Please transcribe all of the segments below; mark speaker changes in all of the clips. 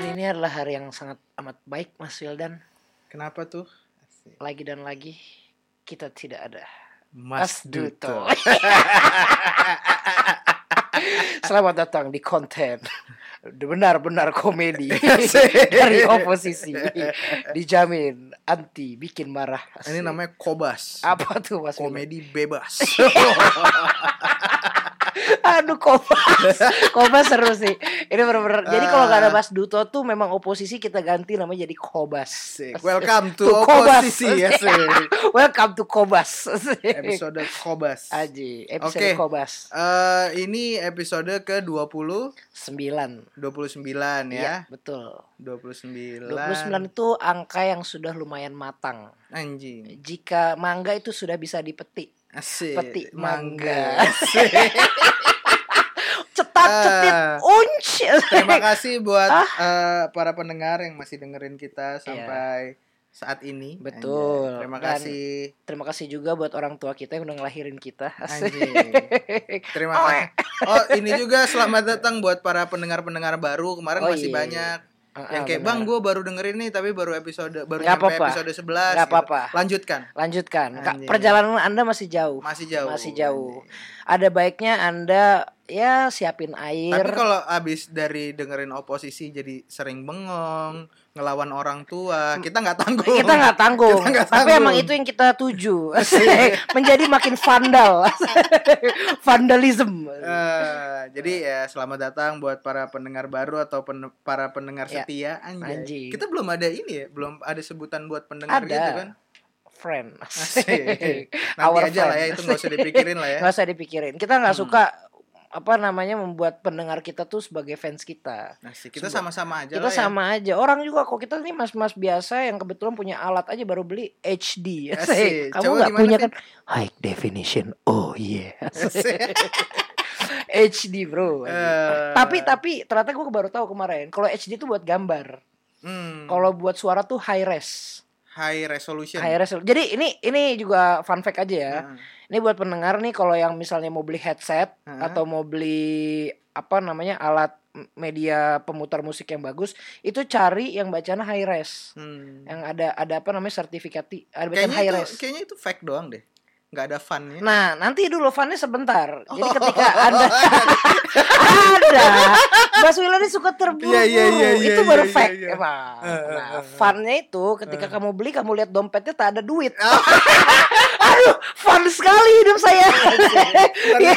Speaker 1: hari yang sangat amat baik Mas Wildan.
Speaker 2: Kenapa tuh? Asik.
Speaker 1: Lagi dan lagi kita tidak ada
Speaker 2: Mas Duto.
Speaker 1: Selamat datang di konten benar-benar komedi dari oposisi. Dijamin anti bikin marah.
Speaker 2: Ini
Speaker 1: Asik.
Speaker 2: namanya Kobas.
Speaker 1: apa tuh Mas Wildan?
Speaker 2: Komedi bebas.
Speaker 1: Aduh Kobas Kobas seru sih Ini bener-bener Jadi kalau gak
Speaker 2: Ah.
Speaker 1: ada Mas Duto tuh Memang oposisi kita ganti namanya jadi Kobas
Speaker 2: Asik. Welcome to,
Speaker 1: To Kobas.
Speaker 2: oposisi. Asik.
Speaker 1: Welcome to Kobas
Speaker 2: Episode Kobas. Eh
Speaker 1: Aji Episode
Speaker 2: Oke.
Speaker 1: Kobas
Speaker 2: ini episode ke
Speaker 1: 9
Speaker 2: 20 29
Speaker 1: Iya
Speaker 2: ya.
Speaker 1: betul
Speaker 2: 29.
Speaker 1: 29 itu angka yang sudah lumayan matang
Speaker 2: anjing.
Speaker 1: Jika mangga itu sudah bisa dipetik
Speaker 2: Asik.
Speaker 1: Petik mangga.
Speaker 2: Asik.
Speaker 1: Cetak cetit
Speaker 2: Ah.
Speaker 1: unc
Speaker 2: Terima kasih buat
Speaker 1: Ah. Iya.
Speaker 2: eh, para pendengar yang masih dengerin kita sampai saat ini.
Speaker 1: Betul.
Speaker 2: Anjay. Terima
Speaker 1: Dan-
Speaker 2: kasih.
Speaker 1: Terima kasih juga buat orang tua kita yang udah ngelahirin kita Asik.
Speaker 2: Anjing. Terima
Speaker 1: eh.
Speaker 2: kasih. Oh, ini juga selamat datang buat para pendengar-pendengar baru. Kemarin
Speaker 1: Oh,
Speaker 2: masih
Speaker 1: iya.
Speaker 2: banyak yang
Speaker 1: Ah,
Speaker 2: kayak,
Speaker 1: benar.
Speaker 2: "Bang, gue baru dengerin nih, tapi baru episode baru
Speaker 1: Nggak
Speaker 2: sampai
Speaker 1: apa-apa.
Speaker 2: episode 11."
Speaker 1: Nggak
Speaker 2: gitu.
Speaker 1: apa-apa.
Speaker 2: Lanjutkan.
Speaker 1: Lanjutkan. Kak,
Speaker 2: Anjing.
Speaker 1: perjalanan Anda masih jauh.
Speaker 2: Masih jauh.
Speaker 1: Masih jauh. Ada baiknya Anda ya siapin air.
Speaker 2: Tapi kalau abis dari dengerin oposisi jadi sering bengong, ngelawan orang tua, kita nggak tanggung.
Speaker 1: Hmm. kita nggak tanggung.
Speaker 2: Oh. Kita nggak
Speaker 1: Tapi
Speaker 2: tanggung.
Speaker 1: emang itu yang kita tuju. Menjadi makin vandal. Vandalism.
Speaker 2: Eh, jadi ya selamat datang buat para pendengar baru atau pen- para pendengar
Speaker 1: Ya.
Speaker 2: setia anjay.
Speaker 1: Anjing.
Speaker 2: Kita belum ada ini ya, belum ada sebutan buat pendengar
Speaker 1: Ada.
Speaker 2: gitu kan.
Speaker 1: Friend.
Speaker 2: Asik. Nanti
Speaker 1: Our
Speaker 2: aja lah ya
Speaker 1: friend.
Speaker 2: itu nggak usah dipikirin lah ya.
Speaker 1: Nggak usah dipikirin. Kita nggak
Speaker 2: Hmm.
Speaker 1: suka apa namanya membuat pendengar kita tuh sebagai fans kita.
Speaker 2: Asik. Nah, Kita sama-sama aja
Speaker 1: kita
Speaker 2: lah ya.
Speaker 1: sama aja. Orang juga kok kita nih mas-mas biasa yang kebetulan punya alat aja baru beli HD.
Speaker 2: Asik.
Speaker 1: Kamu
Speaker 2: Coba
Speaker 1: nggak
Speaker 2: gimana,
Speaker 1: punya
Speaker 2: Tin?
Speaker 1: kan high definition. Oh yeah.
Speaker 2: ya. Asik.
Speaker 1: HD, Bro.
Speaker 2: Eh.
Speaker 1: Tapi tapi ternyata gue baru tahu kemarin kalau HD itu buat gambar.
Speaker 2: Hmm.
Speaker 1: Kalau buat suara tuh high res.
Speaker 2: high resolution. Hmm,
Speaker 1: High res. Jadi ini ini juga fun fact aja ya.
Speaker 2: Heeh.
Speaker 1: Ini buat pendengar nih kalau yang misalnya mau beli headset
Speaker 2: Heeh.
Speaker 1: atau mau beli apa namanya alat m- media pemutar musik yang bagus, itu cari yang bacaan high res.
Speaker 2: Hmm.
Speaker 1: Yang ada ada apa namanya sertifikat ada bacaan
Speaker 2: Kayaknya
Speaker 1: high
Speaker 2: itu,
Speaker 1: res.
Speaker 2: kayaknya itu fake doang deh. Nggak ada funnya.
Speaker 1: Nah, nanti dulu fannya sebentar. Jadi ketika Anda
Speaker 2: Iya.
Speaker 1: ada, Mas Wilani suka terburu-buru.
Speaker 2: Iya, iya, iya, iya,
Speaker 1: itu baru
Speaker 2: iya,
Speaker 1: fake
Speaker 2: iya.
Speaker 1: emang.
Speaker 2: Eh, eh,
Speaker 1: Nah,
Speaker 2: eh, eh.
Speaker 1: funnya itu ketika kamu beli kamu lihat dompetnya tak ada duit.
Speaker 2: Ah.
Speaker 1: Aduh, fun sekali hidup saya.
Speaker 2: Iya,
Speaker 1: Ya,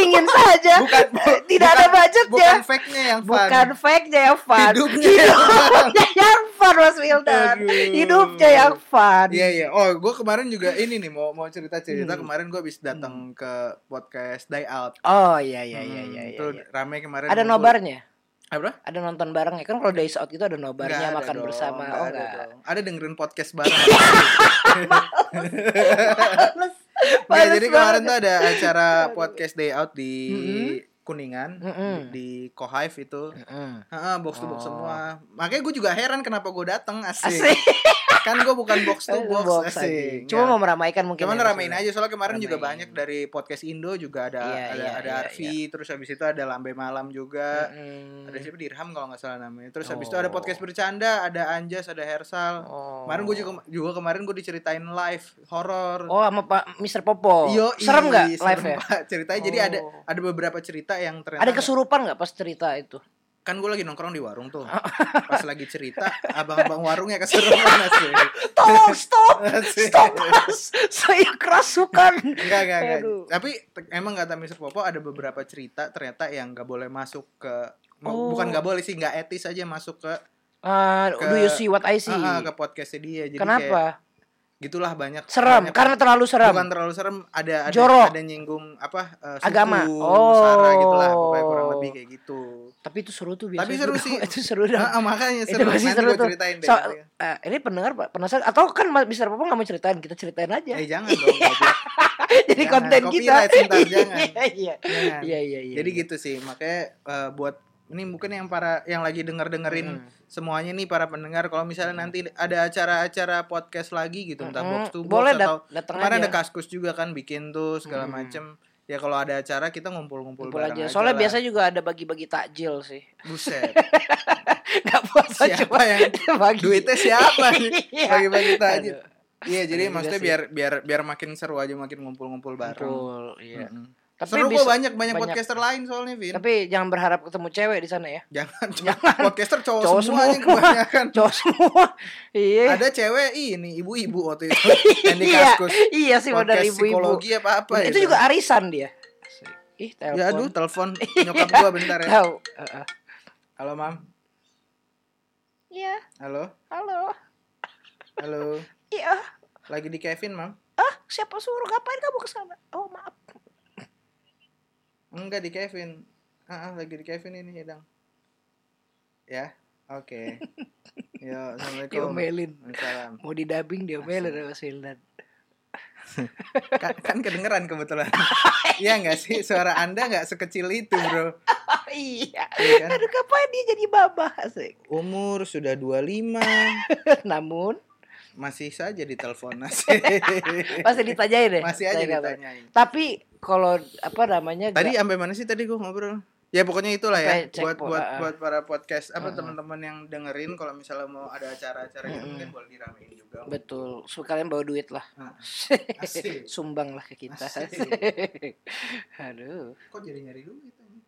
Speaker 1: ingin saja.
Speaker 2: Bukan, bu-
Speaker 1: Tidak ada budgetnya.
Speaker 2: Bukan fake-nya yang fun.
Speaker 1: Bukan fake-nya yang fun. Iya.
Speaker 2: Hidupnya.
Speaker 1: Hidupnya yang fun Mas Wildan.
Speaker 2: Aduh.
Speaker 1: Hidupnya yang fun.
Speaker 2: Iya iya. Oh, gue kemarin juga ini nih mau mau cerita cerita.
Speaker 1: Hmm.
Speaker 2: Kemarin gue habis datang ke podcast Die Out.
Speaker 1: Oh iya iya iya
Speaker 2: Hmm,
Speaker 1: iya. iya,
Speaker 2: Itu
Speaker 1: iya.
Speaker 2: rame kemarin.
Speaker 1: Ada
Speaker 2: ngumpul.
Speaker 1: nobarnya.
Speaker 2: Apa?
Speaker 1: Ada nonton bareng ya kan kalau days out itu ada nobarnya
Speaker 2: Nggak ada
Speaker 1: makan
Speaker 2: dong,
Speaker 1: bersama.
Speaker 2: nggak
Speaker 1: oh
Speaker 2: ada
Speaker 1: enggak.
Speaker 2: dong. Ada dengerin podcast bareng. Nggak,
Speaker 1: Males
Speaker 2: jadi kemarin
Speaker 1: banget.
Speaker 2: tuh ada acara podcast Day Out di
Speaker 1: Mm-mm.
Speaker 2: Kuningan
Speaker 1: Mm-mm.
Speaker 2: di Kohive itu.
Speaker 1: Mm-mm.
Speaker 2: Heeh, box to box
Speaker 1: Oh.
Speaker 2: semua. Makanya gue juga heran kenapa gue datang asik.
Speaker 1: Asik.
Speaker 2: kan gue bukan box to box,
Speaker 1: Box
Speaker 2: asik.
Speaker 1: anjing.
Speaker 2: Nggak.
Speaker 1: Cuma mau meramaikan mungkin.
Speaker 2: Cuman
Speaker 1: ya,
Speaker 2: ramein
Speaker 1: maksudnya.
Speaker 2: aja soalnya kemarin juga
Speaker 1: Ramein.
Speaker 2: banyak dari podcast Indo juga ada
Speaker 1: Iya,
Speaker 2: ada
Speaker 1: iya,
Speaker 2: ada
Speaker 1: iya,
Speaker 2: Arfi, terus habis itu ada Lambe Malam juga.
Speaker 1: Mm-mm.
Speaker 2: Ada siapa Dirham kalau nggak salah namanya. Terus habis itu
Speaker 1: Hmm. Oh.
Speaker 2: ada podcast bercanda, ada Anjas, ada Hersal.
Speaker 1: Oh.
Speaker 2: Kemarin gue juga, juga kemarin gue diceritain live horor.
Speaker 1: Oh sama Pak Mr. Popo.
Speaker 2: Yoi,
Speaker 1: Oh, Serem nggak
Speaker 2: serem
Speaker 1: live ya?
Speaker 2: banget ceritanya. Jadi
Speaker 1: Oh.
Speaker 2: ada ada beberapa cerita yang ternyata
Speaker 1: Ada kesurupan nggak pas cerita itu?
Speaker 2: kan gue lagi nongkrong di warung tuh.
Speaker 1: Oh.
Speaker 2: Pas lagi cerita abang-abang warungnya keseruan asli.
Speaker 1: Tolong stop,
Speaker 2: Asik.
Speaker 1: stop Mas. Saya kerasukan.
Speaker 2: Enggak, enggak, enggak.
Speaker 1: Aduh.
Speaker 2: Tapi te- emang kata Mr. Popo ada beberapa cerita ternyata yang nggak boleh masuk ke
Speaker 1: Oh.
Speaker 2: mau- bukan nggak boleh sih nggak etis aja masuk ke
Speaker 1: Ah, do you
Speaker 2: Ke-
Speaker 1: see what I see?
Speaker 2: ah, ah, ke podcastnya dia. Jadi kayak
Speaker 1: Kenapa?
Speaker 2: gitulah banyak.
Speaker 1: Serem
Speaker 2: banyak-
Speaker 1: karena terlalu serem.
Speaker 2: bukan terlalu serem ada ada,
Speaker 1: Jorok.
Speaker 2: ada nyinggung apa eh,
Speaker 1: Agama.
Speaker 2: sara gitu lah
Speaker 1: Oh.
Speaker 2: pokoknya kurang lebih kayak gitu.
Speaker 1: Tapi itu seru tuh biasanya.
Speaker 2: Tapi seru
Speaker 1: tuh.
Speaker 2: sih.
Speaker 1: itu seru dong.
Speaker 2: Ah, ah, makanya
Speaker 1: Itu
Speaker 2: seru.
Speaker 1: pasti
Speaker 2: Nanti
Speaker 1: seru
Speaker 2: gua
Speaker 1: tuh.
Speaker 2: ceritain deh. Iya.
Speaker 1: So, eh, ini pendengar Pak, penasaran atau kan Mas Mr. Popo nggak mau ceritain, kita ceritain aja.
Speaker 2: eh jangan dong. goblok.
Speaker 1: Jadi
Speaker 2: jangan.
Speaker 1: konten kita.
Speaker 2: Copyright, sebentar, jangan.
Speaker 1: Iya, iya.
Speaker 2: Jangan.
Speaker 1: Iya, iya, iya.
Speaker 2: Jadi gitu sih makanya eh, buat ini mungkin yang para yang lagi denger dengerin
Speaker 1: Mm.
Speaker 2: semuanya nih para pendengar kalau
Speaker 1: Hmm.
Speaker 2: misalnya nanti ada acara-acara podcast lagi gitu entah
Speaker 1: Mm-mm.
Speaker 2: box to box
Speaker 1: Hmm, Boleh dat-
Speaker 2: atau
Speaker 1: datang
Speaker 2: kemarin
Speaker 1: aja.
Speaker 2: ada kaskus juga kan bikin tuh segala
Speaker 1: Mm.
Speaker 2: macem ya kalau ada acara kita ngumpul-ngumpul
Speaker 1: Kumpul aja.
Speaker 2: bareng aja
Speaker 1: Soalnya
Speaker 2: lah.
Speaker 1: biasanya juga ada bagi-bagi takjil sih.
Speaker 2: buset
Speaker 1: Gak puasa
Speaker 2: siapa
Speaker 1: cuma
Speaker 2: yang
Speaker 1: bagi.
Speaker 2: duitnya siapa nih
Speaker 1: Iya.
Speaker 2: bagi-bagi kita aja
Speaker 1: Aduh,
Speaker 2: iya jadi
Speaker 1: Iya
Speaker 2: maksudnya
Speaker 1: sih.
Speaker 2: biar biar biar makin seru aja makin ngumpul-ngumpul bareng
Speaker 1: Betul, iya.
Speaker 2: Mm-mm.
Speaker 1: Tapi
Speaker 2: seru
Speaker 1: bisa-
Speaker 2: kok banyak banyak
Speaker 1: banyak.
Speaker 2: podcaster lain soalnya Vin
Speaker 1: Tapi jangan berharap ketemu cewek di sana ya.
Speaker 2: jangan cuma podcaster cowok,
Speaker 1: Cowok
Speaker 2: semua,
Speaker 1: semua.
Speaker 2: aja kebanyakan
Speaker 1: Cowok semua. Iya.
Speaker 2: ada cewek ini ibu-ibu waktu itu yang di
Speaker 1: Iya.
Speaker 2: kaskus
Speaker 1: Iya sih modal
Speaker 2: podcast
Speaker 1: ibu-ibu.
Speaker 2: psikologi apa apa
Speaker 1: Itu juga arisan dia. Ih, telepon.
Speaker 2: ya aduh telepon nyokap gua bentar ya
Speaker 1: Tahu. Heeh.
Speaker 2: halo mam
Speaker 1: Iya.
Speaker 2: halo
Speaker 1: Halo.
Speaker 2: halo
Speaker 1: Iya.
Speaker 2: lagi di Kevin mam
Speaker 1: Ah, siapa suruh ngapain kamu ke sana? Oh, maaf.
Speaker 2: Enggak di Kevin. Ah, ah, lagi di Kevin ini hidang. Ya, oke. Yo, assalamualaikum.
Speaker 1: Diomelin.
Speaker 2: Waalaikumsalam.
Speaker 1: Mau didabing diomelin sama Mas Wildan.
Speaker 2: Kan, kan kedengeran kebetulan. Iya enggak sih suara Anda enggak sekecil itu, Bro.
Speaker 1: Oh, iya.
Speaker 2: Iya kan?
Speaker 1: Aduh, kapan dia jadi babah asik.
Speaker 2: Umur sudah 25,
Speaker 1: Namun
Speaker 2: masih saja ditelepon masih.
Speaker 1: masih ditanyain deh.
Speaker 2: masih aja
Speaker 1: Tanya kabar.
Speaker 2: ditanyain.
Speaker 1: Tapi kalau apa namanya
Speaker 2: Tadi sampai mana sih tadi gua ngobrol? Ya pokoknya itulah ya
Speaker 1: Sampai cek
Speaker 2: buat
Speaker 1: po-
Speaker 2: buat
Speaker 1: ah.
Speaker 2: buat para podcast
Speaker 1: Ah.
Speaker 2: apa teman-teman yang dengerin kalau misalnya mau ada acara-acara gitu
Speaker 1: Mm-mm.
Speaker 2: mungkin boleh diramein juga.
Speaker 1: Betul, So, kalian bawa duit lah.
Speaker 2: Ah,
Speaker 1: Sumbanglah
Speaker 2: asik.
Speaker 1: Sumbang lah ke kita.
Speaker 2: Asik.
Speaker 1: Aduh.
Speaker 2: Kok jadi nyari duit? ini?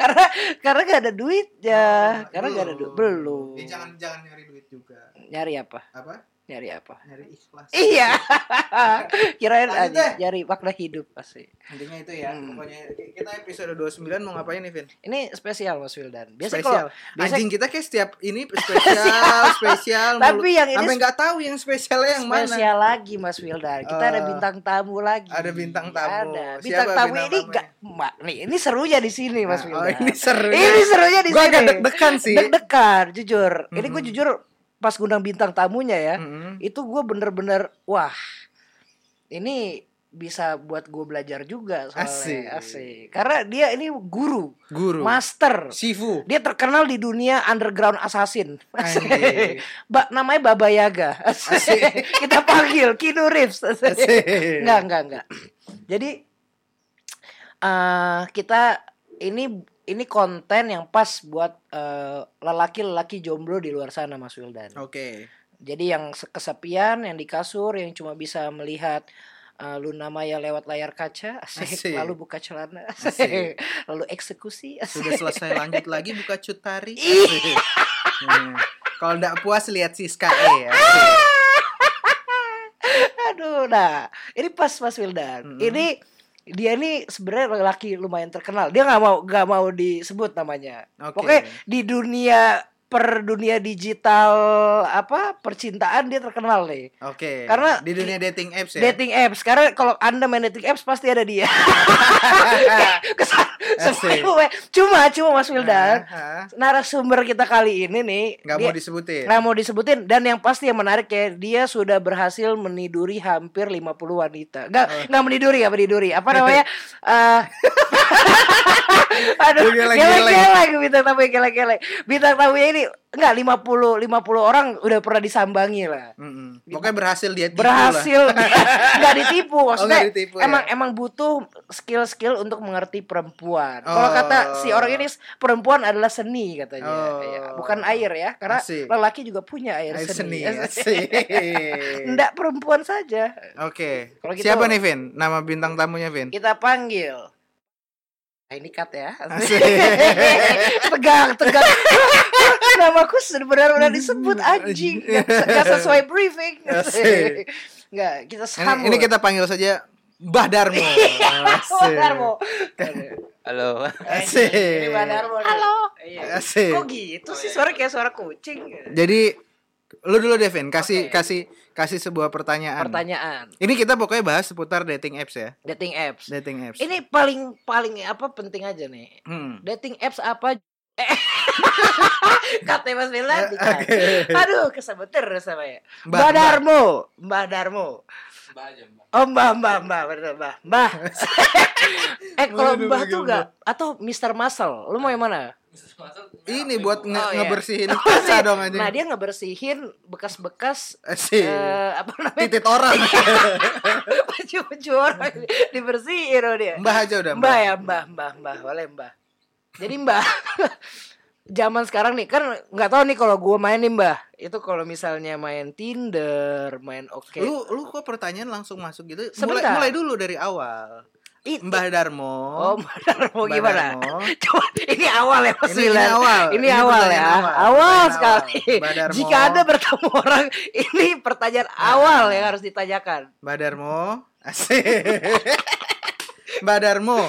Speaker 1: Karena karena gak ada duit ya.
Speaker 2: Oh,
Speaker 1: karena gak ada duit. Belum.
Speaker 2: Ya, jangan jangan nyari duit juga.
Speaker 1: Nyari apa?
Speaker 2: Apa?
Speaker 1: Nyari apa?
Speaker 2: Nyari ikhlas.
Speaker 1: Iya. Kirain
Speaker 2: Lanjut
Speaker 1: aja
Speaker 2: deh.
Speaker 1: nyari makna hidup pasti.
Speaker 2: Intinya itu ya.
Speaker 1: Hmm.
Speaker 2: Pokoknya kita episode 29 mau ngapain nih, Vin?
Speaker 1: Ini spesial Mas Wildan. Biasa kalau
Speaker 2: spesial.
Speaker 1: biasa-
Speaker 2: Anjing kita kayak setiap ini spesial, spesial.
Speaker 1: tapi yang ini
Speaker 2: sampai nggak tahu yang spesialnya yang mana.
Speaker 1: spesial lagi Mas Wildan. Kita ada
Speaker 2: Eh,
Speaker 1: bintang tamu lagi.
Speaker 2: ada bintang tamu.
Speaker 1: Ada.
Speaker 2: Siapa
Speaker 1: Bintang tamu
Speaker 2: bintang
Speaker 1: ini
Speaker 2: tamunya?
Speaker 1: gak mak nih. Ini serunya di sini Mas
Speaker 2: Nah, oh,
Speaker 1: Wildan.
Speaker 2: ini seru.
Speaker 1: ini serunya di
Speaker 2: Gue
Speaker 1: sini.
Speaker 2: agak deg-degan sih.
Speaker 1: Deg-degan, jujur. Ini gue
Speaker 2: Mm-mm.
Speaker 1: jujur pas ngundang bintang tamunya ya,
Speaker 2: Mm-mm.
Speaker 1: itu gue bener-bener wah ini bisa buat gue belajar juga soalnya asik.
Speaker 2: Asik.
Speaker 1: Karena dia ini guru,
Speaker 2: Guru.
Speaker 1: master.
Speaker 2: Sifu.
Speaker 1: Dia terkenal di dunia underground assassin.
Speaker 2: Anjing.
Speaker 1: Ba namanya Baba Yaga. Asik.
Speaker 2: Asik.
Speaker 1: Kita panggil Kino Reeves. Asik.
Speaker 2: Asik.
Speaker 1: Enggak, enggak, enggak. Jadi eh kita ini ini konten yang pas buat eh, lelaki-lelaki jomblo di luar sana Mas Wildan.
Speaker 2: Oh. Oke.
Speaker 1: Jadi yang se- kesepian, yang di kasur, yang cuma bisa melihat eh, Luna Maya lewat layar kaca, asik.
Speaker 2: Asik.
Speaker 1: lalu buka celana,
Speaker 2: Asik.
Speaker 1: asik. lalu eksekusi, asik.
Speaker 2: Sudah selesai lanjut lagi buka cut tari.
Speaker 1: Ih.
Speaker 2: Asik. Hmm. Kalau nggak puas lihat Siska E ya. Asik.
Speaker 1: Aduh, nah ini pas Mas Wildan.
Speaker 2: Mm-mm.
Speaker 1: Ini dia ini sebenarnya lelaki lumayan terkenal. Dia nggak mau nggak mau disebut namanya.
Speaker 2: Oke.
Speaker 1: Pokoknya di dunia per dunia digital apa percintaan dia terkenal nih.
Speaker 2: Oke.
Speaker 1: Karena-
Speaker 2: di dunia dating apps ya.
Speaker 1: Dating apps. Karena kalau anda main dating apps pasti ada dia. Kesan
Speaker 2: Asik.
Speaker 1: semua. Cuma cuma Mas Wildan.
Speaker 2: Hah?
Speaker 1: Narasumber kita kali ini nih
Speaker 2: Nggak
Speaker 1: dia-
Speaker 2: mau disebutin.
Speaker 1: nggak Nah, mau disebutin dan yang pasti yang menarik ya dia sudah berhasil meniduri hampir 50 wanita. Nggak nggak meniduri nggak meniduri. Apa namanya? Eh, aduh,
Speaker 2: Dia geleng-geleng.
Speaker 1: geleng-geleng bintang tamu geleng-geleng. Bintang tamunya ini enggak 50 50 orang udah pernah disambangi lah.
Speaker 2: Mm-mm. Pokoknya berhasil dia tipu
Speaker 1: Berhasil Nah, nggak ditipu maksudnya.
Speaker 2: Gitu nggak ditipu ya.
Speaker 1: emang emang butuh skill-skill untuk mengerti perempuan. Kalau
Speaker 2: Oh.
Speaker 1: kata si orang ini perempuan adalah seni katanya.
Speaker 2: Oh.
Speaker 1: Ya, bukan air ya, karena
Speaker 2: Asik.
Speaker 1: lelaki juga punya air,
Speaker 2: Lah. Ayo
Speaker 1: seni.
Speaker 2: seni.
Speaker 1: Asik.
Speaker 2: Asik.
Speaker 1: Nggak perempuan saja.
Speaker 2: Oke.
Speaker 1: Kalau gitu-
Speaker 2: Siapa nih Vin? Nama bintang tamunya Vin?
Speaker 1: Kita panggil. Nah, ini cut ya.
Speaker 2: Asik.
Speaker 1: tegang, tegang. Namaku benar-benar disebut anjing. Nggak nggak sesuai briefing.
Speaker 2: Iya. Asik.
Speaker 1: Nggak, kita
Speaker 2: Ini,
Speaker 1: sambut.
Speaker 2: ini kita panggil saja Mbah Darmo. Asik.
Speaker 1: Darmo.
Speaker 3: Halo.
Speaker 1: Eh,
Speaker 2: Asik.
Speaker 1: Ini Mbak Darmo. Halo. Iya.
Speaker 2: Asik.
Speaker 1: Kok gitu sih suara kayak suara kucing?
Speaker 2: Jadi lu dulu deh Vin, kasih
Speaker 1: Oke.
Speaker 2: kasih kasih sebuah pertanyaan.
Speaker 1: Pertanyaan
Speaker 2: Ini kita pokoknya bahas seputar dating apps ya.
Speaker 1: dating apps.
Speaker 2: Dating apps.
Speaker 1: Ini paling paling apa penting aja nih.
Speaker 2: Hmm.
Speaker 1: dating apps apa Eh, kata Mas Wildan
Speaker 2: Eh,
Speaker 1: dikat.
Speaker 2: oke.
Speaker 1: aduh kesebut terus sama ya Mbak
Speaker 2: Mbak, Mbak.
Speaker 1: Darmo Mbak Darmo
Speaker 3: Mbak aja, Mbak.
Speaker 1: oh Mbak Mbak Mbak bener, Mbak Mbah eh kalau
Speaker 2: Waduh,
Speaker 1: Mbah
Speaker 2: lagi
Speaker 1: tuh gak atau Mr. Muscle lu mau yang mana
Speaker 2: Ini buat nge-
Speaker 1: Oh, iya.
Speaker 2: ngebersihin kaca dong anjing.
Speaker 1: nah dia ngebersihin bekas-bekas
Speaker 2: Asik.
Speaker 1: eh, apa namanya
Speaker 2: Titit orang.
Speaker 1: baju-baju orang dibersihin loh dia ya,
Speaker 2: Mbah aja udah.
Speaker 1: Mbah ya Mbah Mbah Mbah boleh Mbah jadi Mbah zaman sekarang nih kan nggak tahu nih kalau gue main nih mbah itu kalau misalnya main Tinder main Oke
Speaker 2: Lu lu kok pertanyaan langsung masuk gitu?
Speaker 1: Sebentar.
Speaker 2: Mulai mulai dulu dari awal.
Speaker 1: Ih,
Speaker 2: Mbah
Speaker 1: oh
Speaker 2: Darmo.
Speaker 1: Mbah Darmo
Speaker 2: Mbah
Speaker 1: gimana
Speaker 2: Darmo.
Speaker 1: coba ini awal ya Mas
Speaker 2: Ini, ini
Speaker 1: Wilan.
Speaker 2: awal.
Speaker 1: ini, awal ya
Speaker 2: pertanyaan
Speaker 1: awal,
Speaker 2: Pertanyaan
Speaker 1: sekali
Speaker 2: awal. Mbah Nah. Darmo.
Speaker 1: jika ada bertemu orang ini pertanyaan awal yang harus ditanyakan
Speaker 2: Mbak Darmo, asik. Mbak Darmo,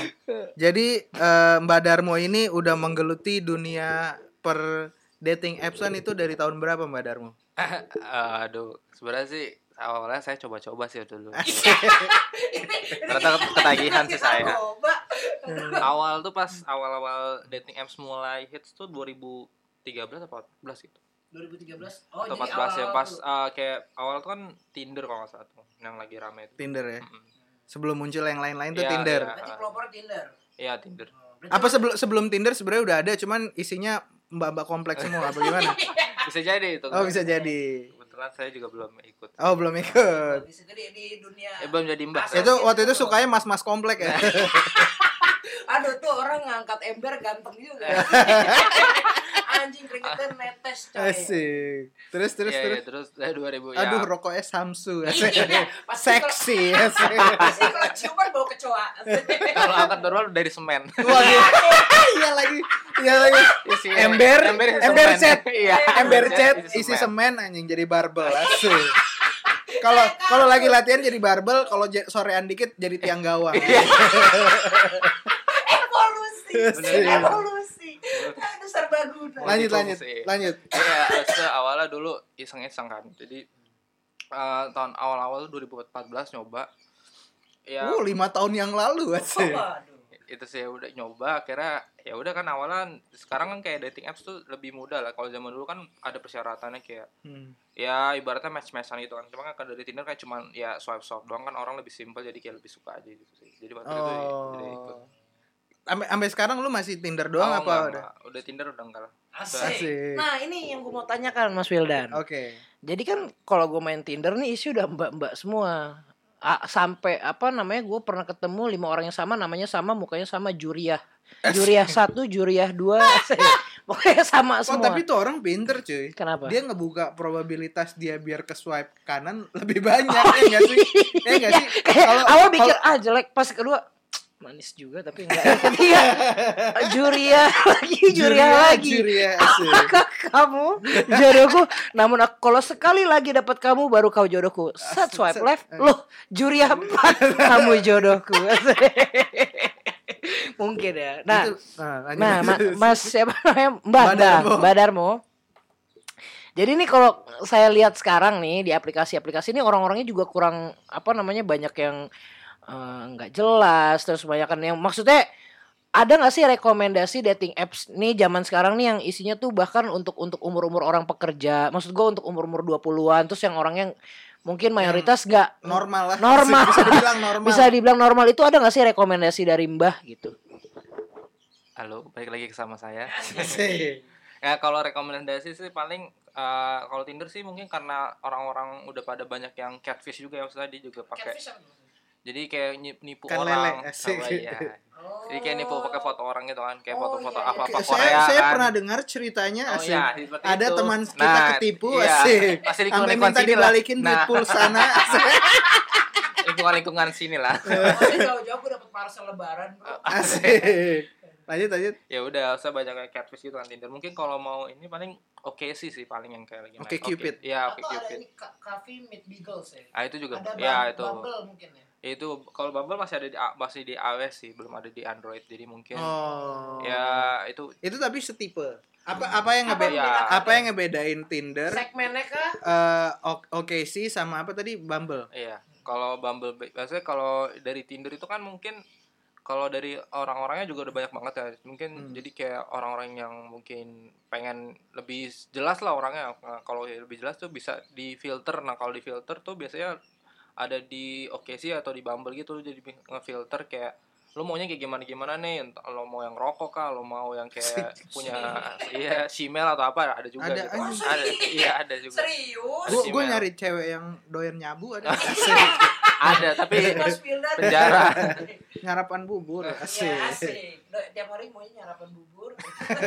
Speaker 2: jadi eh, Mbak Darmo ini udah menggeluti dunia per dating appsan itu dari tahun berapa Mbak Darmo?
Speaker 4: Aduh, sebenarnya sih awalnya saya coba-coba sih dulu. Ternyata ketagihan sih saya. Awal tuh pas awal-awal dating apps mulai hits tuh 2013 atau 14 gitu.
Speaker 1: 2013 oh
Speaker 4: Atau 14 ya pas eh, kayak awal tuh kan Tinder kalau nggak salah tuh yang lagi rame itu.
Speaker 2: Tinder ya.
Speaker 4: Mm-mm.
Speaker 2: Sebelum muncul yang lain-lain tuh
Speaker 4: Iya,
Speaker 2: Tinder.
Speaker 4: iya. Berarti pelopor
Speaker 1: Tinder
Speaker 4: Iya, Tinder.
Speaker 2: Apa sebelum sebelum Tinder sebenarnya udah ada cuman isinya mbak-mbak kompleks semua apa gimana?
Speaker 4: Bisa jadi itu.
Speaker 2: Oh bisa jadi.
Speaker 4: Kebetulan saya juga belum ikut.
Speaker 2: Oh belum ikut.
Speaker 1: di, di dunia
Speaker 4: Eh, belum jadi mbak.
Speaker 2: Itu waktu itu sukanya mas-mas komplek ya.
Speaker 4: Iya,
Speaker 1: Aduh tuh orang ngangkat ember ganteng juga. Anjing keringetan netes coy.
Speaker 2: Asik. Terus terus
Speaker 4: Iya,
Speaker 2: terus.
Speaker 4: iya, terus dari 2000 ya.
Speaker 2: Aduh rokoknya Samsu. Asik.
Speaker 1: Iya, pasti kalau-
Speaker 2: Seksi. Asik.
Speaker 1: Pasti kalau ciuman bau kecoa.
Speaker 4: Kalau angkat normal dari semen.
Speaker 2: Waduh. Iya lagi. Iya lagi.
Speaker 4: Isi-
Speaker 2: Ember,
Speaker 4: isi
Speaker 2: ember
Speaker 4: semen.
Speaker 2: cat.
Speaker 4: Iya,
Speaker 2: Ember cat isi semen anjing jadi barbel asik. Kalau
Speaker 1: Iya,
Speaker 2: kalau lagi latihan jadi barbel, kalau je- sorean dikit jadi tiang gawang.
Speaker 1: evolusi.
Speaker 2: Bener.
Speaker 1: Evolusi. Itu serbaguna.
Speaker 2: Iya. Lanjut lanjut
Speaker 4: Multifungsi.
Speaker 2: lanjut.
Speaker 4: Iya, terus tuh awalnya dulu iseng-iseng kan. Jadi eh, tahun awal-awal tuh 2014 nyoba. Ya
Speaker 2: Uh, lima tahun yang lalu asik.
Speaker 1: Waduh.
Speaker 4: itu sih udah nyoba akhirnya ya udah kan awalnya sekarang kan kayak dating apps tuh lebih mudah lah. Kalau zaman dulu kan ada persyaratannya kayak
Speaker 2: Hmm.
Speaker 4: ya ibaratnya match-matchan gitu kan. Cuma kan kalau dari Tinder kayak cuman ya swipe-swipe doang kan orang lebih simpel jadi kayak lebih suka aja gitu sih. Jadi waktu itu ya, jadi ikut.
Speaker 2: Oh. Ampe, ampe sekarang lu masih Tinder doang
Speaker 4: Oh,
Speaker 2: apa
Speaker 4: enggak,
Speaker 2: udah?
Speaker 4: enggak. Udah Tinder udah enggak lah.
Speaker 1: Asik.
Speaker 2: Asik.
Speaker 1: Nah ini yang gue mau tanyakan Mas Wildan.
Speaker 2: Oke.
Speaker 1: Jadi kan kalau gue main Tinder nih isi udah mbak-mbak semua. Ah, sampai apa namanya gue pernah ketemu lima orang yang sama namanya sama mukanya sama Juriah. Juriah satu, Juriah dua, pokoknya sama
Speaker 2: Oh,
Speaker 1: semua.
Speaker 2: tapi tuh orang pinter cuy.
Speaker 1: Kenapa?
Speaker 2: Dia ngebuka probabilitas dia biar ke swipe kanan lebih banyak
Speaker 1: Oh,
Speaker 2: ya enggak sih?
Speaker 1: iya.
Speaker 2: Ya enggak sih?
Speaker 1: Kayak
Speaker 2: Kalau
Speaker 1: awal
Speaker 2: kalau-
Speaker 1: mikir ah jelek pas kedua manis juga tapi enggak Yang ketiga juria lagi juria ya lagi
Speaker 2: Juria ya, asik.
Speaker 1: apakah kamu jodohku namun aku- kalau sekali lagi dapat kamu baru kau jodohku set Eh. swipe left loh juria empat kamu jodohku mungkin ya nah
Speaker 2: Itu- nah, lanjut.
Speaker 1: Nah, ma- Mas siapa namanya? Mbak
Speaker 2: Mbak
Speaker 1: Dar-
Speaker 2: Darmo.
Speaker 1: Mbak Darmo. Jadi nih kalau saya lihat sekarang nih di aplikasi-aplikasi ini orang-orangnya juga kurang apa namanya banyak yang eh, nggak jelas terus banyak kan yang maksudnya ada nggak sih rekomendasi dating apps nih zaman sekarang nih yang isinya tuh bahkan untuk untuk umur-umur orang pekerja, maksud gue untuk umur-umur 20-an terus yang orangnya mungkin mayoritas nggak
Speaker 2: normal lah.
Speaker 1: Normal.
Speaker 2: Bisa dibilang normal.
Speaker 1: bisa dibilang normal itu ada nggak sih rekomendasi dari Mbah gitu?
Speaker 4: Halo, balik lagi ke sama saya.
Speaker 2: Asik.
Speaker 4: Ya kalau rekomendasi sih paling eh, kalau Tinder sih mungkin karena orang-orang udah pada banyak yang catfish juga ya maksudnya dia juga pakai. Jadi kayak nyi- nipu
Speaker 2: Ikan
Speaker 4: orang.
Speaker 2: Kan lele, asik.
Speaker 4: Apa, iya. Jadi kayak nipu pakai foto orang gitu kan, kayak
Speaker 1: Oh,
Speaker 4: foto-foto
Speaker 1: iya, iya.
Speaker 4: apa-apa Korea
Speaker 2: saya saya
Speaker 4: kan.
Speaker 2: pernah dengar ceritanya
Speaker 4: Oh
Speaker 2: asik.
Speaker 4: iya, seperti
Speaker 2: Ada
Speaker 4: itu.
Speaker 2: teman kita
Speaker 4: Nah,
Speaker 2: ketipu
Speaker 4: iya.
Speaker 2: asik.
Speaker 4: Pasti di
Speaker 2: Sampai
Speaker 4: lingkungan
Speaker 2: minta
Speaker 4: sini lah.
Speaker 2: dibalikin gitu. duit
Speaker 4: Nah.
Speaker 2: pulsana asik.
Speaker 4: lingkungan lingkungan sini lah.
Speaker 1: jauh-jauh gue dapet parcel lebaran
Speaker 4: Ah,
Speaker 2: asik. Lanjut lanjut.
Speaker 4: ya udah, saya banyak kayak catfish gitu kan Tinder. Mungkin kalau mau ini paling oke sih sih paling yang kayak lagi. main.
Speaker 2: Oke Cupid.
Speaker 4: Iya, oke
Speaker 1: Atau ada
Speaker 4: Cupid.
Speaker 1: ini Ka- Cafe Meet Beagles ya.
Speaker 4: Ah itu juga.
Speaker 1: Ada
Speaker 4: ya
Speaker 1: Bum-
Speaker 4: itu.
Speaker 1: Bumble mungkin ya.
Speaker 4: Itu kalau Bumble masih ada di masih di iOS sih, belum ada di Android. Jadi mungkin
Speaker 2: Oh.
Speaker 4: Iya. ya itu
Speaker 2: Itu tapi setipe. Apa apa yang
Speaker 1: Apa ya?
Speaker 2: ngebedain
Speaker 4: yang
Speaker 2: apa,
Speaker 4: dilakukan?
Speaker 2: yang ngebedain Tinder?
Speaker 1: Segmennya kah?
Speaker 2: eh, ok- oke sih sama apa tadi Bumble.
Speaker 4: Iya, kalau Bumble, maksudnya kalau dari Tinder itu kan mungkin kalau dari orang-orangnya juga udah banyak banget ya. Mungkin jadi kayak orang-orang yang mungkin pengen lebih jelas lah orangnya. Nah, kalau lebih jelas tuh bisa difilter. Nah, kalau difilter tuh biasanya ada di OKC atau di Bumble gitu lu jadi ngefilter kayak lu maunya kayak gimana gimana nih Ent- lo mau yang rokok kah lo mau yang kayak punya iya simel atau apa ada juga
Speaker 2: Ada
Speaker 4: gitu
Speaker 2: aja.
Speaker 4: ada iya ada juga
Speaker 1: Serius?
Speaker 2: Gue
Speaker 4: Email.
Speaker 2: nyari cewek yang doyan nyabu ada.
Speaker 4: ada tapi
Speaker 1: Terus builder.
Speaker 4: Penjara.
Speaker 2: Ngarapan bubur.
Speaker 1: Asik.
Speaker 2: Asik.
Speaker 1: Ya, asik. Lo, tiap hari maunya nyarapan bubur.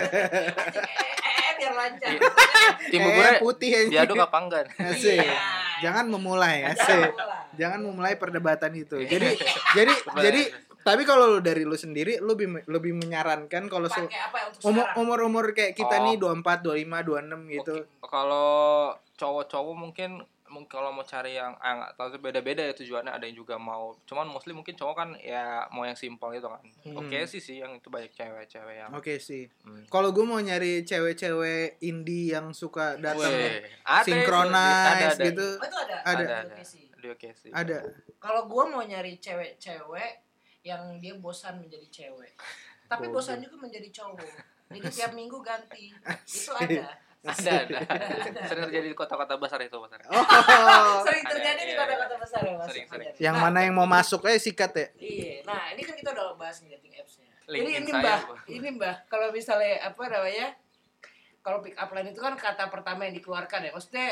Speaker 1: Anjing, eh, eh, eh, biar lancar.
Speaker 4: Iya. tim
Speaker 2: Eh,
Speaker 4: buburnya
Speaker 2: putih anjing.
Speaker 4: diaduk apa enggak
Speaker 2: Asik.
Speaker 1: Iya.
Speaker 2: Jangan memulai,
Speaker 1: Jangan Iya.
Speaker 2: asik.
Speaker 1: pulang.
Speaker 2: Jangan memulai perdebatan itu. Jadi jadi jadi tapi kalau lu dari lu sendiri lu lebih lebih menyarankan kalau se-
Speaker 1: Pakai
Speaker 4: Iya.
Speaker 1: apa untuk
Speaker 2: umur
Speaker 1: sekarang?
Speaker 2: umur umur kayak kita
Speaker 4: Oh.
Speaker 2: nih 24, 25, 26 gitu.
Speaker 4: Oke, Kalau cowok-cowok mungkin mungkin kalau mau cari yang ah nggak tahu sih, beda-beda ya tujuannya ada yang juga mau cuman mostly mungkin cowok kan ya mau yang simpel gitu kan
Speaker 2: Hmm. Oh,
Speaker 4: oke sih sih yang itu banyak cewek-cewek yang
Speaker 2: Oke sih.
Speaker 4: Hmm.
Speaker 2: Kalau gue mau nyari cewek-cewek indie yang suka datang
Speaker 4: Weh, ada itu, ada,
Speaker 2: sinkronize
Speaker 4: ada.
Speaker 2: gitu,
Speaker 1: Oh, itu ada.
Speaker 2: Ada.
Speaker 1: Oke,
Speaker 4: Ada,
Speaker 1: oke sih.
Speaker 4: Di oke sih
Speaker 2: ada.
Speaker 1: Kalau gua mau nyari cewek-cewek yang dia bosan menjadi cewek. Tapi bosan juga menjadi cowok. Jadi tiap minggu ganti. Itu ada.
Speaker 4: ada ada sering terjadi di kota-kota besar itu besar
Speaker 2: Oh.
Speaker 1: Sering
Speaker 4: Ada,
Speaker 1: terjadi di
Speaker 4: iya,
Speaker 1: kota-kota besar ya, Mas.
Speaker 4: Sering, sering.
Speaker 1: Ada.
Speaker 2: yang
Speaker 1: Nah,
Speaker 2: mana yang mau masuk eh sikat ya.
Speaker 1: Iya, nah ini kan kita udah bahas nih dating apps-nya.
Speaker 4: Linkin
Speaker 1: Jadi ini
Speaker 4: saya,
Speaker 1: mbah,
Speaker 4: Bang.
Speaker 1: ini mbah, kalau misalnya apa namanya, kalau pick up line itu kan kata pertama yang dikeluarkan ya, maksudnya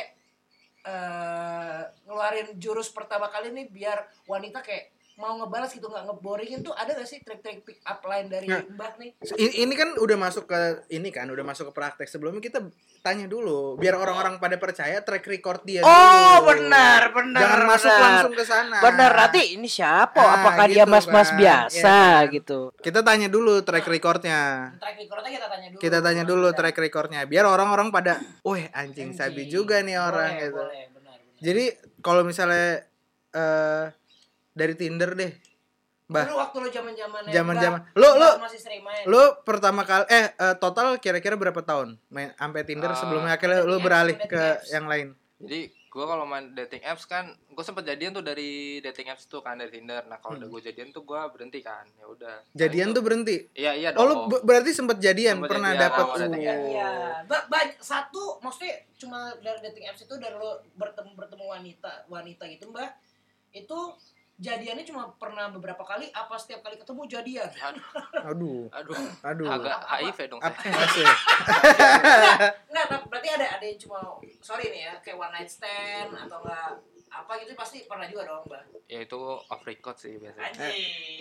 Speaker 1: eh ngeluarin jurus pertama kali nih biar wanita kayak mau ngebalas gitu nggak ngeboringin tuh ada gak sih trik-trik pick up line dari
Speaker 2: Nah.
Speaker 1: mbah nih?
Speaker 2: I- Ini kan udah masuk ke ini kan udah masuk ke praktek. Sebelumnya kita tanya dulu biar orang-orang pada percaya track record dia.
Speaker 5: Oh
Speaker 2: dulu.
Speaker 5: benar benar.
Speaker 2: Jangan masuk
Speaker 5: benar.
Speaker 2: langsung ke sana.
Speaker 5: Benar nanti ini siapa?
Speaker 2: Ah,
Speaker 5: Apakah dia
Speaker 2: gitu
Speaker 5: mas-mas
Speaker 2: kan.
Speaker 5: biasa
Speaker 2: Iya kan.
Speaker 5: gitu?
Speaker 2: Kita tanya dulu track recordnya.
Speaker 1: Track recordnya kita tanya dulu.
Speaker 2: Kita tanya dulu track recordnya biar orang-orang pada, wah anjing sabi juga nih orang
Speaker 1: Boleh,
Speaker 2: gitu.
Speaker 1: Boleh, benar, benar.
Speaker 2: Jadi kalau misalnya eh dari Tinder deh, bah,
Speaker 1: Dulu waktu lo zaman zaman
Speaker 2: Zaman-zaman. Lo- lo-
Speaker 1: masih sering main.
Speaker 2: lo pertama kali eh eh, total kira-kira berapa tahun main sampai Tinder
Speaker 4: Ah.
Speaker 2: sebelumnya akhirnya lo beralih
Speaker 1: dating
Speaker 2: ke
Speaker 1: apps.
Speaker 2: yang lain?
Speaker 4: jadi gue kalau main dating apps kan gue sempet jadian tuh dari dating apps tuh kan dari tinder nah kalau udah gue jadian tuh gue berhenti kan ya udah Nah,
Speaker 2: Hmm. Jadian
Speaker 4: itu-
Speaker 2: tuh berhenti.
Speaker 4: iya iya
Speaker 2: Oh,
Speaker 4: dong
Speaker 2: lo be- berarti sempat jadian,
Speaker 4: Sempet
Speaker 2: pernah
Speaker 4: jadian, kan?
Speaker 2: dapet
Speaker 4: awal dating
Speaker 2: Oh.
Speaker 1: Iya, Ba- ba- satu maksudnya cuma dari dating apps itu dari lo bertemu bertemu wanita wanita gitu mbak itu jadiannya cuma pernah beberapa kali apa setiap kali ketemu jadian
Speaker 2: Aduh,
Speaker 4: aduh aduh
Speaker 2: aduh.
Speaker 4: agak HIV dong saya.
Speaker 2: Hmm. Apa sih?
Speaker 1: nggak tapi berarti ada ada yang cuma sorry nih ya kayak one night stand atau enggak apa gitu pasti pernah juga dong mbak
Speaker 4: ya itu off record sih biasanya
Speaker 1: anjing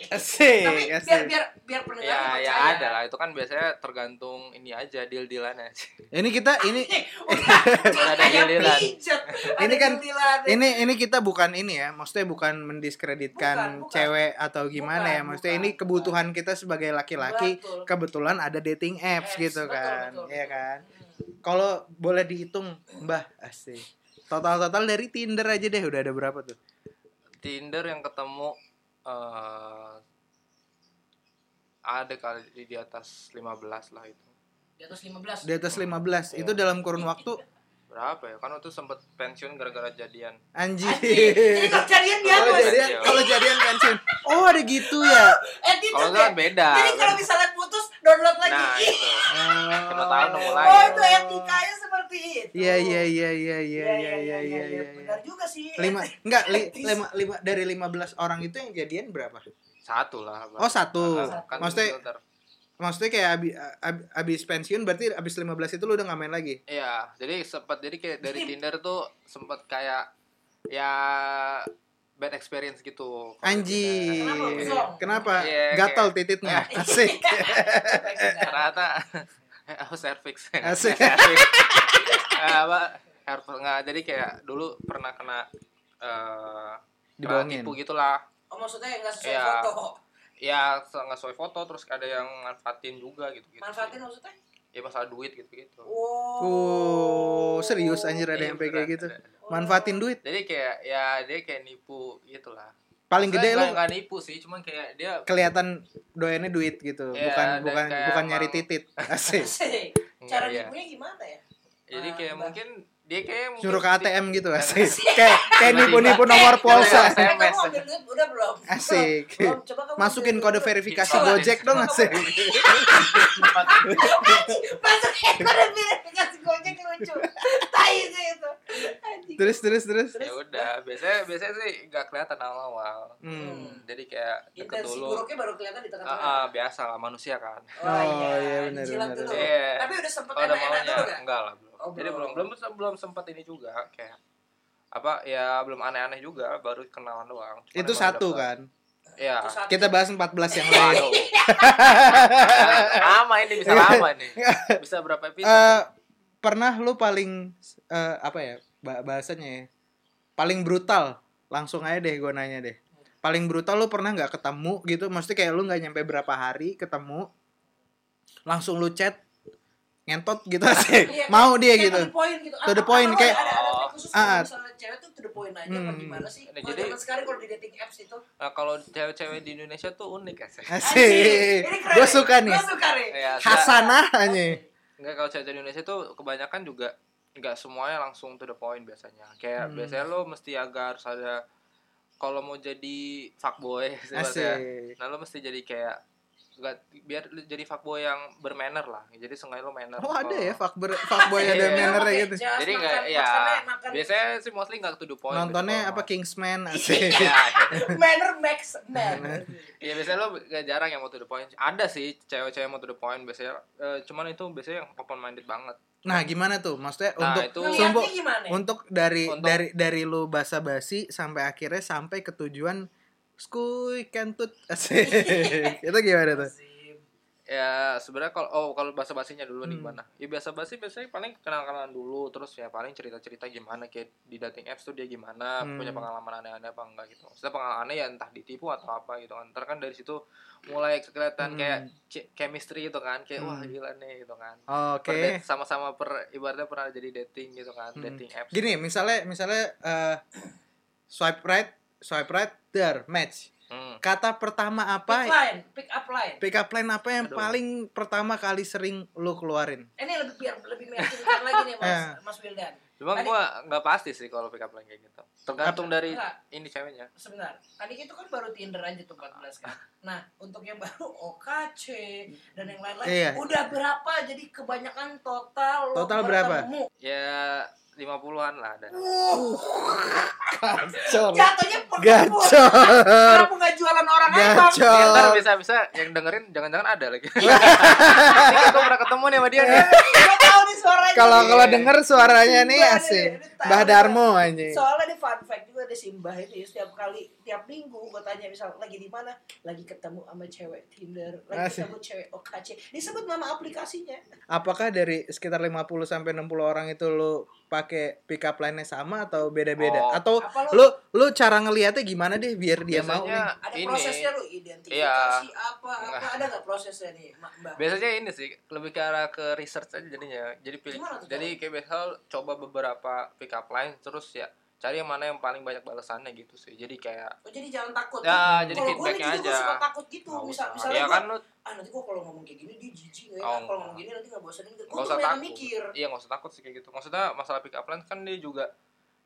Speaker 2: Eh, Asik,
Speaker 1: tapi biar
Speaker 2: asik.
Speaker 1: biar biar pendengar
Speaker 4: ya
Speaker 1: percaya
Speaker 4: ya ada lah itu kan biasanya tergantung ini aja deal dealannya
Speaker 2: Ini kita ini
Speaker 1: Nih, udah
Speaker 4: Udah ada
Speaker 1: kayak
Speaker 4: giliran.
Speaker 1: pijat.
Speaker 2: Ini
Speaker 1: Ada
Speaker 2: kan-
Speaker 1: giliran.
Speaker 2: ini ini kita bukan ini ya, maksudnya bukan mendiskreditkan
Speaker 1: Bukan, bukan.
Speaker 2: cewek atau gimana
Speaker 1: Bukan,
Speaker 2: ya, maksudnya
Speaker 1: bukan,
Speaker 2: ini kebutuhan kita sebagai laki-laki
Speaker 1: Betul.
Speaker 2: kebetulan ada dating apps
Speaker 1: Apps,
Speaker 2: gitu
Speaker 1: betul,
Speaker 2: kan,
Speaker 1: betul,
Speaker 2: Iya
Speaker 1: betul.
Speaker 2: kan. Kalau boleh dihitung, Mbah, asik. Total-total dari Tinder aja deh udah ada berapa tuh?
Speaker 4: Tinder yang ketemu eh ada kali di, di atas 15 lah itu
Speaker 1: di atas 15
Speaker 2: Di atas 15. Itu dalam kurun waktu
Speaker 4: berapa ya kan waktu sempet pensiun gara-gara jadian
Speaker 2: anjir.
Speaker 1: Anjing. Jadi kalau jadian dia
Speaker 2: Kalau
Speaker 1: Mas.
Speaker 2: jadian, kalau jadian pensiun. Oh, ada gitu ya.
Speaker 1: Eh, Tinder
Speaker 4: kalau
Speaker 1: ya?
Speaker 4: enggak kan beda
Speaker 1: Jadi kalau misalnya putus download lagi.
Speaker 4: nah
Speaker 1: Ih,
Speaker 4: itu
Speaker 2: Oh.
Speaker 4: Siapa tahu nemu lagi.
Speaker 1: oh, itu etikanya seperti itu.
Speaker 2: Iya, iya, iya, iya, iya, iya, iya, iya, iya. iya.
Speaker 1: Benar juga sih.
Speaker 2: lima enggak li, lima, lima dari 15 orang itu yang jadian berapa?
Speaker 4: satu lah Bang.
Speaker 2: Oh, satu.
Speaker 4: Ah, kan
Speaker 2: Maksudnya-
Speaker 4: filter.
Speaker 2: Maksudnya kayak abi, ab- abis pensiun berarti abis 15 itu lu udah nggak main lagi.
Speaker 4: Iya, jadi sempat jadi kayak dari Tinder tuh sempat kayak ya bad experience gitu. Kalau
Speaker 2: Anjir.
Speaker 1: Kenapa,
Speaker 4: Tinder.
Speaker 1: Zong?
Speaker 2: Kenapa?
Speaker 4: Iya,
Speaker 2: Gatal
Speaker 4: kayak-
Speaker 2: tititnya. Asik.
Speaker 4: Ternyata aku cervix.
Speaker 2: Asik.
Speaker 4: Cervix. Eh, apa? Hair nggak jadi kayak dulu pernah kena eh kena
Speaker 2: Dibohongin.
Speaker 4: tipu gitu. gitulah.
Speaker 1: Oh, maksudnya nggak sesuai
Speaker 4: Iya.
Speaker 1: foto.
Speaker 4: Ya se- nggak sesuai foto terus ada yang manfaatin juga gitu gitu.
Speaker 1: Manfaatin maksudnya?
Speaker 4: Ya masalah duit gitu gitu.
Speaker 2: Oh, serius anjir ada yang
Speaker 4: Iya,
Speaker 2: kayak gitu. Manfaatin duit.
Speaker 4: Jadi kayak ya dia kayak nipu gitulah.
Speaker 2: Paling gede lu
Speaker 4: Nggak- nggak nipu sih, cuman kayak dia
Speaker 2: kelihatan doyannya duit gitu.
Speaker 4: Iya,
Speaker 2: bukan
Speaker 4: dan
Speaker 2: bukan
Speaker 4: kayak
Speaker 2: bukan nyari
Speaker 4: emang-
Speaker 2: titit. Asik.
Speaker 1: Asik. Cara
Speaker 4: Iya.
Speaker 1: nipunya gimana ya?
Speaker 4: Jadi
Speaker 1: Ah,
Speaker 4: kayak
Speaker 1: bah.
Speaker 4: mungkin dia kayak mungkin
Speaker 2: Suruh ke ATM gitu asik.
Speaker 1: Asik.
Speaker 2: kayak kayak nipu-nipu
Speaker 1: Eh,
Speaker 2: nomor
Speaker 4: Iya,
Speaker 2: pulsa.
Speaker 1: eh, Kamu
Speaker 4: SMS.
Speaker 1: ambil duit udah belum?
Speaker 2: Asik.
Speaker 1: Belum, coba kamu
Speaker 2: Masukin
Speaker 1: ambil
Speaker 2: kode
Speaker 1: duit.
Speaker 2: verifikasi
Speaker 4: Iya.
Speaker 2: Gojek dong asik.
Speaker 1: Anjing, masuk ekor verifikasi gojek lucu tai sih itu Anjing.
Speaker 2: Terus terus terus.
Speaker 4: ya udah biasanya biasanya sih nggak kelihatan awal-awal
Speaker 2: Hmm.
Speaker 4: jadi kayak deket
Speaker 1: intensi
Speaker 4: dulu
Speaker 1: buruknya baru kelihatan di
Speaker 4: ah
Speaker 1: tengah-tengah
Speaker 4: ah, biasa lah manusia kan
Speaker 2: Oh, iya, benar,
Speaker 1: dijilat
Speaker 2: benar,
Speaker 1: dulu.
Speaker 4: benar. Iya.
Speaker 1: gitu. tapi udah sempet
Speaker 4: kalau udah
Speaker 1: enak-enak
Speaker 4: maunya
Speaker 1: dulu gak?
Speaker 4: enggak lah belum
Speaker 1: Oh,
Speaker 4: jadi belum
Speaker 1: belum.
Speaker 4: belum belum sempat ini juga kayak apa ya belum aneh-aneh juga baru kenalan doang Cuman
Speaker 2: Itu
Speaker 4: emang
Speaker 2: satu
Speaker 4: udah-
Speaker 2: kan.
Speaker 4: Iya.
Speaker 1: Itu satu.
Speaker 2: Kita bahas 14 yang lain.
Speaker 4: Waduh. lama ini bisa lama nih bisa berapa episode
Speaker 2: Eh, pernah lu paling eh, apa ya ba- bahasanya ya? Paling brutal. Langsung aja deh gue nanya deh. Paling brutal lu pernah nggak ketemu gitu? Maksudnya kayak lu nggak nyampe berapa hari ketemu, langsung lu chat ngentot gitu
Speaker 1: Iya,
Speaker 2: sih. Mau dia
Speaker 1: kayak To
Speaker 2: gitu.
Speaker 1: the point gitu.
Speaker 2: To the
Speaker 1: Apa-
Speaker 2: point,
Speaker 1: apa-
Speaker 2: kayak-
Speaker 1: ada ada trik khusus
Speaker 2: Ah,
Speaker 1: kalau
Speaker 2: ah.
Speaker 1: misalnya cewek tuh to the point aja apa
Speaker 2: Hmm.
Speaker 1: gimana sih?
Speaker 4: Nah,
Speaker 1: Kalau
Speaker 4: Oh. jadi-
Speaker 1: zaman sekarang kalau di dating apps itu
Speaker 4: nah, kalau cewek-cewek di Indonesia tuh unik ya sih
Speaker 2: Asik.
Speaker 1: Ini keren
Speaker 2: Gue
Speaker 1: nih.
Speaker 2: suka nih.
Speaker 1: Gua suka nih.
Speaker 4: Iya, ada-
Speaker 2: Hasanah aja.
Speaker 4: Enggak kalau cewek di Indonesia tuh kebanyakan juga enggak semuanya langsung to the point biasanya. Kayak
Speaker 2: Hmm.
Speaker 4: biasanya lo mesti agak harus ada kalau mau jadi fuckboy sebetulnya.
Speaker 2: Asik.
Speaker 4: Nah, lo mesti jadi kayak enggak biar lo jadi fuckboy yang bermanner lah. Jadi sengaja lo manner.
Speaker 2: Oh ada
Speaker 4: Kalau-
Speaker 2: ya fuckboy fuckboy ada
Speaker 4: Iya.
Speaker 2: mannernya
Speaker 1: Pakai
Speaker 2: gitu.
Speaker 1: jas,
Speaker 4: Jadi
Speaker 1: makan,
Speaker 4: enggak ya
Speaker 1: makannya makan.
Speaker 4: biasanya sih mostly enggak to the point.
Speaker 2: Nontonnya
Speaker 4: gitu.
Speaker 2: apa Kingsman asik.
Speaker 4: Iya.
Speaker 1: Manner max man.
Speaker 4: Iya biasanya lo gak jarang yang mau to the point. Ada sih cewek-cewek yang mau to the point biasanya. eh, cuman itu biasanya yang open minded banget.
Speaker 2: Nah, gimana tuh? Maksudnya
Speaker 4: Nah,
Speaker 2: untuk
Speaker 4: itu
Speaker 1: Ngeliatnya
Speaker 2: Sumpah.
Speaker 1: gimana?
Speaker 2: untuk dari
Speaker 4: Untuk-
Speaker 2: dari dari lu basa-basi sampai akhirnya sampai ke tujuan skuy kentut asik. Itu gimana tuh?
Speaker 4: ya sebenarnya kalau oh kalau bahasa basinya dulu nih
Speaker 2: Hmm.
Speaker 4: gimana ya bahasa basi biasanya paling kenal kenalan dulu terus ya paling cerita cerita gimana kayak di dating apps tuh dia gimana
Speaker 2: Hmm.
Speaker 4: punya pengalaman aneh aneh apa enggak gitu maksudnya pengalamannya ya entah ditipu atau apa gitu kan ntar kan dari situ mulai
Speaker 2: Hmm.
Speaker 4: kelihatan kayak c- chemistry gitu kan kayak wah
Speaker 2: Hmm.
Speaker 4: gila nih gitu kan
Speaker 2: Oke.
Speaker 4: Perdet- sama-sama per ibaratnya pernah jadi dating gitu kan
Speaker 2: Hmm.
Speaker 4: dating apps
Speaker 2: Gini, misalnya misalnya eh, swipe right, swipe right, there match.
Speaker 4: Hmm.
Speaker 2: Kata pertama
Speaker 1: Pick
Speaker 2: apa? ya?
Speaker 1: line, pick up line.
Speaker 2: Pick up line apa yang
Speaker 4: Aduh.
Speaker 2: paling pertama kali sering lu keluarin?
Speaker 1: Ini lebih biar lebih meyakinkan lagi nih Mas,
Speaker 2: Eh.
Speaker 1: Mas Wildan.
Speaker 4: cuma
Speaker 1: Tadi-
Speaker 4: gua nggak pasti sih kalau pick up line kayak gitu tergantung dari
Speaker 1: Enggak,
Speaker 4: ini ceweknya
Speaker 1: sebentar. Tadi itu kan baru Tinder aja tuh 14 kan. Nah, untuk yang baru OKC dan yang lain-lain
Speaker 2: Iya.
Speaker 1: udah berapa? Jadi kebanyakan total lo
Speaker 2: Total berapa?
Speaker 1: bertemu.
Speaker 4: ya 50-an lah ada
Speaker 1: Uh,
Speaker 2: Gacor.
Speaker 1: jatuhnya per kebun.
Speaker 2: Gacor.
Speaker 1: Kenapa nggak jualan orang abang?
Speaker 4: Nih, Ya, Iya, ntar Iya.
Speaker 2: Gacor.
Speaker 4: bisa-bisa yang dengerin jangan-jangan ada lagi. Ini gue pernah ketemu nih sama dia nih.
Speaker 1: Gua tahu nih suaranya.
Speaker 2: Kalau
Speaker 1: nih.
Speaker 2: kalau denger suaranya nih
Speaker 1: Sumpah,
Speaker 2: asik.
Speaker 1: ini- ini tahu
Speaker 2: Mbah
Speaker 1: nih.
Speaker 2: Darmo anjing.
Speaker 1: Soalnya di fun fact juga ada Simbah itu ya setiap kali tiap minggu gue tanya misal lagi di mana, lagi ketemu sama cewek Tinder, lagi
Speaker 2: Asik.
Speaker 1: ketemu cewek OKC, disebut nama aplikasinya.
Speaker 2: Apakah dari sekitar 50 sampai 60 orang itu lu pakai pick up line-nya sama atau beda-beda?
Speaker 4: Oh.
Speaker 2: Atau
Speaker 1: Apa
Speaker 2: lu lu cara ngelihatnya gimana deh biar dia mau
Speaker 4: biasanya
Speaker 2: nih?
Speaker 1: ada
Speaker 4: ini.
Speaker 1: prosesnya lu identifikasi
Speaker 4: Iya.
Speaker 1: apa apa
Speaker 4: Nggak.
Speaker 1: ada nggak prosesnya nih Mbak? Mbak?
Speaker 4: Biasanya ini sih lebih ke arah ke research aja jadinya. Jadi pilih
Speaker 1: Gimana tuh,
Speaker 4: jadi kayak biasa coba beberapa pick up line terus ya cari yang mana yang paling banyak balasannya gitu sih. Jadi kayak
Speaker 1: Oh, jadi jangan takut.
Speaker 4: Ya,
Speaker 1: Kalau
Speaker 4: jadi
Speaker 1: gua nih
Speaker 4: feedbacknya
Speaker 1: jujur gua
Speaker 4: aja.
Speaker 1: suka takut gitu.
Speaker 4: nggak
Speaker 1: Misal,
Speaker 4: usah.
Speaker 1: misalnya
Speaker 4: ya
Speaker 1: gua,
Speaker 4: kan lu
Speaker 1: ah nanti gua kalau ngomong kayak gini dia jijik nggak ya.
Speaker 4: Oh,
Speaker 1: Kalau
Speaker 4: nggak.
Speaker 1: ngomong gini nanti nggak bosan. Gue
Speaker 4: nggak
Speaker 1: tuh
Speaker 4: usah
Speaker 1: banyak
Speaker 4: takut.
Speaker 1: mikir.
Speaker 4: Iya nggak usah takut sih kayak gitu. Maksudnya masalah pick up line kan dia juga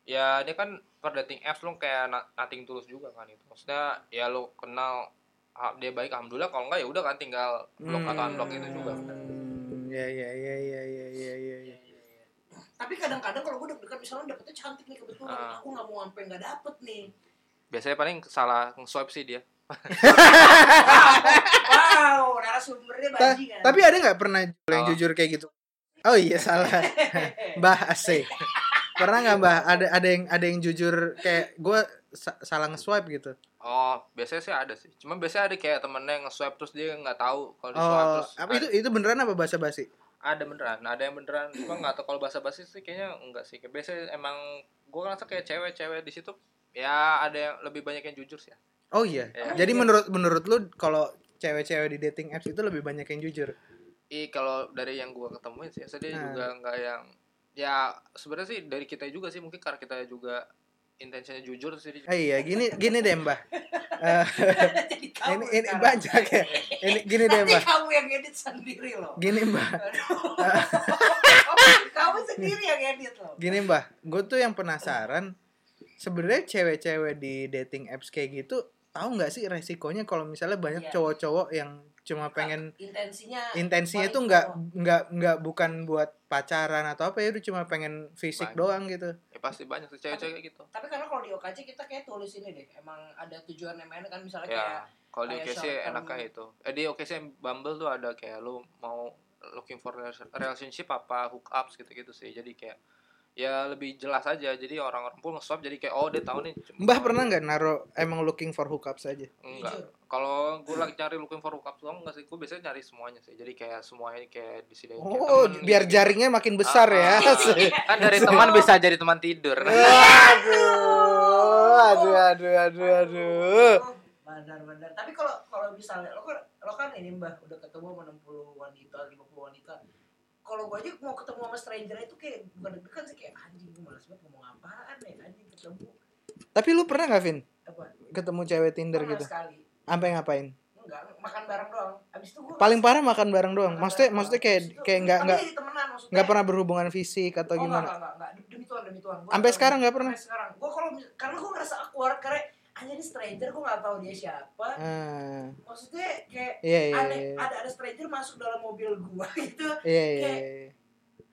Speaker 4: ya dia kan per dating apps lu kayak na- nothing tulus juga kan itu. Maksudnya ya lu kenal ah, dia baik alhamdulillah kalau enggak ya udah kan tinggal blok atau unblock itu juga.
Speaker 2: Hmm, Ya ya ya ya ya ya ya. ya.
Speaker 1: Tapi kadang-kadang kalau gue deg-degan misalnya dapetnya cantik nih kebetulan,
Speaker 4: Ah.
Speaker 1: aku nggak mau sampai nggak dapet nih.
Speaker 4: Biasanya paling salah swipe sih dia.
Speaker 1: wow, narasumbernya
Speaker 2: Ta-
Speaker 1: bajingan.
Speaker 2: tapi ada nggak pernah yang
Speaker 4: Salah.
Speaker 2: jujur kayak gitu? Oh iya salah. Mbah asik. Pernah nggak Mbah ada ada yang ada yang jujur kayak gua sa- salah nge-swipe gitu?
Speaker 4: Oh, biasanya sih ada sih. Cuma biasanya ada kayak temennya yang nge-swipe terus dia nggak tahu kalau di-swipe
Speaker 2: Oh,
Speaker 4: terus.
Speaker 2: apa
Speaker 4: ada,
Speaker 2: itu itu beneran apa basa-basi?
Speaker 4: ada beneran, ada yang beneran. Cuma nggak tahu kalau bahasa basi sih kayaknya enggak sih. Kayak Biasanya emang gua ngerasa kayak cewek-cewek di situ ya ada yang lebih banyak yang jujur sih. ya.
Speaker 2: Oh iya.
Speaker 4: Ya.
Speaker 2: Jadi menurut menurut lu kalau cewek-cewek di dating apps itu lebih banyak yang jujur.
Speaker 4: Ih, kalau dari yang gua ketemuin sih, saya
Speaker 2: Nah.
Speaker 4: juga nggak yang ya sebenarnya sih dari kita juga sih mungkin karena kita juga intensinya jujur sih.
Speaker 2: Ah, iya, gini gini deh, Mbah. Eh,
Speaker 1: Jadi kamu
Speaker 2: ini ini
Speaker 1: sekarang.
Speaker 2: banyak ya. Ini gini deh,
Speaker 1: Nanti
Speaker 2: Mbah.
Speaker 1: kamu yang edit sendiri loh.
Speaker 2: Gini, Mbah.
Speaker 1: kamu sendiri yang edit loh.
Speaker 2: Gini, Mbah. Gue tuh yang penasaran sebenarnya cewek-cewek di dating apps kayak gitu tahu nggak sih resikonya kalau misalnya banyak
Speaker 1: Iya.
Speaker 2: cowok-cowok yang cuma pengen
Speaker 1: Intensinya
Speaker 4: Iya,
Speaker 2: intensinya
Speaker 1: paling
Speaker 2: itu nggak
Speaker 1: cowok.
Speaker 2: nggak nggak bukan buat pacaran atau apa ya udah cuma pengen fisik
Speaker 4: Banyak.
Speaker 2: doang gitu
Speaker 4: Ya pasti banyak sih cewek-cewek kayak gitu.
Speaker 1: Tapi karena kalau di OKC kita kayak tulis ini deh. Emang ada tujuan yang main kan misalnya kayak
Speaker 4: Ya, kalau di
Speaker 1: kayak
Speaker 4: OKC
Speaker 1: short term.
Speaker 4: enaknya
Speaker 2: gitu.
Speaker 4: itu. Eh, di OKC Bumble tuh ada kayak lu mau looking for relationship apa hook ups gitu-gitu sih. Jadi kayak ya lebih jelas aja jadi orang-orang pun nge-swap jadi kayak oh dia tahu nih cuma-
Speaker 2: Mbah pernah nggak naro emang looking for hookup saja?
Speaker 4: enggak kalau gue lagi cari looking for hookup doang enggak sih gue biasanya nyari semuanya sih jadi kayak semuanya kayak di sini kayak
Speaker 2: Oh,
Speaker 4: temen, gitu.
Speaker 2: biar
Speaker 4: gitu-gitu.
Speaker 2: jaringnya makin besar ya.
Speaker 4: Ah, kan dari teman bisa jadi teman tidur
Speaker 2: aduh, aduh, aduh, aduh, aduh.
Speaker 1: Bandar-bandar. Tapi kalau kalau misalnya lo kan lo kan ini Mbah udah ketemu sama 60 wanita, 50 wanita. Kalau gue aja mau ketemu sama stranger itu kayak bukan deg-degan sih kayak anjing gue malas banget ngomong apaan ya anjing ketemu
Speaker 2: Tapi lu pernah nggak, Vin?
Speaker 1: apa
Speaker 2: Ketemu cewek Tinder
Speaker 1: pernah
Speaker 2: gitu.
Speaker 1: sekali
Speaker 2: Sampai ngapain?
Speaker 1: enggak makan bareng doang abis itu gue
Speaker 2: Paling parah makan bareng doang. Maksudnya maksudnya kayak kayak nggak nggak nggak pernah berhubungan fisik atau
Speaker 1: Oh,
Speaker 2: gimana?
Speaker 1: enggak, enggak, enggak. Demi Tuhan, demi Tuhan. Gua
Speaker 2: Sampai
Speaker 1: tahu.
Speaker 2: sekarang nggak pernah?
Speaker 1: Sampai sekarang. Gua kalau mis- karena gua ngerasa awkward karena hanya ini stranger gua nggak tahu dia siapa.
Speaker 2: Ah,
Speaker 1: Maksudnya kayak
Speaker 2: Iya, iya,
Speaker 1: aneh,
Speaker 2: iya.
Speaker 1: ada ada stranger masuk dalam mobil gua gitu.
Speaker 2: Iya, iya. iya.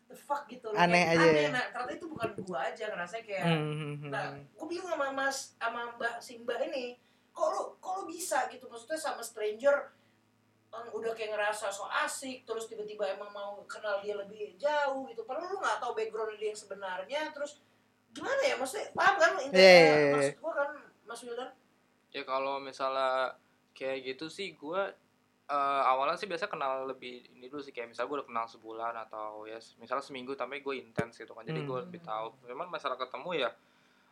Speaker 1: The fuck gitu loh.
Speaker 2: Aneh
Speaker 1: Kayak
Speaker 2: aja
Speaker 1: Aneh,
Speaker 2: ya.
Speaker 1: nah, ternyata itu bukan gua aja ngerasa kayak
Speaker 2: Hmm, hmm, hmm.
Speaker 1: Nah, gue bingung sama Mas sama Mbak Simba ini. Kok lu kok lu bisa gitu maksudnya sama stranger em, udah kayak ngerasa so asik terus tiba-tiba emang mau kenal dia lebih jauh gitu. Padahal lu nggak tahu background dia yang sebenarnya terus gimana ya maksudnya paham kan lu intinya
Speaker 2: Iya, iya, iya.
Speaker 1: maksud gue kan Mas Wildan
Speaker 4: ya kalau misalnya kayak gitu sih gue eh, awalnya sih biasa kenal lebih ini dulu sih kayak misalnya gue udah kenal sebulan atau ya se- misalnya seminggu tapi gue intens gitu kan jadi gue
Speaker 1: Hmm.
Speaker 4: lebih tahu memang masalah ketemu ya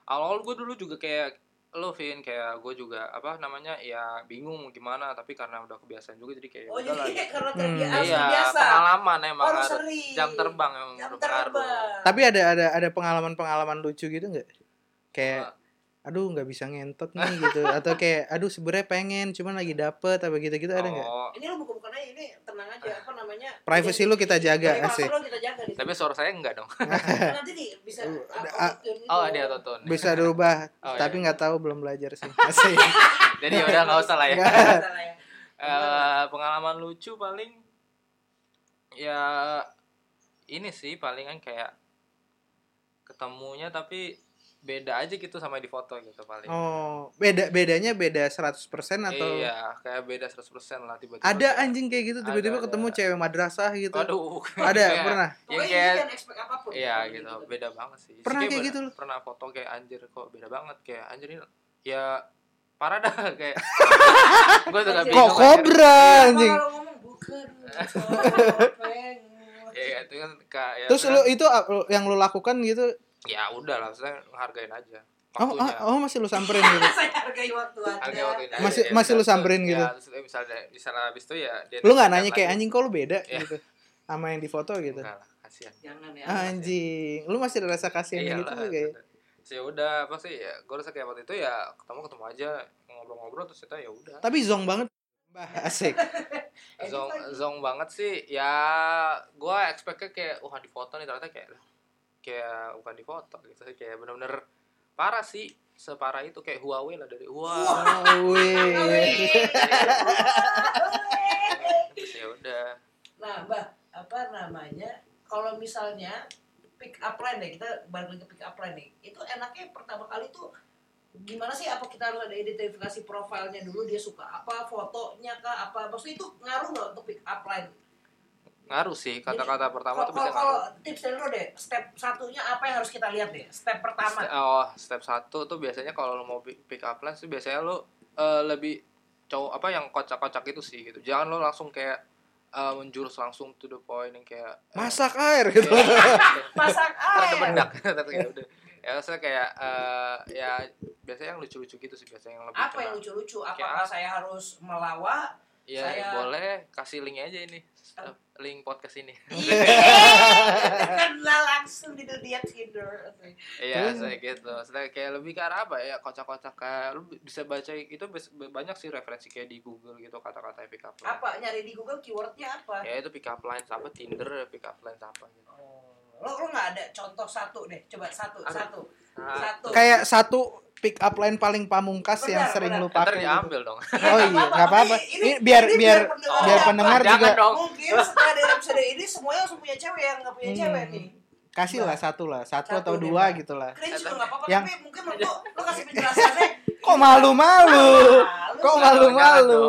Speaker 4: awal-awal gue dulu juga kayak lo Vin kayak gue juga apa namanya ya bingung mau gimana tapi karena udah kebiasaan juga jadi kayak
Speaker 1: oh
Speaker 4: udah lah
Speaker 1: jadi
Speaker 4: gitu.
Speaker 1: karena
Speaker 2: Hmm.
Speaker 1: terbiasa harus
Speaker 4: iya
Speaker 1: terbiasa
Speaker 4: pengalaman emang
Speaker 1: harus
Speaker 4: harus
Speaker 1: sering
Speaker 4: jam terbang emang
Speaker 1: jam
Speaker 4: berpengaruh.
Speaker 1: terbang
Speaker 2: Tapi ada ada ada pengalaman-pengalaman lucu gitu nggak? Kayak aduh nggak bisa ngentot nih gitu atau kayak aduh sebenernya pengen cuman lagi dapet apa gitu-gitu ada nggak?
Speaker 4: oh,
Speaker 1: ini lu buka-bukan aja ini tenang aja apa namanya
Speaker 2: Privacy lu kita jaga
Speaker 1: Privacy
Speaker 2: asik.
Speaker 1: lu kita jaga di
Speaker 4: tapi suara saya enggak dong
Speaker 1: nanti di bisa
Speaker 2: Uh,
Speaker 1: apa,
Speaker 2: ah,
Speaker 1: gitu.
Speaker 4: oh dia tonton
Speaker 2: Bisa dirubah,
Speaker 4: Oh, iya.
Speaker 2: tapi nggak tahu belum belajar sih. Asik.
Speaker 4: jadi udah nggak usah lah ya
Speaker 2: Nggak.
Speaker 1: Masalah ya.
Speaker 4: eh pengalaman lucu paling ya ini sih palingan kayak ketemunya tapi beda aja gitu sama di foto gitu paling.
Speaker 2: Oh, beda bedanya beda 100% atau
Speaker 4: Iya, kayak beda 100% lah tiba-tiba.
Speaker 2: ada
Speaker 4: kayak,
Speaker 2: anjing kayak gitu tiba-tiba
Speaker 4: Ada, Iya. ada.
Speaker 2: ketemu cewek madrasah gitu.
Speaker 4: Aduh.
Speaker 2: Ada
Speaker 4: kayak-
Speaker 2: pernah.
Speaker 4: Yang
Speaker 1: Pokoknya
Speaker 4: kayak
Speaker 1: jangan expect apapun.
Speaker 4: iya
Speaker 1: Kalau
Speaker 4: gitu, beda banget sih.
Speaker 2: Pernah kayak
Speaker 4: pernah-
Speaker 2: gitu loh.
Speaker 4: Pernah foto kayak anjir kok beda banget kayak anjir ini ya parah dah kayak gue tuh gak
Speaker 1: Kok
Speaker 2: Kok
Speaker 4: bingung, anjir.
Speaker 1: Apa
Speaker 2: kobra anjing.
Speaker 4: Iya,
Speaker 1: Kalau ngomong bukan. Oh, pengen.
Speaker 4: Iya, itu kan kayak
Speaker 2: Terus lu itu uh, yang lu lakukan gitu.
Speaker 4: ya udah lah, saya hargain aja.
Speaker 2: Oh,
Speaker 4: Waktunya.
Speaker 2: ah, oh masih lu samperin gitu.
Speaker 1: Saya hargai waktu
Speaker 4: Harga
Speaker 1: Anda.
Speaker 4: waktu itu aja,
Speaker 2: Masih-
Speaker 4: ya.
Speaker 2: masih lu
Speaker 4: Terus,
Speaker 2: samperin gitu?
Speaker 4: Ya, terus dia misalnya misalnya habis itu ya dia
Speaker 2: Lu nggak nanya
Speaker 4: lagi.
Speaker 2: kayak anjing kok lu beda
Speaker 4: Iya.
Speaker 2: gitu sama yang di foto gitu.
Speaker 4: Enggak lah, kasihan.
Speaker 1: Jangan ya.
Speaker 2: Anjing, lu masih ada rasa kasihan
Speaker 4: Iya
Speaker 2: gitu
Speaker 4: lah.
Speaker 2: juga ya.
Speaker 4: So, ya udah apa sih ya gue rasa kayak waktu itu ya ketemu ketemu aja ngobrol-ngobrol terus kita ya udah
Speaker 2: Tapi zong banget. Bah, asik.
Speaker 1: Edit
Speaker 4: zong
Speaker 1: lagi.
Speaker 4: zong banget sih ya gue expectnya kayak wah di foto nih ternyata kayak lah, kayak bukan di foto gitu kayak bener-bener parah sih separah itu kayak Huawei lah dari Huawei
Speaker 2: Oh, weh.
Speaker 4: terus ya udah
Speaker 1: Nah, Mbak, apa namanya? Kalau misalnya pick up line deh, kita balik lagi ke pick up line nih. Itu enaknya pertama kali tuh gimana sih apa kita harus ada identifikasi profilnya dulu dia suka apa fotonya kah apa maksudnya itu ngaruh nggak untuk pick up line
Speaker 4: ngaruh sih kata-kata pertama
Speaker 1: Kalau
Speaker 4: tuh bisa
Speaker 1: kalau- kalau
Speaker 4: ngaruh
Speaker 1: tips dari lo deh, step satunya apa yang harus kita lihat deh? Step pertama.
Speaker 4: Ste- oh, step satu tuh biasanya kalau lo mau bi- pick up lines tuh biasanya lo eh, lebih cowok apa yang kocak-kocak itu sih gitu. Jangan lo langsung kayak eh, menjurus langsung to the point yang kayak eh,
Speaker 2: Masak air gitu.
Speaker 1: Pasang
Speaker 4: terus
Speaker 1: air.
Speaker 4: bendak terus kayak udah. Ya maksudnya kayak eh, ya biasanya yang lucu-lucu gitu sih biasanya yang lebih
Speaker 1: Apa
Speaker 4: kena.
Speaker 1: yang lucu-lucu?
Speaker 4: Kayak
Speaker 1: Apakah saya harus melawa?
Speaker 4: Ya
Speaker 1: Saya-
Speaker 4: boleh kasih linknya aja ini. Eh, Link podcast ini.
Speaker 1: Kenal Iya. langsung di dunia Tinder. Oke.
Speaker 4: Iya,
Speaker 2: Terus?
Speaker 4: saya gitu. Maksudnya kayak lebih ke arah apa ya? Kocak-kocak kayak lu bisa baca itu bes- banyak sih referensi kayak di Google gitu kata-kata pick up line.
Speaker 1: Apa nyari di Google keywordnya apa?
Speaker 4: ya itu pick up lines apa Tinder pick up lines apa gitu
Speaker 1: Oh, Lo lo nggak ada contoh satu deh? Coba satu,
Speaker 4: Apa?
Speaker 1: satu,
Speaker 4: nah,
Speaker 1: satu.
Speaker 2: Kayak satu pick up line paling pamungkas yang
Speaker 1: Benar,
Speaker 2: sering
Speaker 1: benar.
Speaker 2: lu
Speaker 4: ntar
Speaker 2: pakai. gitu.
Speaker 4: diambil dong
Speaker 2: Oh iya, nggak apa-apa. Ini biar biar biar
Speaker 1: ada
Speaker 2: pendengar
Speaker 1: apa.
Speaker 4: jangan
Speaker 2: juga-
Speaker 4: dong
Speaker 1: Mungkin setelah dari episode ini semuanya langsung punya cewek yang nggak punya
Speaker 2: Hmm.
Speaker 1: cewek nih.
Speaker 2: kasih lah satu lah, satu,
Speaker 1: Satu
Speaker 2: atau
Speaker 1: deh,
Speaker 2: dua
Speaker 1: Pak.
Speaker 2: gitu lah.
Speaker 1: Cringe juga nggak apa-apa,
Speaker 2: Yang-
Speaker 1: tapi mungkin lo, lo- lo kasih penjelasannya. Ah,
Speaker 2: Kok
Speaker 1: Malu.
Speaker 2: malu-malu? Kok
Speaker 4: Jangan dong, jangan
Speaker 2: malu-malu?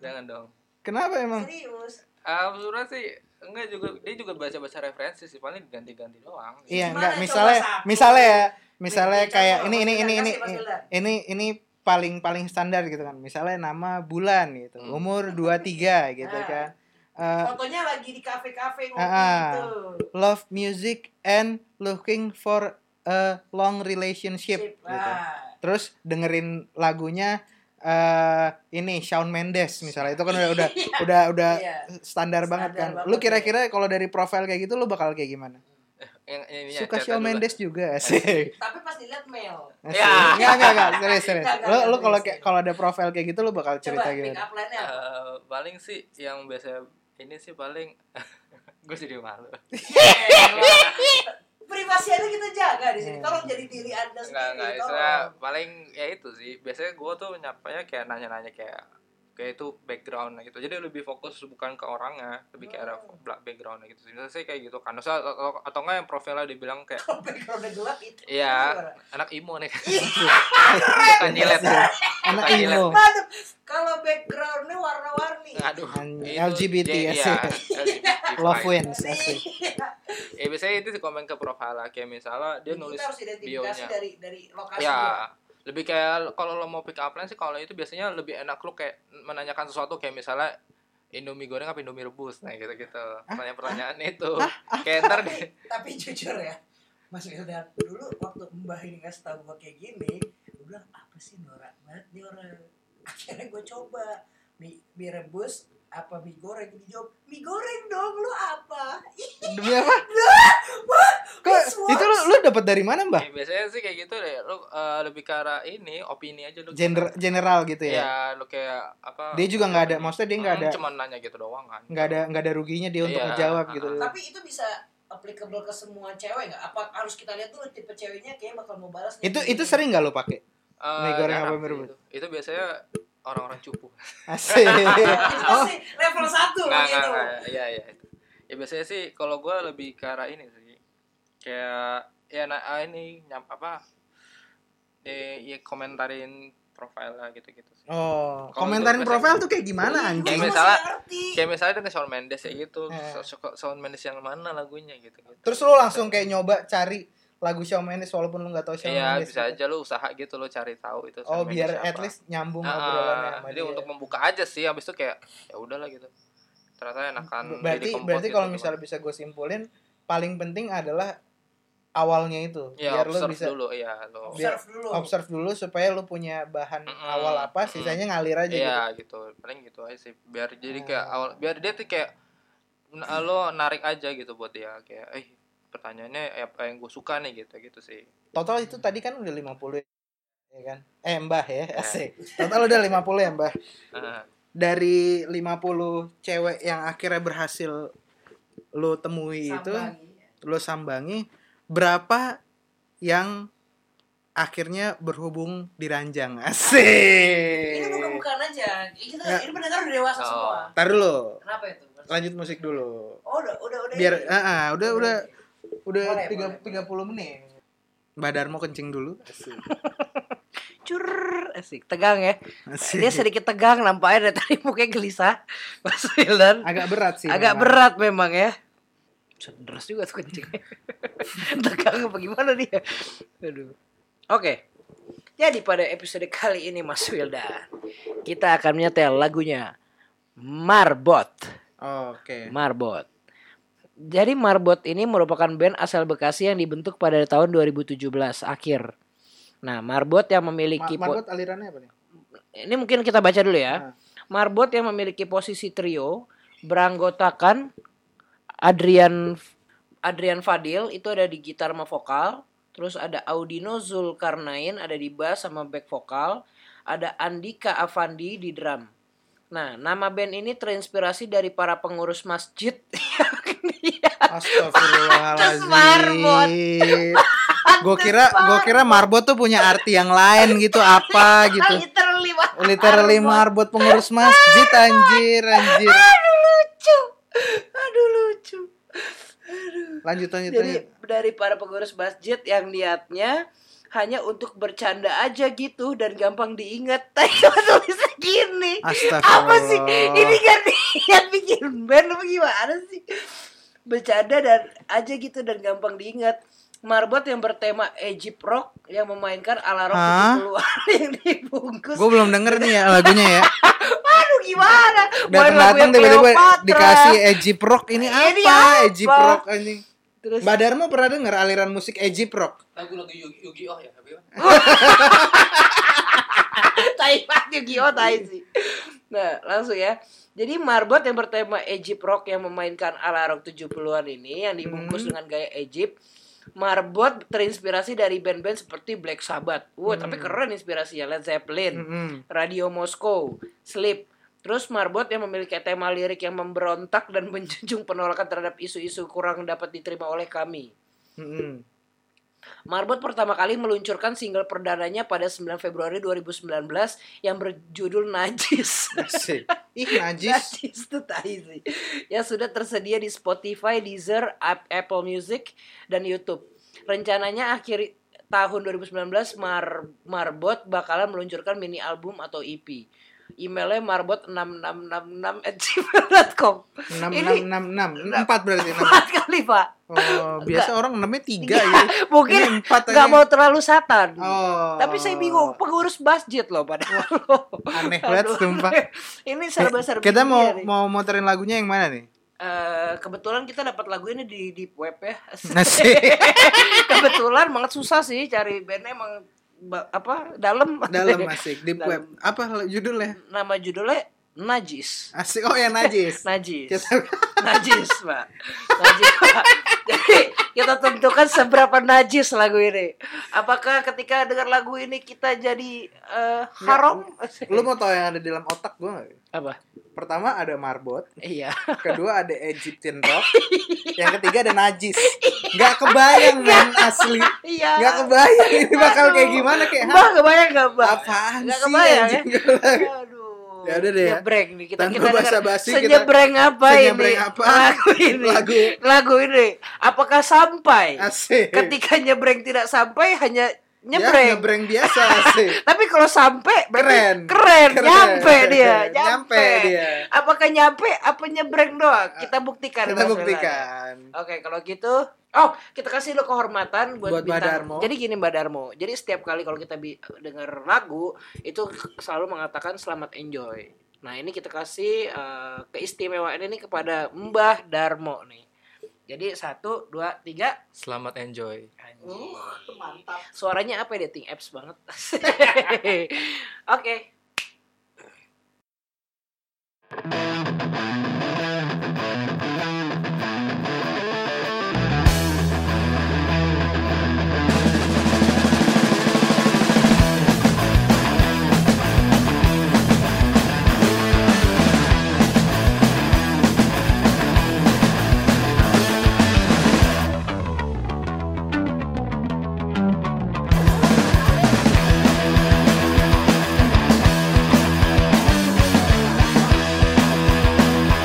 Speaker 4: jangan dong
Speaker 2: Kenapa emang?
Speaker 1: Serius.
Speaker 4: ah sebenarnya sih enggak juga dia juga baca baca referensi sih paling diganti-ganti doang.
Speaker 1: Gimana
Speaker 2: Iya, enggak
Speaker 1: coba
Speaker 2: misalnya
Speaker 1: satu?
Speaker 2: misalnya ya, misalnya
Speaker 1: Di- dicoba,
Speaker 2: kayak ini
Speaker 1: Mas
Speaker 2: ini
Speaker 1: Wildan,
Speaker 2: ini ini
Speaker 1: kasih Mas Wildan.
Speaker 2: ini ini paling paling standar gitu kan. Misalnya nama bulan gitu,
Speaker 4: Hmm.
Speaker 2: umur 23 gitu
Speaker 1: Ah.
Speaker 2: kan. Eh,
Speaker 1: Fotonya lagi di kafe-kafe ngopi
Speaker 2: Ah.
Speaker 1: gitu.
Speaker 2: love music and looking for a long relationship
Speaker 1: Sip,
Speaker 2: gitu.
Speaker 1: ah.
Speaker 2: Terus dengerin lagunya eh ini Shawn Mendes misalnya itu kan udah udah udah udah
Speaker 1: Iya.
Speaker 2: standar banget
Speaker 1: Standar
Speaker 2: kan.
Speaker 1: banget,
Speaker 2: Lu kira-kira kalau dari profil kayak gitu lu bakal kayak gimana?
Speaker 4: Yang, yang, ini ya,
Speaker 2: Suka
Speaker 4: catatan
Speaker 2: Shawn
Speaker 4: dulu.
Speaker 2: Mendes juga sih.
Speaker 1: Tapi pas dilihat male.
Speaker 2: Asik.
Speaker 4: Ya.
Speaker 2: Enggak, enggak, enggak, serius, serius.
Speaker 1: Enggak, enggak,
Speaker 2: Lu lu
Speaker 1: enggak,
Speaker 2: kalau
Speaker 1: serius.
Speaker 2: kayak- kalau ada profil kayak gitu lu bakal cerita
Speaker 1: Coba pick
Speaker 2: gimana?
Speaker 1: up line-nya. apa?
Speaker 4: Eh, paling sih yang biasa ini sih paling gue jadi malu.
Speaker 1: Privasi Anda kita jaga di sini.
Speaker 2: Hmm.
Speaker 1: Tolong jadi diri Anda
Speaker 4: Enggak, enggak,
Speaker 2: Gitu.
Speaker 1: sendiri.
Speaker 4: istilah
Speaker 1: Tolong.
Speaker 4: paling ya itu sih. Biasanya gue tuh nyapanya kayak nanya-nanya kayak kayak itu background gitu. Jadi lebih fokus bukan ke orangnya, lebih kayak arah
Speaker 2: Hmm.
Speaker 4: belak- background gitu. Misalnya sih kayak gitu kan. Atau, atau, atau enggak yang profilnya dibilang kayak
Speaker 1: Kalau background gelap itu.
Speaker 4: Iya,
Speaker 1: Gimana?
Speaker 4: anak imo nih. Bukan nyilet.
Speaker 2: Iya. Anak
Speaker 4: Bukan
Speaker 2: emo.
Speaker 4: nyilet.
Speaker 1: Mantap. Kalau backgroundnya warna-warni.
Speaker 4: Aduh.
Speaker 2: An-
Speaker 4: itu
Speaker 2: LGBT
Speaker 4: dia-
Speaker 2: ya
Speaker 4: iya,
Speaker 2: sih.
Speaker 4: LGBT,
Speaker 2: Love
Speaker 4: fine.
Speaker 2: wins. asik.
Speaker 1: Iya.
Speaker 4: Ya biasanya itu sih komen ke profile lah. kayak misalnya dia nulis
Speaker 1: kita harus identifikasi
Speaker 4: bio-nya.
Speaker 1: dari dari lokasi dia.
Speaker 4: Ya, lebih kayak kalau lo mau pick up line sih kalau itu biasanya lebih enak lo kayak menanyakan sesuatu kayak misalnya Indomie goreng apa Indomie rebus nah gitu-gitu. Pertanyaan-pertanyaan itu. Kayak ntar
Speaker 1: tapi,
Speaker 4: di-
Speaker 1: tapi jujur ya Mas Wildan dulu waktu Mbah ini ngasih tau gue kayak gini gue bilang apa sih norak banget nih orang akhirnya gue coba mie, mie rebus apa mie goreng Dia jawab mie goreng dong lu apa Ih,
Speaker 2: Demi apa?
Speaker 1: wah,
Speaker 2: Iya, Kok
Speaker 1: this works.
Speaker 2: itu lu lu dapat dari mana, Mbah?
Speaker 4: ya, biasanya sih kayak gitu deh. Lo eh, lebih ke arah ini opini aja lo.
Speaker 2: Gender general gitu
Speaker 4: ya.
Speaker 2: ya.
Speaker 4: lo kayak apa?
Speaker 2: Dia juga nggak ada maksudnya dia nggak
Speaker 4: Hmm,
Speaker 2: ada
Speaker 4: cuman nanya gitu doang kan.
Speaker 2: nggak ada nggak ada ruginya dia untuk
Speaker 4: Iya.
Speaker 2: ngejawab gitu.
Speaker 1: tapi itu bisa applicable ke semua cewek nggak apa harus kita lihat dulu tipe ceweknya kayaknya bakal mau balas nih.
Speaker 2: Itu itu sering nggak lo pakai?
Speaker 4: Eh,
Speaker 2: Mie goreng
Speaker 4: jarang
Speaker 2: apa
Speaker 4: sih
Speaker 2: mie rebus?
Speaker 4: Itu. Itu biasanya orang-orang cupu.
Speaker 2: Asik.
Speaker 1: itu
Speaker 2: Oh,
Speaker 1: sih level satu
Speaker 4: Nggak, nggak,
Speaker 1: gitu
Speaker 4: nggak. Iya, iya. Ya biasanya sih kalau gue lebih ke arah ini sih. Kayak ya nah, ah, ini nyam apa? Eh, ya komentarin profilnya gitu-gitu sih.
Speaker 2: oh.
Speaker 4: Kalau
Speaker 2: komentarin
Speaker 4: untuk Iya,
Speaker 2: profil tuh kayak gimana
Speaker 1: Ih, gua
Speaker 2: anjing?
Speaker 1: masih
Speaker 4: misalnya-
Speaker 1: ngerti.
Speaker 4: Kayak misalnya dengan Shawn Mendes ya gitu,
Speaker 2: Eh.
Speaker 4: So- so- Shawn Mendes yang mana lagunya gitu. -gitu.
Speaker 2: Terus lo langsung kayak nyoba cari lagu Shawn Mendes walaupun lo nggak tahu Shawn
Speaker 4: Iya,
Speaker 2: Mendes.
Speaker 4: bisa aja lu usaha gitu lu cari tahu itu
Speaker 2: Oh,
Speaker 4: Shawn Mendes
Speaker 2: biar
Speaker 4: siapa.
Speaker 2: at least nyambung
Speaker 4: Ah,
Speaker 2: obrolannya sama
Speaker 4: jadi
Speaker 2: dia.
Speaker 4: untuk membuka aja sih habis itu kayak ya udahlah gitu ternyata enakan
Speaker 2: Ber- berarti
Speaker 4: jadi kompos
Speaker 2: berarti
Speaker 4: gitu
Speaker 2: kalau
Speaker 4: gimana.
Speaker 2: misalnya bisa gue simpulin paling penting adalah awalnya itu
Speaker 4: ya
Speaker 2: biar lo
Speaker 4: observe
Speaker 2: bisa
Speaker 4: dulu ya lo
Speaker 2: biar
Speaker 1: Observe dulu
Speaker 2: observe dulu supaya lo punya bahan
Speaker 4: Mm-mm.
Speaker 2: awal apa sisanya ngalir aja
Speaker 4: iya
Speaker 2: gitu.
Speaker 4: gitu paling gitu aja sih biar jadi
Speaker 2: Hmm.
Speaker 4: kayak awal biar dia tuh kayak n- ah, lo narik aja gitu buat dia kayak eh pertanyaannya apa yang gue suka nih gitu gitu sih
Speaker 2: Total itu tadi kan udah 50 ya kan. Eh Mbah ya,
Speaker 4: Ya.
Speaker 2: asik. Total udah 50 ya Mbah.
Speaker 4: Ah,
Speaker 2: Dari 50 cewek yang akhirnya berhasil lo temui itu,
Speaker 1: Sambangi.
Speaker 2: lo sambangi, berapa yang akhirnya berhubung diranjang? Asik.
Speaker 1: Ini buka-bukaan aja. Ini kita
Speaker 2: Ya.
Speaker 1: ini pendengar udah dewasa
Speaker 4: Oh.
Speaker 1: semua.
Speaker 2: Tar dulu,
Speaker 1: Kenapa itu?
Speaker 2: lanjut musik dulu.
Speaker 1: Oh, udah udah udah.
Speaker 2: Biar
Speaker 1: ini.
Speaker 2: ah, ah, udah udah udah
Speaker 1: Boleh,
Speaker 2: tiga-
Speaker 1: boleh,
Speaker 2: 30 menit. Mbak Darmo kencing dulu. Asik.
Speaker 5: Cur, asik tegang ya.
Speaker 2: Asik.
Speaker 5: Dia sedikit tegang nampaknya dari tadi mukanya gelisah. Mas Wildan.
Speaker 2: agak berat sih.
Speaker 5: Agak
Speaker 2: memang.
Speaker 5: berat memang ya. Terus juga tuh kencingnya. Tegang apa gimana dia? Aduh. Oke. Jadi pada episode kali ini Mas Wildan, kita akan menyetel lagunya Marbot.
Speaker 2: Oke.
Speaker 5: Marbot. Jadi Marbot ini merupakan band asal Bekasi yang dibentuk pada tahun 2017 akhir. Nah, Marbot yang
Speaker 2: Ma-
Speaker 5: memiliki po-
Speaker 2: Marbot alirannya apa nih?
Speaker 5: ini mungkin kita baca dulu ya. Marbot yang memiliki posisi trio beranggotakan Adrian Adrian Fadil itu ada di gitar sama vokal, terus ada Audino Zulkarnain ada di bass sama back vokal, ada Andika Avandi di drum. Nah, nama band ini terinspirasi dari para pengurus masjid Atas Marbot.
Speaker 2: Astagfirullahaladzim. Gue kira gue kira Marbot tuh punya arti yang lain gitu apa gitu.
Speaker 5: literally
Speaker 2: Literally Marbot pengurus masjid anjir anjir.
Speaker 5: Aduh lucu. Aduh lucu. Aduh.
Speaker 2: Lanjut lanjut lanjut.
Speaker 5: Jadi dari para pengurus masjid yang niatnya hanya untuk bercanda aja gitu dan gampang diingat. Tapi cuma tulisnya gini.
Speaker 2: Astagfirullah.
Speaker 5: Apa sih? Ini kan niat bikin band apa gimana sih? bercanda dan aja gitu dan gampang diingat. Marbot yang bertema Egypt Rock yang memainkan ala rock
Speaker 2: Hah?
Speaker 5: 70-an yang dibungkus.
Speaker 2: Gue belum denger nih ya lagunya ya.
Speaker 5: Aduh gimana? Main lagu
Speaker 2: Datang-datang
Speaker 5: yang
Speaker 2: tiba-tiba
Speaker 5: Cleopatra.
Speaker 2: dikasih Egypt Rock ini apa?
Speaker 5: Ini apa?
Speaker 2: Egypt Rock anjing.
Speaker 5: Terus
Speaker 2: Mbak Darmo pernah denger aliran musik Egypt Rock?
Speaker 4: Lagu lagu Yugi, Yugi Oh ya, tapi
Speaker 5: tai banget Yu-Gi-Oh tai sih. Nah, langsung ya. Jadi marbot yang bertema Egypt Rock yang memainkan ala rock 70-an ini yang dibungkus dengan gaya Egypt. Marbot terinspirasi dari band-band seperti Black Sabbath. Wah, tapi keren inspirasinya Led Zeppelin,
Speaker 2: Mm-mm.
Speaker 5: Radio Moscow, Sleep. Terus Marbot yang memiliki tema lirik yang memberontak dan menjunjung penolakan terhadap isu-isu kurang dapat diterima oleh kami.
Speaker 2: Mm-mm.
Speaker 5: Marbot pertama kali meluncurkan single perdananya pada 9 Februari 2019 yang berjudul Najis.
Speaker 2: Asik. Ih najis.
Speaker 5: Najis itu tai sih. Yang sudah tersedia di Spotify, Deezer, App- Apple Music, dan YouTube. Rencananya akhir tahun 2019 Mar Marbot bakalan meluncurkan mini album atau EP. Emailnya
Speaker 2: 6 6 6 6 4
Speaker 5: marbot6666@gmail.com.
Speaker 2: berarti 6.
Speaker 5: Empat kali pak.
Speaker 2: Oh, biasa orang namanya 3 ya. Ini
Speaker 5: Mungkin
Speaker 2: empat
Speaker 5: nggak
Speaker 2: aja.
Speaker 5: mau terlalu satan.
Speaker 2: Oh.
Speaker 5: Tapi saya bingung pengurus masjid loh padahal.
Speaker 2: Aneh banget
Speaker 5: Aduh.
Speaker 2: sumpah.
Speaker 5: ini serba-serbi.
Speaker 2: Kita mau
Speaker 5: dia nih.
Speaker 2: mau muterin lagunya yang mana nih?
Speaker 5: Eh, kebetulan kita dapat lagu ini di di web ya.
Speaker 2: Nasi.
Speaker 5: kebetulan banget susah sih cari bandnya emang ba- apa dalam.
Speaker 2: Dalam asik di
Speaker 5: Dalam.
Speaker 2: web. Apa judulnya?
Speaker 5: Nama judulnya Najis.
Speaker 2: Asik oh ya najis.
Speaker 5: Najis.
Speaker 2: Kita-
Speaker 5: Najis, Pak. Najis, Pak. Jadi kita tentukan seberapa najis lagu ini. Apakah ketika dengar lagu ini kita jadi eh, haram?
Speaker 2: Lu mau tau yang ada di dalam otak gue gak?
Speaker 6: Apa?
Speaker 2: Pertama ada marbot,
Speaker 6: Iya.
Speaker 2: kedua ada Egyptian rock, yang ketiga ada najis. Gak kebayang men asli.
Speaker 5: Iya.
Speaker 2: Gak kebayang ini bakal kayak
Speaker 5: Aduh.
Speaker 2: gimana kayak
Speaker 5: Mbak, kebayang gak, Mbak?
Speaker 2: Apaan
Speaker 5: Nggak
Speaker 2: sih
Speaker 5: kebayang, ya.
Speaker 2: anjing?
Speaker 5: Aduh.
Speaker 2: Ya udah deh ya.
Speaker 5: Nyebreng nih kita
Speaker 2: Tanpa
Speaker 5: kita dengar
Speaker 2: basa-basi kita-
Speaker 5: senyebreng apa
Speaker 2: Senyebreng
Speaker 5: ini?
Speaker 2: apa?
Speaker 5: Lagu ini.
Speaker 2: Lagu.
Speaker 5: Lagu ini. Apakah sampai?
Speaker 2: Asik.
Speaker 5: Ketika nyebreng tidak sampai hanya
Speaker 2: Ya,
Speaker 5: nyebreng.
Speaker 2: nyebreng biasa asik.
Speaker 5: Tapi kalau sampai berarti
Speaker 2: Keren.
Speaker 5: keren,
Speaker 2: Keren.
Speaker 5: nyampe dia,
Speaker 2: Nyampe
Speaker 5: nyampe.
Speaker 2: dia.
Speaker 5: Apakah nyampe apa nyebreng doang? Kita buktikan.
Speaker 2: Kita
Speaker 5: Mas Welan.
Speaker 2: buktikan.
Speaker 5: Oke, kalau gitu, oh kita kasih lo kehormatan buat,
Speaker 2: Buat Mbak
Speaker 5: bintang.
Speaker 2: Darmo.
Speaker 5: Jadi gini Mbak Darmo, jadi setiap kali kalau kita bi- denger lagu itu selalu mengatakan selamat enjoy. Nah ini kita kasih eh, keistimewaan ini kepada Mbah Darmo nih. Jadi satu, dua, tiga.
Speaker 4: selamat enjoy.
Speaker 5: mantap. Suaranya apa ya dating apps banget. Oke.
Speaker 7: Selamat
Speaker 4: oh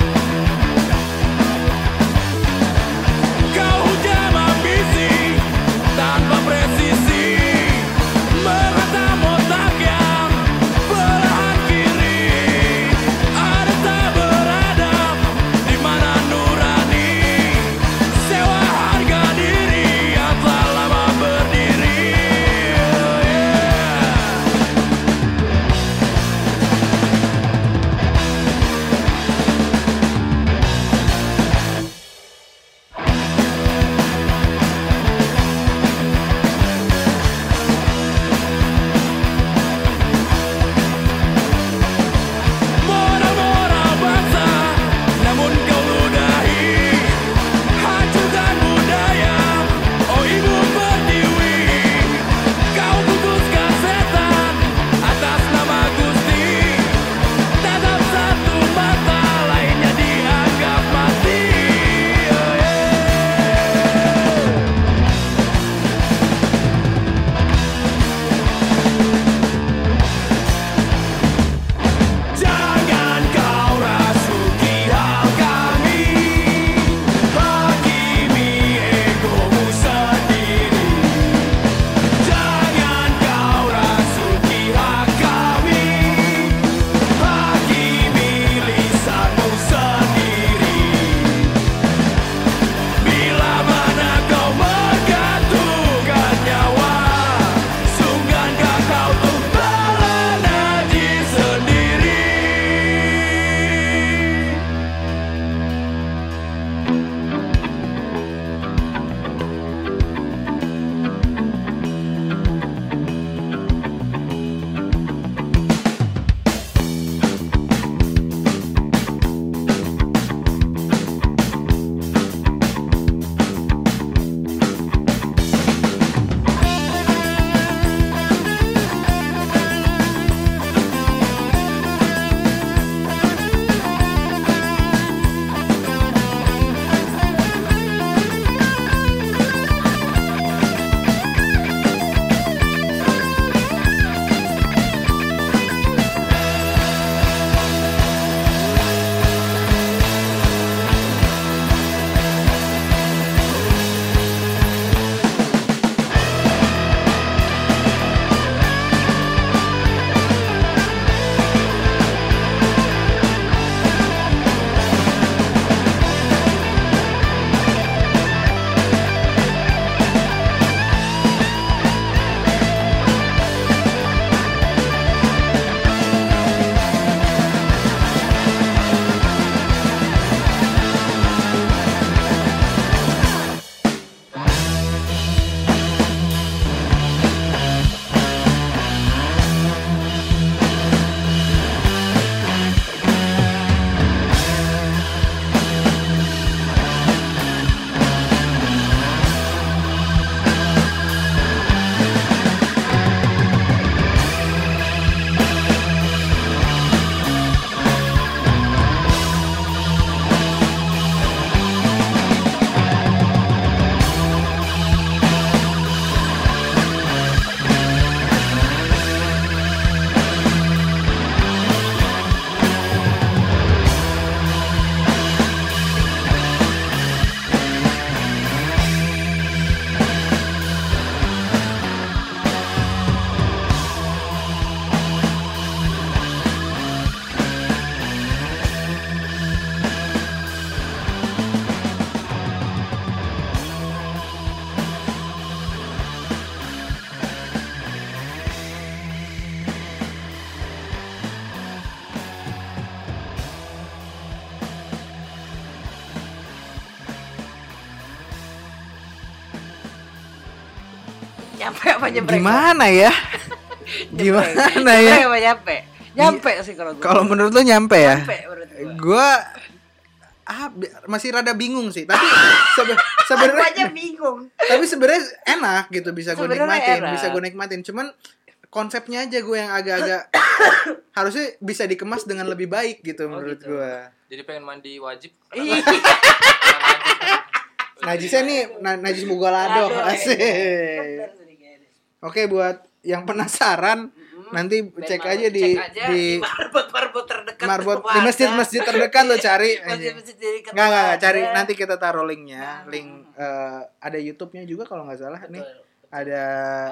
Speaker 1: nyampe apa nyebrek?
Speaker 2: Gimana ya? Gimana ya?
Speaker 1: Nyebrek apa nyampe? Nyampe sih kalau gue.
Speaker 2: Kalau menurut lu nyampe ya?
Speaker 1: nyampe menurut gue.
Speaker 2: Gua ah, bi- masih rada bingung sih, tapi sebe-
Speaker 1: Aku aja
Speaker 2: sebenarnya
Speaker 1: bingung.
Speaker 2: tapi sebenarnya enak gitu bisa gue
Speaker 1: Sebenarnya
Speaker 2: nikmatin,
Speaker 1: enak.
Speaker 2: bisa gue nikmatin. Cuman konsepnya aja gue yang agak-agak harusnya bisa dikemas dengan lebih baik gitu menurut
Speaker 1: gitu.
Speaker 2: gua
Speaker 4: Jadi pengen mandi wajib.
Speaker 1: Iya.
Speaker 2: gue. Najisnya nih na- najis bugalado
Speaker 1: Aduh,
Speaker 2: asik. Oke buat yang penasaran nanti cek aja di di
Speaker 1: marbot-marbot terdekat.
Speaker 2: marbot
Speaker 1: rumah
Speaker 2: di
Speaker 1: ada.
Speaker 2: masjid-masjid terdekat lo cari. anjing.
Speaker 1: Masjid-masjid jadi ketemu
Speaker 2: Nggak, nggak, nggak, cari
Speaker 1: ada.
Speaker 2: nanti kita taruh linknya
Speaker 1: Nah.
Speaker 2: link eh, ada YouTube-nya juga kalau nggak salah nih
Speaker 1: Betul.
Speaker 2: ada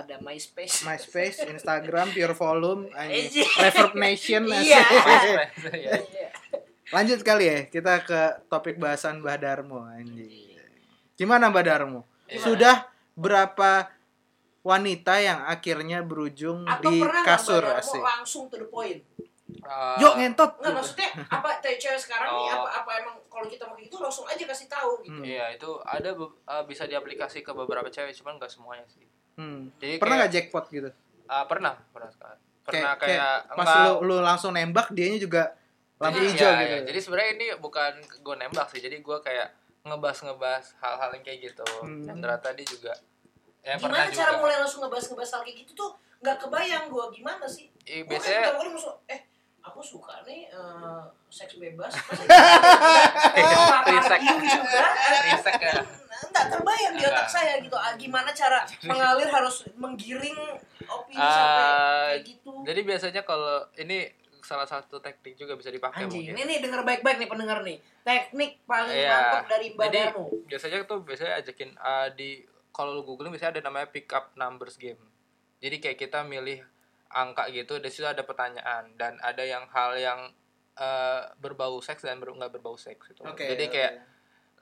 Speaker 1: Ada MySpace.
Speaker 2: MySpace, Instagram, Pure Volume, anjing.
Speaker 1: Iya.
Speaker 2: Reverb Nation.
Speaker 1: Iya.
Speaker 2: asik.
Speaker 4: Iya.
Speaker 2: Lanjut kali ya kita ke topik bahasan Mbah Darmo anjing. Gimana Mbah Darmo? Sudah berapa wanita yang akhirnya berujung
Speaker 1: Atau
Speaker 2: di
Speaker 1: pernah nggak
Speaker 2: kasur
Speaker 1: Mbak Darmo
Speaker 2: asik? Gitu.
Speaker 1: langsung to the point?
Speaker 4: Eh,
Speaker 2: Yuk ngentot. Hmm,
Speaker 1: Enggak maksudnya apa teh cewek sekarang nih apa
Speaker 4: Oh.
Speaker 1: apa emang kalau kita mau gitu langsung aja kasih tahu
Speaker 2: Hmm.
Speaker 1: gitu.
Speaker 4: Iya itu ada be- eh, bisa diaplikasi ke beberapa cewek cuman nggak semuanya sih.
Speaker 2: Hmm.
Speaker 4: Jadi
Speaker 2: Pernah
Speaker 4: kayak-
Speaker 2: nggak jackpot gitu?
Speaker 4: Ah, pernah pernah sekali. Pernah kayak,
Speaker 2: pas
Speaker 4: enggak.
Speaker 2: lu, lu langsung nembak dianya juga lampu
Speaker 4: Jadi,
Speaker 2: hijau
Speaker 4: iya,
Speaker 2: gitu.
Speaker 4: iya. Jadi sebenarnya ini bukan gue nembak sih. Jadi gue kayak ngebahas-ngebahas hal-hal yang kayak gitu.
Speaker 2: Hmm.
Speaker 4: Dan ternyata dia juga ya pernah
Speaker 1: Gimana cara
Speaker 4: juga.
Speaker 1: mulai langsung ngebahas-ngebahas hal kayak gitu tuh nggak kebayang gua gimana sih?
Speaker 4: Iya,
Speaker 1: Gua
Speaker 4: biasanya
Speaker 1: kan pertama kali masuk eh aku suka nih eh, seks bebas. gitu? Trisek
Speaker 4: Trisek.
Speaker 1: juga.
Speaker 4: riset ya.
Speaker 1: gitu kan. Nggak terbayang di otak
Speaker 4: Nggak.
Speaker 1: saya gitu. Ah, Gimana cara mengalir harus menggiring opini
Speaker 4: Ah,
Speaker 1: sampai kayak gitu.
Speaker 4: Jadi biasanya kalau ini salah satu teknik juga bisa dipakai
Speaker 1: Anjing, ini
Speaker 4: mungkin.
Speaker 1: nih denger baik-baik nih pendengar nih. Teknik paling
Speaker 4: Iya.
Speaker 1: mantap dari Mbak
Speaker 4: Jadi
Speaker 1: Darmo.
Speaker 4: biasanya tuh biasanya ajakin eh, di kalau lu googling biasanya ada namanya pick up numbers game. Jadi kayak kita milih angka gitu, di situ ada pertanyaan dan ada yang hal yang eh, berbau seks dan ber- nggak berbau seks gitu.
Speaker 2: Oke,
Speaker 4: Jadi
Speaker 2: oke.
Speaker 4: kayak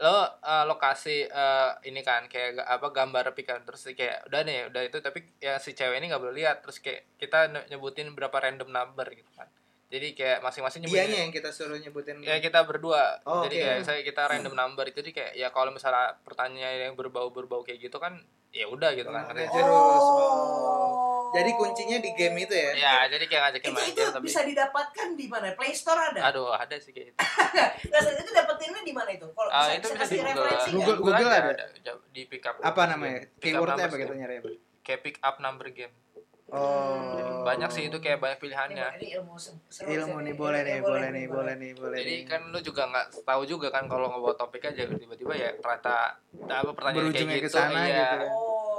Speaker 4: lo eh, lokasi eh, ini kan kayak ga- apa gambar pikan terus kayak udah nih udah itu tapi ya si cewek ini nggak boleh lihat terus kayak kita ne- nyebutin berapa random number gitu kan jadi kayak masing-masing
Speaker 2: dianya ya?
Speaker 4: nyebutin
Speaker 2: yang kita suruh nyebutin.
Speaker 4: ya kita berdua
Speaker 2: Oh,
Speaker 4: jadi
Speaker 2: oke.
Speaker 4: kayak saya kita random number jadi kayak ya kalau misalnya pertanyaan yang berbau berbau kayak gitu kan ya udah gitu kan
Speaker 2: Oke.
Speaker 4: Ngerti?
Speaker 2: Terus, oh. Jadi kuncinya di game itu ya?
Speaker 4: ya jadi kayak ngajakin
Speaker 1: Itu,
Speaker 4: main
Speaker 1: itu
Speaker 4: game tapi
Speaker 1: bisa didapatkan di mana? Play Store ada?
Speaker 4: aduh ada sih kayak gitu
Speaker 1: Nah, saat itu dapetinnya di mana itu? Kalau
Speaker 4: Ah,
Speaker 1: bisa,
Speaker 4: itu
Speaker 1: bisa
Speaker 4: bisa di
Speaker 1: kasih
Speaker 4: Google
Speaker 1: referensi nggak?
Speaker 2: Google- Google ada?
Speaker 4: di pick up
Speaker 2: Apa namanya?
Speaker 4: Pick up
Speaker 2: Keywordnya apa gitu?
Speaker 4: numbers
Speaker 2: kita
Speaker 4: game.
Speaker 2: nyari apa?
Speaker 4: kayak pick up number game
Speaker 2: Oh.
Speaker 4: banyak sih itu kayak banyak
Speaker 1: Hmm. Ini,
Speaker 4: pilihannya
Speaker 1: ini ilmu se- seru
Speaker 2: Ilmu
Speaker 1: sih.
Speaker 2: nih boleh nih, boleh nih, boleh nih, boleh.
Speaker 4: Jadi
Speaker 2: nih.
Speaker 4: kan lu juga nggak tahu juga kan kalau ngebawa topik aja tiba-tiba ya ternyata apa pertanyaan
Speaker 2: Berujungnya
Speaker 4: kayak
Speaker 2: ke
Speaker 4: gitu.
Speaker 2: sana
Speaker 4: iya.
Speaker 2: gitu.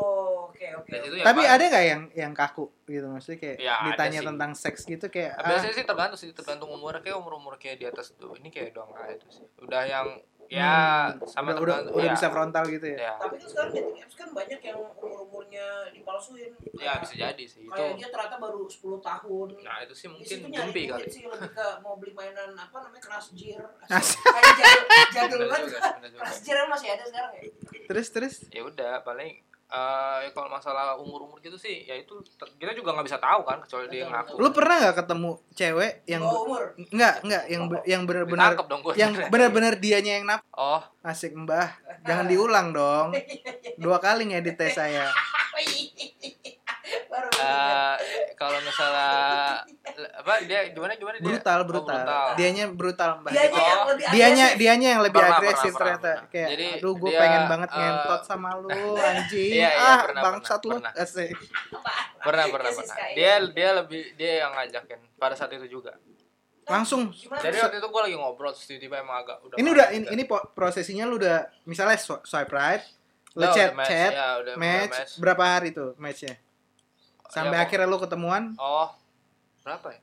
Speaker 1: Oh, oke oke.
Speaker 4: Dari situ ya
Speaker 2: Tapi
Speaker 4: paling-
Speaker 2: ada nggak yang yang kaku gitu maksudnya kayak
Speaker 4: Ya, ada
Speaker 2: ditanya
Speaker 4: sih.
Speaker 2: tentang seks gitu kayak
Speaker 4: Ah,
Speaker 2: ah,
Speaker 4: biasanya sih tergantung sih tergantung umur kayak umur-umur kayak di atas tuh. Ini kayak doang aja itu sih. Udah yang ya sama
Speaker 2: udah udah,
Speaker 4: tergantung-
Speaker 2: udah
Speaker 4: ya,
Speaker 2: bisa frontal gitu ya.
Speaker 4: Ya,
Speaker 1: Tapi kan sekarang dating apps kan banyak yang umur-umurnya dipalsuin.
Speaker 4: ya
Speaker 1: Kayak-
Speaker 4: bisa jadi sih itu.
Speaker 1: Kayak dia ternyata baru 10 tahun.
Speaker 4: Nah, itu sih
Speaker 1: Di situ
Speaker 4: mungkin
Speaker 1: nyari
Speaker 4: gempi
Speaker 1: duit
Speaker 4: kali.
Speaker 1: sih lebih ke mau beli mainan apa namanya keras jir.
Speaker 2: Asik.
Speaker 1: Kayak jadul jadul
Speaker 4: Bener
Speaker 1: banget.
Speaker 4: juga, bener juga.
Speaker 1: Keras jir emang masih ada sekarang ya?
Speaker 2: Terus terus
Speaker 4: Ya udah paling eh ya kalau masalah umur-umur gitu sih ya itu ter- kita juga nggak bisa tahu kan kecuali dia
Speaker 1: Betul,
Speaker 4: ngaku.
Speaker 2: lu pernah nggak ketemu cewek yang
Speaker 1: oh, umur.
Speaker 2: nggak nggak yang be- yang benar-benar
Speaker 4: Ditangkep dong gua.
Speaker 2: yang benar-benar dianya yang nap
Speaker 4: Oh,
Speaker 2: asik mbah
Speaker 4: Ah.
Speaker 2: jangan diulang dong
Speaker 4: Iya,
Speaker 2: dua kali ngedit tes saya
Speaker 1: baru
Speaker 4: Eh, kalau misalnya apa dia gimana gimana dia
Speaker 2: brutal
Speaker 4: Oh,
Speaker 2: brutal dianya brutal mbah
Speaker 1: Dia aja yang
Speaker 4: Oh,
Speaker 1: lebih
Speaker 2: dianya
Speaker 1: agresif.
Speaker 2: dianya yang lebih
Speaker 4: Pernah,
Speaker 2: agresif
Speaker 4: pernah,
Speaker 2: ternyata
Speaker 4: pernah.
Speaker 2: kayak
Speaker 4: Jadi,
Speaker 2: aduh gue
Speaker 4: dia,
Speaker 2: pengen banget
Speaker 4: eh,
Speaker 2: ngentot sama lu anjing
Speaker 4: Iya, iya,
Speaker 2: ah
Speaker 4: pernah,
Speaker 2: bangsat
Speaker 4: pernah,
Speaker 2: lu
Speaker 4: pernah.
Speaker 2: asik
Speaker 1: Apaan?
Speaker 4: pernah pernah
Speaker 1: Ya,
Speaker 4: pernah
Speaker 1: Siska,
Speaker 4: dia
Speaker 1: iya.
Speaker 4: dia lebih dia yang ngajakin pada saat itu juga
Speaker 2: langsung
Speaker 1: Gimana?
Speaker 4: jadi waktu itu gue lagi ngobrol terus tiba-tiba emang agak udah
Speaker 2: ini udah ini, ini po- prosesinya lu udah misalnya sw- swipe right lu
Speaker 4: Udah,
Speaker 2: chat
Speaker 4: udah match,
Speaker 2: chat
Speaker 4: ya, udah- udah
Speaker 2: match,
Speaker 4: match. Oh, iya,
Speaker 2: berapa hari tuh matchnya sampai
Speaker 4: kok.
Speaker 2: akhirnya lu ketemuan
Speaker 4: oh berapa ya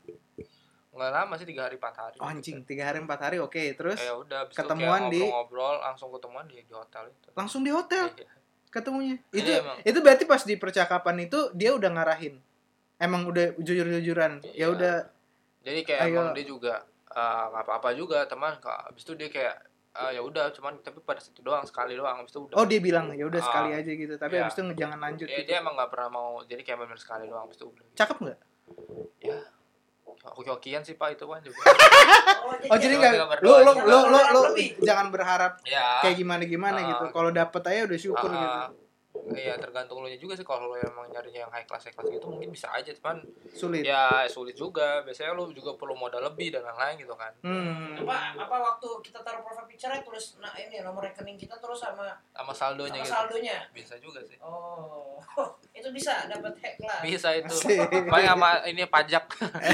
Speaker 4: nggak lama sih tiga hari empat hari Gitu.
Speaker 2: oh, anjing tiga hari empat hari oke terus
Speaker 4: ya udah abis itu kayak
Speaker 2: ketemuan di-
Speaker 4: ngobrol-ngobrol langsung ketemuan di di hotel itu
Speaker 2: langsung ya? di hotel
Speaker 4: Iya.
Speaker 2: ketemunya
Speaker 4: Iya,
Speaker 2: itu
Speaker 4: emang.
Speaker 2: itu berarti pas di percakapan itu dia udah ngarahin emang udah jujur-jujuran ya
Speaker 4: Iya.
Speaker 2: udah
Speaker 4: jadi kayak
Speaker 2: Ayo.
Speaker 4: emang dia juga eh, nggak apa-apa juga teman Ka- abis itu dia kayak eh, ya udah cuman tapi pada situ doang sekali doang abis itu udah
Speaker 2: oh dia bilang ya udah
Speaker 4: Ah.
Speaker 2: sekali aja gitu tapi
Speaker 4: Iya.
Speaker 2: abis itu nge- jangan lanjut gitu.
Speaker 4: Ya, dia emang gak pernah mau jadi kayak bener sekali doang abis itu udah gitu.
Speaker 2: cakep nggak
Speaker 4: ya hoki-hokian sih pak itu kan juga
Speaker 2: oh jadi nggak
Speaker 4: Jangan
Speaker 2: lu lu
Speaker 4: berdoa.
Speaker 2: lu lu lu
Speaker 1: Lebih.
Speaker 2: jangan berharap
Speaker 4: ya
Speaker 2: kayak gimana gimana
Speaker 4: iya, Ah.
Speaker 2: gitu kalau dapet aja udah syukur
Speaker 4: ah,
Speaker 2: gitu
Speaker 4: ah. ya tergantung lo juga sih kalau lo emang nyarinya yang high class high class gitu mungkin bisa aja cuman
Speaker 2: Sulit.
Speaker 4: ya sulit juga biasanya lo juga perlu modal lebih dan lain-lain gitu kan
Speaker 2: Hmm.
Speaker 1: apa apa waktu kita taruh profile picture terus nah ini nomor rekening kita terus sama
Speaker 4: sama
Speaker 1: sama
Speaker 4: saldonya gitu
Speaker 1: saldonya
Speaker 4: bisa juga sih
Speaker 1: oh itu bisa dapat hack lah
Speaker 4: bisa itu
Speaker 2: Asik.
Speaker 4: paling sama ini pajak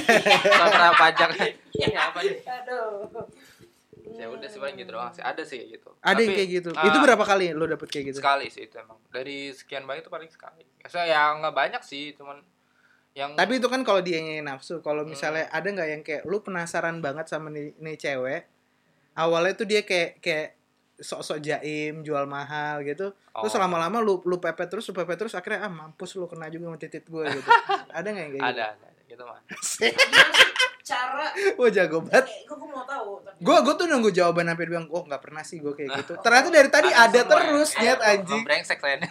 Speaker 4: sama pajak ini apa nih
Speaker 1: aduh
Speaker 4: ya udah sih paling gitu doang sih ada sih kayak gitu
Speaker 2: Ada yang
Speaker 4: Tapi,
Speaker 2: kayak gitu.
Speaker 4: ah,
Speaker 2: itu berapa kali lo dapet kayak gitu?
Speaker 4: sekali sih itu emang dari sekian banyak itu paling sekali saya ya nggak banyak sih cuman yang
Speaker 2: Tapi itu kan kalau dia nafsu.
Speaker 4: Hmm.
Speaker 2: Kalau misalnya ada nggak yang kayak lu penasaran banget sama nih, nih cewek. Awalnya tuh dia kayak kayak sok-sok jaim, jual mahal gitu. Terus
Speaker 4: Oh.
Speaker 2: lama-lama lu lu pepet terus, lu pepet terus akhirnya ah mampus lu kena juga sama titit gue gitu. ada nggak yang kayak gitu?
Speaker 4: ada ada ada gitu mah
Speaker 1: cara
Speaker 2: Wah jago banget.
Speaker 1: eh, gue mau tahu tapi
Speaker 2: Gue gue tuh nunggu jawaban sampai bilang, oh nggak pernah sih gue kayak gitu. Ternyata dari tadi ada,
Speaker 4: Ah, semua ya.
Speaker 2: terus,
Speaker 4: Iya,
Speaker 2: nyet
Speaker 4: emang
Speaker 2: anjing.
Speaker 4: brengsek kayaknya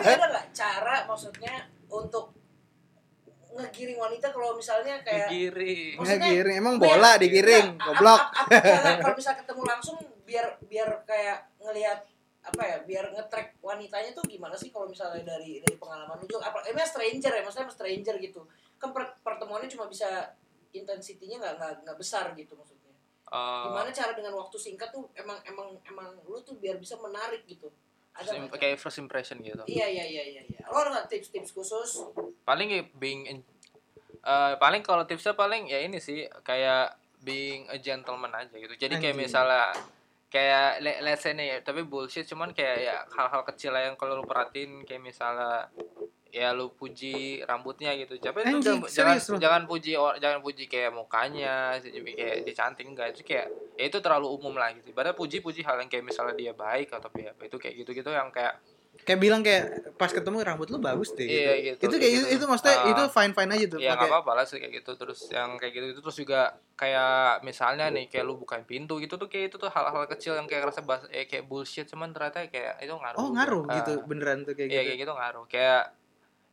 Speaker 1: Tapi ada nggak cara maksudnya untuk ngegiring wanita kalau misalnya kayak
Speaker 4: kiri
Speaker 1: Maksudnya-
Speaker 2: Ngegiring, emang bola digiring,
Speaker 4: ya.
Speaker 1: Nggak,
Speaker 2: goblok.
Speaker 1: ap- ap- ap- nggak, kalau bisa ketemu langsung biar biar kayak ngelihat apa ya biar ngetrack wanitanya tuh gimana sih kalau misalnya dari dari pengalaman lu juga apa emang stranger ya maksudnya sama stranger gitu kan per- pertemuannya cuma bisa intensitinya nggak nggak nggak besar gitu maksudnya
Speaker 4: Eh,
Speaker 1: gimana cara dengan waktu singkat tuh emang emang emang lu tuh biar bisa menarik gitu ada
Speaker 4: first im-
Speaker 1: nggak cara?
Speaker 4: kayak first impression gitu
Speaker 1: iya iya iya iya iya lo ada nggak tips-tips khusus
Speaker 4: paling ya being en- eh, paling kalau tipsnya paling ya ini sih kayak being a gentleman aja gitu jadi kayak
Speaker 2: Anjing.
Speaker 4: misalnya kayak le- let's say nih ya, tapi bullshit cuman kayak ya hal-hal kecil lah yang kalau lu perhatiin kayak misalnya ya lu puji rambutnya gitu tapi itu
Speaker 2: Anjing,
Speaker 4: jangan, jangan
Speaker 2: serius lu?
Speaker 4: jangan puji or- jangan puji kayak mukanya jadi kayak dia cantik enggak itu kayak ya itu terlalu umum lah gitu padahal puji-puji hal yang kayak misalnya dia baik atau dia apa itu kayak gitu-gitu yang kayak
Speaker 2: Kayak bilang kayak pas ketemu rambut lu bagus deh.
Speaker 4: Iya, gitu,
Speaker 2: Itu kayak
Speaker 4: gitu.
Speaker 2: itu maksudnya
Speaker 4: Ah.
Speaker 2: itu fine fine aja tuh.
Speaker 4: ya nggak
Speaker 2: pakai-
Speaker 4: apa-apa lah sih kayak gitu terus yang kayak gitu itu terus juga kayak misalnya nih kayak lu bukain pintu gitu tuh kayak itu tuh hal-hal kecil yang kayak rasa bas eh, kayak bullshit cuman ternyata kayak itu ngaruh
Speaker 2: Oh
Speaker 4: juga.
Speaker 2: ngaruh
Speaker 4: Ah,
Speaker 2: gitu beneran tuh kayak
Speaker 4: iya
Speaker 2: gitu.
Speaker 4: kayak gitu ngaruh kayak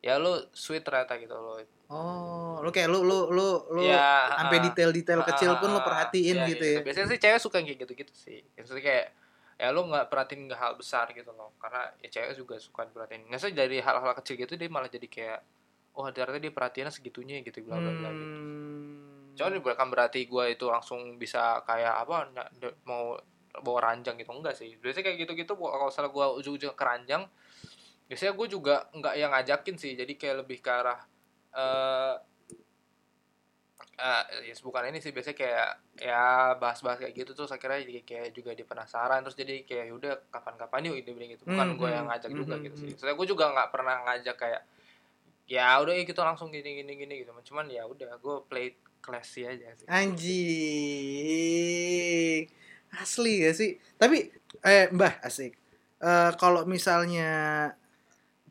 Speaker 4: ya lu sweet ternyata gitu lo
Speaker 2: Oh, lu kayak lu lu lu lu
Speaker 4: Ya,
Speaker 2: sampai
Speaker 4: ah, iya,
Speaker 2: detail-detail kecil pun lu perhatiin gitu ya.
Speaker 4: biasanya sih cewek suka yang kayak gitu-gitu sih maksudnya kayak ya lu nggak perhatiin nggak hal besar gitu loh karena ya cewek juga suka diperhatiin nggak dari hal-hal kecil gitu dia malah jadi kayak oh ternyata dia perhatiannya segitunya gitu bla bla bla gitu
Speaker 2: Hmm.
Speaker 4: Cuman bukan berarti gue itu langsung bisa kayak apa na- de- mau bawa ranjang gitu enggak sih. Biasanya kayak gitu-gitu gua- kalau salah gue ujung-ujung ke ranjang, biasanya gue juga nggak yang ngajakin sih. Jadi kayak lebih ke arah eh eh, ya bukan ini sih biasanya kayak ya bahas-bahas kayak gitu terus akhirnya jadi kayak juga dia penasaran terus jadi kayak yaudah kapan-kapan yuk dia bilang gitu bukan
Speaker 2: Hmm,
Speaker 4: gue
Speaker 2: hmm,
Speaker 4: yang ngajak
Speaker 2: hmm,
Speaker 4: juga
Speaker 2: hmm,
Speaker 4: gitu sih
Speaker 2: hmm.
Speaker 4: soalnya gue juga nggak pernah ngajak kayak ya udah ya kita langsung gini gini gini gitu cuman ya udah gue play classy aja sih
Speaker 2: Anjing. Asli gak sih? Tapi eh Mbah asik. Eh kalau misalnya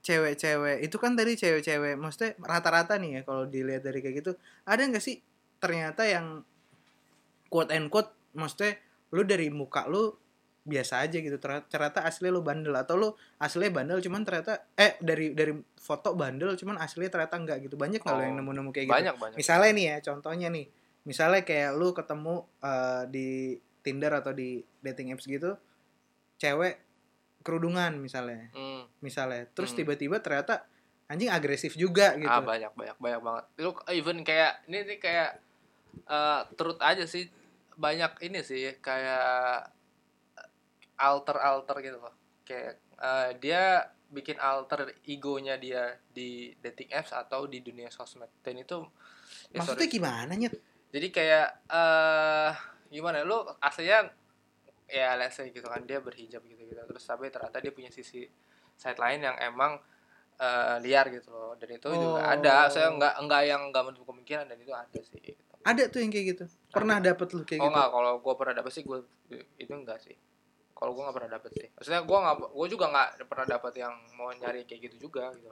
Speaker 2: cewek-cewek itu kan tadi cewek-cewek maksudnya rata-rata nih ya kalau dilihat dari kayak gitu ada nggak sih ternyata yang quote and quote maksudnya lu dari muka lu biasa aja gitu ternyata, ternyata asli lu bandel atau lu asli bandel cuman ternyata eh dari dari foto bandel cuman asli ternyata enggak gitu banyak kalau
Speaker 4: Oh,
Speaker 2: yang nemu-nemu kayak gitu
Speaker 4: banyak banyak
Speaker 2: misalnya nih ya contohnya nih misalnya kayak lu ketemu eh, di Tinder atau di dating apps gitu cewek kerudungan misalnya
Speaker 4: Hmm,
Speaker 2: misalnya terus
Speaker 4: Hmm.
Speaker 2: tiba-tiba ternyata anjing agresif juga gitu
Speaker 4: ah banyak banyak banyak banget lu even kayak ini nih kayak eh truth aja sih banyak ini sih kayak alter alter gitu loh kayak eh, dia bikin alter egonya dia di dating apps atau di dunia sosmed dan itu ya
Speaker 2: maksudnya
Speaker 4: sorry.
Speaker 2: gimana nyet
Speaker 4: jadi kayak eh gimana ya, lu aslinya ya let's say gitu kan dia berhijab gitu gitu terus tapi ternyata dia punya sisi side lain yang emang eh, liar gitu loh dan itu juga
Speaker 2: Oh.
Speaker 4: ada saya nggak nggak yang nggak menutup kemungkinan dan itu ada sih gitu.
Speaker 2: ada tuh yang kayak gitu pernah dapet lu kayak Iya
Speaker 4: oh
Speaker 2: gitu
Speaker 4: nggak kalau gue pernah dapet sih gue itu enggak sih kalau gue nggak pernah dapet sih maksudnya gue nggak gue juga nggak pernah dapet yang mau nyari kayak gitu juga gitu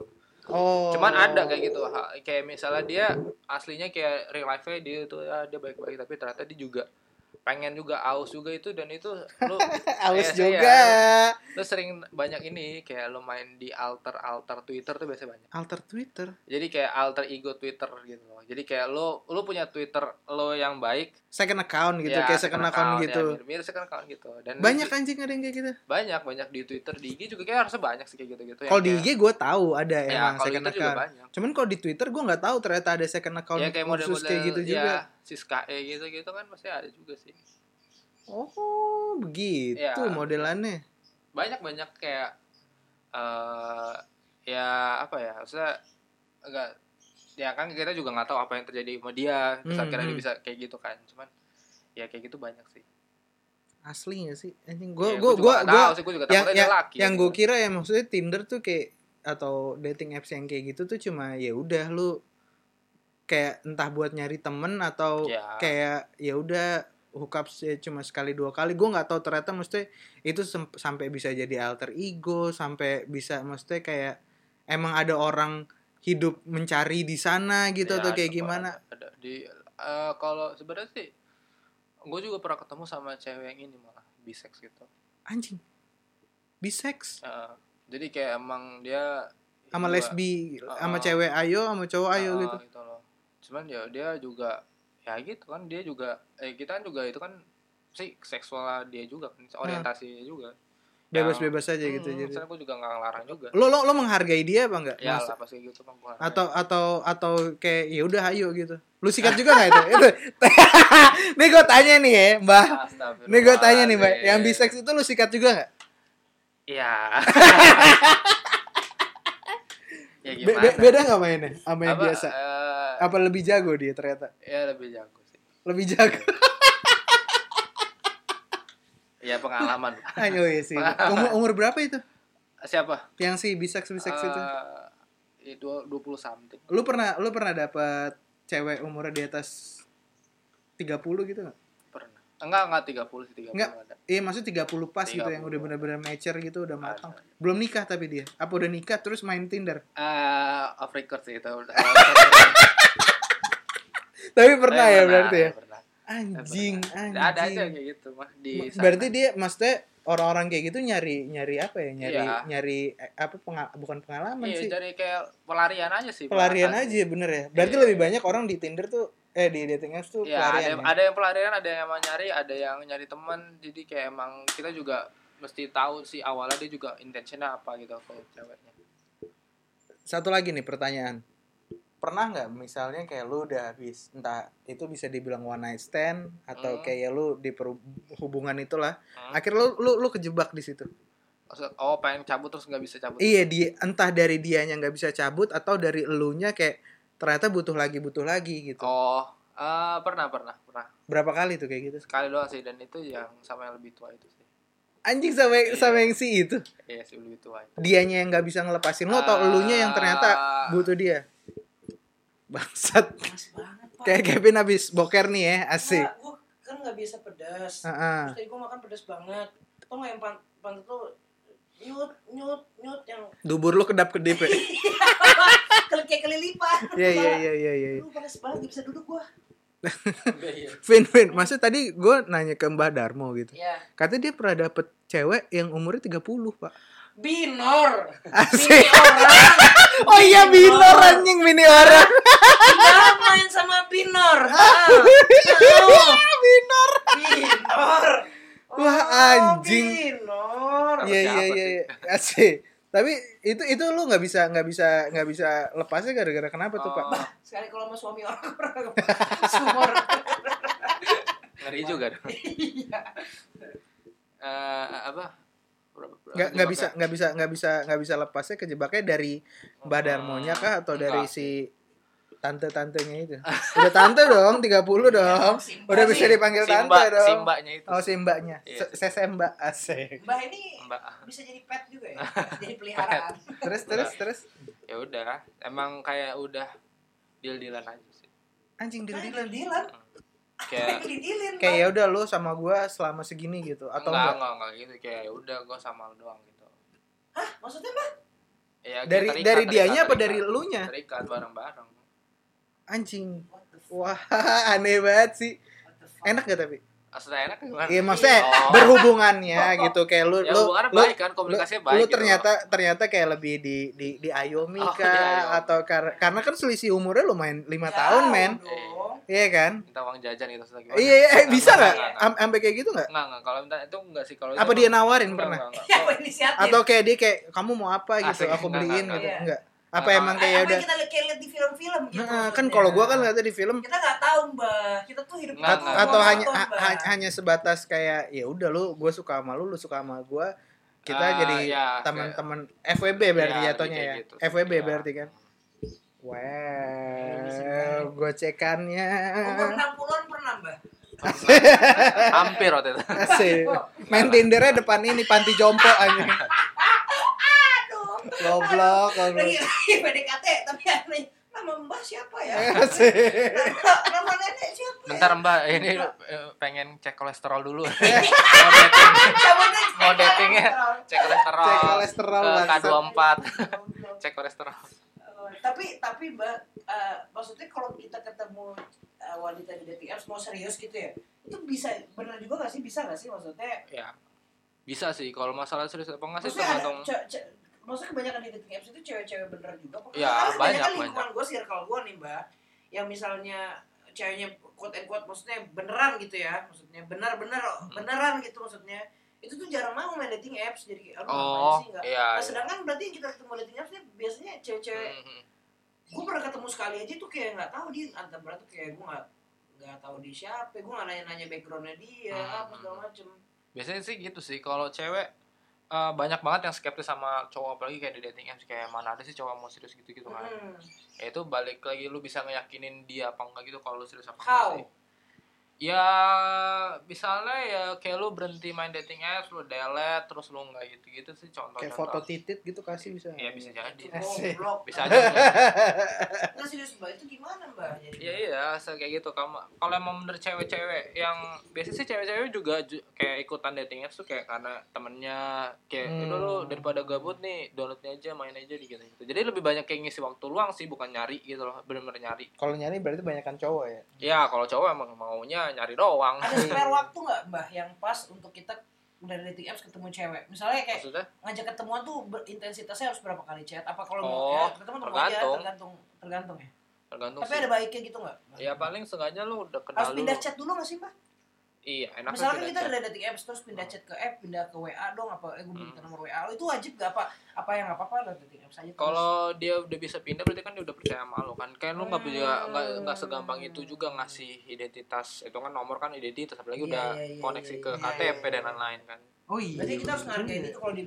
Speaker 2: oh
Speaker 4: cuman ada kayak gitu ha- kayak misalnya dia aslinya kayak real life nya dia tuh ya, dia baik-baik tapi ternyata dia juga pengen juga aus juga itu dan itu lu
Speaker 2: Aus
Speaker 4: kayak saya,
Speaker 2: juga.
Speaker 4: lu sering banyak ini kayak lu main di alter alter Twitter tuh biasanya banyak.
Speaker 2: Alter Twitter.
Speaker 4: Jadi kayak alter ego Twitter gitu loh. Jadi kayak lu lu punya Twitter lo yang baik
Speaker 2: Second account gitu,
Speaker 4: Iya,
Speaker 2: kayak second account, gitu.
Speaker 4: Ya, mirip second account gitu. Dan
Speaker 2: Banyak
Speaker 4: di-
Speaker 2: anjing ada yang kayak gitu.
Speaker 4: banyak banyak di Twitter, di IG juga kayak harusnya banyak sih kayak gitu-gitu yang
Speaker 2: Kalau di
Speaker 4: kayak-
Speaker 2: IG gue tahu ada
Speaker 4: ya,
Speaker 2: emang
Speaker 4: iya. kalau
Speaker 2: second
Speaker 4: Twitter juga
Speaker 2: account.
Speaker 4: banyak.
Speaker 2: Cuman kalau di Twitter gue nggak tahu ternyata ada second account
Speaker 4: Ya kayak
Speaker 2: khusus
Speaker 4: model-model
Speaker 2: kayak gitu
Speaker 4: ya,
Speaker 2: juga.
Speaker 4: Siska E gitu-gitu kan pasti ada juga sih.
Speaker 2: Oh, begitu
Speaker 4: Ya.
Speaker 2: modelannya.
Speaker 4: banyak banyak kayak eh ya apa ya maksudnya agak ya kan kita juga nggak tahu apa yang terjadi sama dia terus
Speaker 2: Hmm,
Speaker 4: akhirnya dia
Speaker 2: hmm.
Speaker 4: bisa kayak gitu kan cuman ya kayak gitu banyak sih
Speaker 2: Asli gak sih? Anjing gue
Speaker 4: Ya,
Speaker 2: gue
Speaker 4: juga
Speaker 2: gue
Speaker 4: nggak tahu sih, gua juga
Speaker 2: yang
Speaker 4: takutnya
Speaker 2: yang,
Speaker 4: dia laki
Speaker 2: yang
Speaker 4: gitu.
Speaker 2: gue kira ya maksudnya Tinder tuh kayak atau dating apps yang kayak gitu tuh cuma ya udah lu kayak entah buat nyari temen atau
Speaker 4: Ya.
Speaker 2: kayak ya udah hookup sih cuma sekali dua kali gue nggak tahu ternyata mesti itu sem- sampai bisa jadi alter ego sampai bisa mesti kayak emang ada orang hidup mencari di sana gitu
Speaker 4: Ya,
Speaker 2: atau kayak
Speaker 4: ada-
Speaker 2: gimana
Speaker 4: ada, di eh, kalau sebenarnya sih gue juga pernah ketemu sama cewek yang ini malah bisex gitu
Speaker 2: anjing bisex
Speaker 4: Eh, jadi kayak emang dia
Speaker 2: sama
Speaker 4: juga-
Speaker 2: lesbi sama
Speaker 4: Uh-uh.
Speaker 2: cewek ayo sama cowok ayo
Speaker 4: Ah,
Speaker 2: gitu
Speaker 4: loh. Cuman ya dia juga ya gitu kan dia juga eh kita kan juga itu kan si seksual dia juga kan orientasinya juga.
Speaker 2: bebas-bebas aja Nah. gitu
Speaker 4: Hmm,
Speaker 2: jadi
Speaker 4: Misalnya gue juga nggak ngelarang juga.
Speaker 2: lo lo lo menghargai dia apa enggak
Speaker 4: ya
Speaker 2: Maksud-
Speaker 4: lah pasti gitu bang gua.
Speaker 2: atau atau atau kayak ya udah ayo gitu lu sikat juga nggak itu itu nih gue tanya nih ya mbak
Speaker 4: Astagfirullah.
Speaker 2: nih gue tanya nih mbak
Speaker 4: Deh.
Speaker 2: yang bisex itu lu sikat juga nggak
Speaker 4: Iya. ya
Speaker 2: Be-
Speaker 4: gimana?
Speaker 2: be- beda nggak mainnya sama yang
Speaker 4: Apa,
Speaker 2: biasa
Speaker 4: eh,
Speaker 2: apa lebih jago dia ternyata
Speaker 4: ya lebih jago sih.
Speaker 2: lebih jago
Speaker 4: Ya pengalaman.
Speaker 2: ayo ya sih umur, umur berapa itu
Speaker 4: Siapa?
Speaker 2: yang si bisex bisex itu
Speaker 4: Eh, dua- 20 something.
Speaker 2: lu pernah lu pernah dapat cewek umurnya di atas 30 gitu nggak
Speaker 4: Pernah. Enggak, enggak 30 sih 30
Speaker 2: Enggak.
Speaker 4: ada.
Speaker 2: Iya maksudnya 30 pas gitu yang
Speaker 4: 30.
Speaker 2: udah bener-bener mature gitu udah matang.
Speaker 4: Ada.
Speaker 2: Belum nikah tapi dia. Apa udah nikah terus main Tinder?
Speaker 4: eh off record sih itu.
Speaker 2: Tapi pernah
Speaker 4: Tapi
Speaker 2: ya berarti ya.
Speaker 4: Iya, pernah.
Speaker 2: Anjing,
Speaker 4: Pernah.
Speaker 2: anjing.
Speaker 4: Ada aja kayak gitu mah di
Speaker 2: Ma-
Speaker 4: sana.
Speaker 2: Berarti dia maksudnya orang-orang kayak gitu nyari nyari apa ya? Nyari
Speaker 4: Iya.
Speaker 2: nyari eh, apa penga- bukan pengalaman
Speaker 4: Iya,
Speaker 2: sih.
Speaker 4: dari kayak pelarian aja sih.
Speaker 2: Pelarian
Speaker 4: bahkan.
Speaker 2: aja bener ya. Berarti
Speaker 4: Iya.
Speaker 2: lebih banyak orang di Tinder tuh eh di dating apps tuh
Speaker 4: Iya, ada,
Speaker 2: pelarian. ya?
Speaker 4: ada yang pelarian, ada yang emang nyari, ada yang nyari teman. Jadi kayak emang kita juga mesti tahu sih awalnya dia juga intentionnya apa gitu kalau ceweknya.
Speaker 2: Satu lagi nih pertanyaan. Pernah nggak misalnya kayak lu udah habis entah itu bisa dibilang one night stand atau
Speaker 4: Hmm.
Speaker 2: kayak lu di perhub- hubungan itulah
Speaker 4: Hmm.
Speaker 2: akhirnya lu lu lu kejebak di situ.
Speaker 4: Maksud- Oh, pengen cabut terus nggak bisa cabut.
Speaker 2: Iya, di entah dari dianya nggak bisa cabut atau dari elunya kayak ternyata butuh lagi butuh lagi gitu.
Speaker 4: Oh, eh, pernah pernah pernah
Speaker 2: Berapa kali tuh kayak gitu?
Speaker 4: sekali doang sih dan itu yang sama yang lebih tua itu sih.
Speaker 2: Anjing sama
Speaker 4: Iya.
Speaker 2: sama yang si itu.
Speaker 4: Iya, si lebih tua. itu.
Speaker 2: Dianya yang nggak bisa ngelepasin lo atau
Speaker 4: Ah.
Speaker 2: elunya yang ternyata butuh dia. Bangsat.
Speaker 1: Panas banget, Pak.
Speaker 2: Kayak Kevin habis boker nih ya, asik.
Speaker 1: Nggak, gua kan nggak biasa pedas.
Speaker 2: Heeh.
Speaker 1: Terus tadi gue makan pedas banget. Tau nggak yang pan pantat tuh nyut nyut nyut yang
Speaker 2: Dubur lu kedap-kedip ya.
Speaker 1: kel- kayak kelilipan.
Speaker 2: Iya iya iya iya iya.
Speaker 1: Lu panas banget gak bisa duduk gua.
Speaker 2: Vin Vin, maksud tadi gue nanya ke Mbak Darmo gitu.
Speaker 1: Ya.
Speaker 2: Katanya dia pernah dapet cewek yang umurnya 30, Pak.
Speaker 1: Binor.
Speaker 2: Asik.
Speaker 1: Bini orang.
Speaker 2: Oh iya, binor anjing bini orang.
Speaker 1: Jangan main sama Binor. Ah.
Speaker 2: Iya, Binor.
Speaker 1: Binor.
Speaker 2: Wah,
Speaker 1: Oh,
Speaker 2: anjing.
Speaker 1: Binor.
Speaker 2: Iya
Speaker 4: Siapa
Speaker 2: iya iya iya. asik. Tapi itu itu lu nggak bisa nggak bisa nggak bisa lepasnya gara-gara kenapa tuh pak?
Speaker 4: Oh,
Speaker 1: Sekali kalau sama suami orang orang sumur.
Speaker 4: ngeri juga dong. Iya. Eh, apa? Berapa- berapa
Speaker 2: Nggak nggak
Speaker 4: jebak
Speaker 2: bisa
Speaker 4: ya?
Speaker 2: nggak bisa ndarmo bisa nggak bisa lepasnya kejebaknya dari badarmonya kah atau dari
Speaker 4: Enggak.
Speaker 2: si tante-tantenya itu? Udah tante dong, 30 dong.
Speaker 1: Simba.
Speaker 2: Udah bisa dipanggil tante dong.
Speaker 4: si mbaknya itu.
Speaker 2: Oh, si mbaknya.
Speaker 4: Iya.
Speaker 2: Se- Sese mbak asik.
Speaker 1: Mbah ini
Speaker 4: Mbak.
Speaker 1: bisa jadi pet juga ya. Jadi peliharaan.
Speaker 2: Terus terus terus
Speaker 4: Ya udah, emang kayak udah deal-dealan aja sih.
Speaker 2: anjing
Speaker 1: Nah,
Speaker 2: dildilan.
Speaker 1: Dilan.
Speaker 4: Kayak
Speaker 1: Didilin.
Speaker 2: Kayak ya udah lu sama gua selama segini gitu atau
Speaker 4: enggak,
Speaker 2: enggak?
Speaker 4: enggak, enggak gitu. Kayak ya udah gua sama lu doang gitu.
Speaker 1: Hah, maksudnya Mbah?
Speaker 2: Dari
Speaker 4: Ya, kayak terikat,
Speaker 2: dari
Speaker 4: terikat,
Speaker 2: dianya apa
Speaker 4: terikat.
Speaker 2: dari elunya?
Speaker 4: Terikat bareng-bareng.
Speaker 2: Anjing.
Speaker 1: What the fuck?
Speaker 2: Wah, aneh banget sih.
Speaker 1: What the fuck?
Speaker 2: Enak gak tapi?
Speaker 4: Maksudnya enak kan gimana?
Speaker 2: Iya maksudnya
Speaker 4: Oh.
Speaker 2: berhubungannya gitu kayak lu
Speaker 4: Ya
Speaker 2: lu
Speaker 4: hubungannya
Speaker 2: lu,
Speaker 4: baik kan, komunikasinya
Speaker 2: lu-
Speaker 4: baik.
Speaker 2: lu
Speaker 4: gitu.
Speaker 2: ternyata ternyata kayak lebih di di diayomi
Speaker 4: Oh,
Speaker 2: kah
Speaker 4: diayomi.
Speaker 2: atau kar- karena kan selisih umurnya lumayan lima
Speaker 1: Jauh
Speaker 2: tahun men
Speaker 1: dong.
Speaker 2: iya kan
Speaker 4: minta uang jajan gitu maksudnya gimana?
Speaker 2: iya iya eh, bisa nggak
Speaker 4: Enggak, enggak.
Speaker 2: Am- sampai kayak gitu nggak
Speaker 4: Enggak, enggak. Kalau minta itu enggak sih kalau
Speaker 2: apa dia nawarin pernah
Speaker 1: Apa inisiatif?
Speaker 2: atau kayak dia kayak kamu mau apa gitu
Speaker 4: Asik,
Speaker 2: aku
Speaker 4: enggak,
Speaker 2: beliin
Speaker 4: enggak,
Speaker 2: gitu
Speaker 1: enggak.
Speaker 2: enggak apa
Speaker 4: Enggak,
Speaker 2: emang
Speaker 1: Apa
Speaker 2: kayak
Speaker 1: yang
Speaker 2: ya udah
Speaker 1: kita lihat kayak lihat di film-film gitu.
Speaker 2: Nah, kan
Speaker 1: maksudnya.
Speaker 2: kalau gua kan lihatnya di film
Speaker 1: kita nggak tahu mbak, kita tuh hidup
Speaker 4: Nggak,
Speaker 1: kita tuh
Speaker 4: nggak.
Speaker 2: atau
Speaker 1: nonton,
Speaker 2: hanya ha-
Speaker 1: Mbak.
Speaker 2: ha- hanya sebatas kayak ya udah lu gue suka sama lu lu suka sama gue kita
Speaker 4: Ah,
Speaker 2: jadi
Speaker 4: ya,
Speaker 2: teman-teman FWB berarti
Speaker 4: Ya,
Speaker 2: jatuhnya
Speaker 4: kayak
Speaker 2: ya
Speaker 4: gitu.
Speaker 2: FWB
Speaker 4: Ya.
Speaker 2: berarti kan wow gocekannya
Speaker 1: umur 60 an pernah mbak
Speaker 4: Hampir waktu itu.
Speaker 2: asik main tindernya depan ini panti jompo anjing
Speaker 1: aduh
Speaker 2: goblok goblok
Speaker 1: lagi lagi PDKT tapi aneh nama mbak siapa ya
Speaker 2: asik
Speaker 1: Nama- nama nenek siapa ya?
Speaker 4: Bentar Mbak, ini eh, pengen cek kolesterol dulu. Mau dating,
Speaker 1: Coba deh,
Speaker 4: mau datingnya cek kolesterol.
Speaker 2: Cek kolesterol,
Speaker 4: Ke
Speaker 2: bangsat.
Speaker 4: K24. Cek kolesterol.
Speaker 1: Eh, tapi tapi mbak eh, maksudnya kalau kita ketemu eh, wanita di dating apps mau serius gitu ya itu bisa bener juga gak sih bisa gak sih maksudnya
Speaker 4: Ya. Bisa sih kalau masalah serius apa enggak sih
Speaker 1: maksudnya ada
Speaker 4: tergantung
Speaker 1: ce- ce- maksudnya kebanyakan di dating apps itu cewek-cewek bener juga apa? Karena
Speaker 4: Ya, banyak,
Speaker 1: kebanyakan
Speaker 4: banyak.
Speaker 1: lingkungan gue circle gue nih mbak yang misalnya ceweknya quote and quote maksudnya beneran gitu ya maksudnya benar-benar beneran gitu maksudnya itu tuh jarang mau main dating apps jadi aduh ngapain
Speaker 4: Oh,
Speaker 1: sih nggak
Speaker 4: iya.
Speaker 1: Nah, sedangkan berarti yang kita ketemu dating apps nih biasanya cewek-cewek
Speaker 4: Mhm.
Speaker 1: gue pernah ketemu sekali aja tuh kayak nggak tahu dia antar berat tuh kayak gue nggak nggak tahu dia siapa gue nggak nanya-nanya backgroundnya dia
Speaker 4: Hmm.
Speaker 1: apa segala macem
Speaker 4: Biasanya sih gitu sih kalau cewek eh, banyak banget yang skeptis sama cowok apalagi kayak di dating apps kayak mana ada sih cowok mau serius gitu-gitu kan.
Speaker 1: Hmm.
Speaker 4: ya itu balik lagi lu bisa ngeyakinin dia apa enggak gitu kalau lu serius apa enggak
Speaker 1: how
Speaker 4: sih ya misalnya ya kayak lu berhenti main dating apps lu delete terus lu nggak gitu gitu sih contoh
Speaker 2: kayak foto titit gitu kasih bisa
Speaker 4: ya bisa jadi
Speaker 2: Asik.
Speaker 1: Goblok.
Speaker 4: bisa aja enggak.
Speaker 1: Nah serius mbak itu gimana mbak? Jadi,
Speaker 4: ya iya asal kayak gitu kamu kalau emang bener cewek-cewek yang biasanya sih cewek-cewek juga ju- kayak ikutan dating apps tuh kayak karena temennya kayak
Speaker 2: Hmm.
Speaker 4: udah lu daripada gabut nih downloadnya aja main aja gitu gitu jadi lebih banyak kayak ngisi waktu luang sih bukan nyari gitu loh bener-bener nyari
Speaker 2: kalau nyari berarti banyakkan cowok ya
Speaker 4: ya kalau cowok emang maunya nyari doang
Speaker 1: Ada spare waktu nggak mbak yang pas untuk kita dari dating apps ketemu cewek? Misalnya kayak
Speaker 4: maksudnya
Speaker 1: ngajak ketemuan tuh ber- intensitasnya harus berapa kali chat? Apa kalau mau
Speaker 4: Oh,
Speaker 1: ya, ketemu ketemu aja
Speaker 4: tergantung.
Speaker 1: tergantung tergantung ya.
Speaker 4: tergantung
Speaker 1: Tapi
Speaker 4: sih.
Speaker 1: ada baiknya gitu nggak? Mbak?
Speaker 4: ya paling seenggaknya lu udah kenal
Speaker 1: harus pindah
Speaker 4: dulu.
Speaker 1: chat dulu nggak sih mbak?
Speaker 4: iya enaknya
Speaker 1: Misalnya kan
Speaker 4: pindah
Speaker 1: kita
Speaker 4: chat.
Speaker 1: dari dating apps terus pindah chat ke app, pindah ke WA dong apa? Eh gue
Speaker 4: Hmm.
Speaker 1: minta nomor WA lo itu wajib nggak apa? Apa yang nggak apa-apa dari dating apps aja? terus.
Speaker 4: kalau dia udah bisa pindah berarti kan dia udah percaya sama lu kan kan lu nggak
Speaker 1: Hmm.
Speaker 4: bisa nggak nggak segampang itu juga ngasih identitas itu kan nomor kan identitas apalagi
Speaker 1: Iya,
Speaker 4: udah
Speaker 1: iya, iya,
Speaker 4: koneksi
Speaker 1: iya,
Speaker 4: ke
Speaker 1: iya,
Speaker 4: KTP
Speaker 1: iya.
Speaker 4: dan lain-lain kan
Speaker 2: oh iya
Speaker 1: berarti kita harus ngargain itu kalau di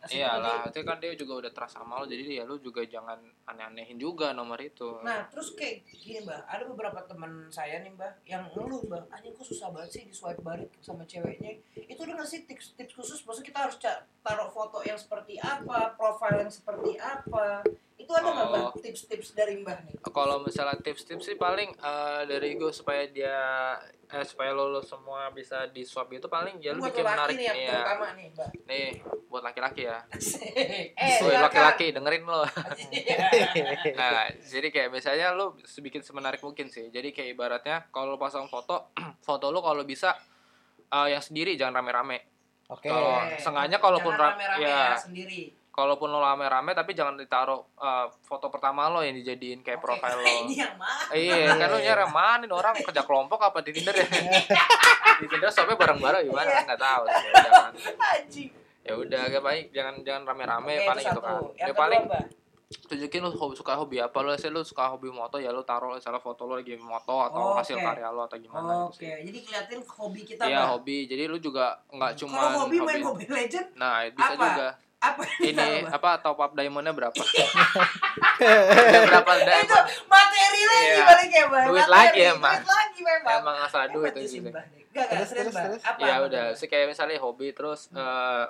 Speaker 4: iyalah itu kan dia juga udah trust sama lu jadi ya lu juga jangan aneh-anehin juga nomor itu
Speaker 1: Nah, terus kayak gini mbak, ada beberapa teman saya nih mbak yang ngeluh mbak, anjing kok susah banget sih di swipe balik sama ceweknya. Itu udah ngasih tips-tips khusus, maksudnya kita harus ca- taruh foto yang seperti apa, profil yang seperti apa. Itu ada nggak mbak
Speaker 4: Oh.
Speaker 1: tips-tips dari mbak nih?
Speaker 4: kalau misalnya tips-tips sih paling eh, dari gue supaya dia eh, supaya lo, lo semua bisa di swap itu paling ya lu
Speaker 1: Buat
Speaker 4: bikin
Speaker 1: laki
Speaker 4: menarik
Speaker 1: nih yang
Speaker 4: nih ya
Speaker 1: terutama nih mbak.
Speaker 4: nih buat laki-laki ya
Speaker 1: eh,
Speaker 4: Woi,
Speaker 1: silakan.
Speaker 4: laki-laki dengerin lo
Speaker 2: Hehehe.
Speaker 4: nah jadi kayak biasanya lu sebikin semenarik mungkin sih jadi kayak ibaratnya kalau lu pasang foto foto lu kalau bisa eh, yang sendiri jangan rame-rame
Speaker 2: Oke.
Speaker 4: Kalau- sengaja kalaupun ra-
Speaker 1: Jangan rame-rame ya.
Speaker 4: ya.
Speaker 1: sendiri.
Speaker 4: kalaupun lo rame-rame tapi jangan ditaruh eh, foto pertama lo yang dijadiin kayak
Speaker 1: Oke,
Speaker 4: profil
Speaker 1: Ini
Speaker 4: lo
Speaker 1: yang mana?
Speaker 4: iya kan lo nyari mana nih orang kerja kelompok apa di tinder ya di tinder sampai bareng-bareng gimana
Speaker 1: Iya.
Speaker 4: kan nggak tahu sih. Jangan.
Speaker 1: Anjing.
Speaker 4: ya udah kayak baik jangan jangan rame-rame
Speaker 1: Oke, itu
Speaker 4: paling gitu
Speaker 1: satu.
Speaker 4: kan
Speaker 1: Yang
Speaker 4: ya
Speaker 1: kedua,
Speaker 4: paling
Speaker 1: Mbak.
Speaker 4: tunjukin lu hobi, suka hobi apa lu sih lu suka hobi moto ya lu taruh misalnya foto lu lagi moto atau
Speaker 1: Oke.
Speaker 4: hasil karya lu atau gimana
Speaker 1: Oke,
Speaker 4: gitu sih
Speaker 1: jadi kelihatin hobi kita
Speaker 4: Iya
Speaker 1: Mbak.
Speaker 4: hobi jadi lu juga nggak cuma
Speaker 1: Kalau hobi main Mobile Legend
Speaker 4: nah bisa
Speaker 1: Apa?
Speaker 4: juga
Speaker 1: apa yang
Speaker 4: ini
Speaker 1: ditaruh, Mbak?
Speaker 4: apa top up diamondnya berapa Ada berapa
Speaker 1: itu
Speaker 4: diamond
Speaker 1: materi lagi
Speaker 4: Iya.
Speaker 1: balik ya Mbak.
Speaker 4: Duit
Speaker 1: Materi,
Speaker 4: lagi emang.
Speaker 1: duit lagi memang
Speaker 4: emang asal duit
Speaker 1: Hebat
Speaker 4: itu
Speaker 1: sih,
Speaker 4: gitu
Speaker 1: Mbak. Enggak, enggak,
Speaker 2: Terus,
Speaker 1: serius,
Speaker 2: terus,
Speaker 1: Mbak.
Speaker 2: terus.
Speaker 1: Apa?
Speaker 4: ya udah sih kayak misalnya hobi terus eh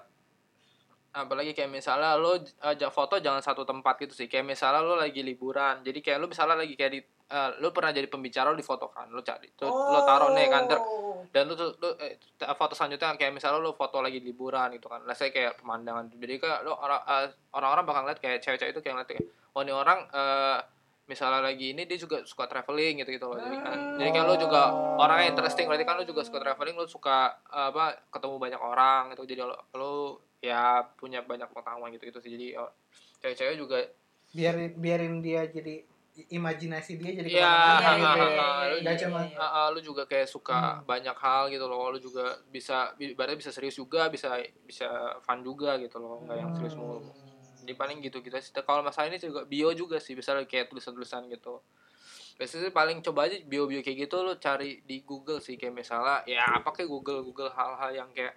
Speaker 4: apalagi kayak misalnya lo ajak foto jangan satu tempat gitu sih kayak misalnya lo lagi liburan jadi kayak lo misalnya lagi kayak di eh, lo pernah jadi pembicara lo difotokan lo cari tuh lo taruh
Speaker 1: Oh.
Speaker 4: nih kan ter- dan lu, tuh- lu eh, foto selanjutnya kayak misalnya lu foto lagi liburan gitu kan lah saya kayak pemandangan jadi kayak lu orang- eh, orang-orang bakal ngeliat kayak cewek-cewek itu kayak ngeliat kayak oh ini orang eh, misalnya lagi ini dia juga suka traveling gitu gitu loh jadi kan jadi kan lo juga orangnya interesting berarti kan lo juga suka traveling lo suka eh, apa ketemu banyak orang gitu jadi lo, lo ya punya banyak pengetahuan gitu gitu sih jadi oh, cewek-cewek juga
Speaker 2: biarin biarin dia jadi i- imajinasi dia jadi
Speaker 4: Iya,
Speaker 2: kemana-mana
Speaker 1: ha,
Speaker 2: gitu
Speaker 1: ha,
Speaker 2: ya.
Speaker 1: ha, ha,
Speaker 2: Nggak
Speaker 1: iya,
Speaker 2: cuma
Speaker 1: iya.
Speaker 4: Ah, ah, lu juga kayak
Speaker 2: Hmm.
Speaker 4: suka banyak hal gitu loh lu juga bisa bi- ibaratnya bisa serius juga bisa bisa fun juga gitu loh nggak yang serius mulu
Speaker 2: Hmm.
Speaker 4: jadi paling gitu gitu sih kalau masalah ini juga bio juga sih bisa kayak tulisan tulisan gitu biasanya sih paling coba aja bio bio kayak gitu lu cari di Google sih kayak misalnya ya apa kayak Google Google hal-hal yang kayak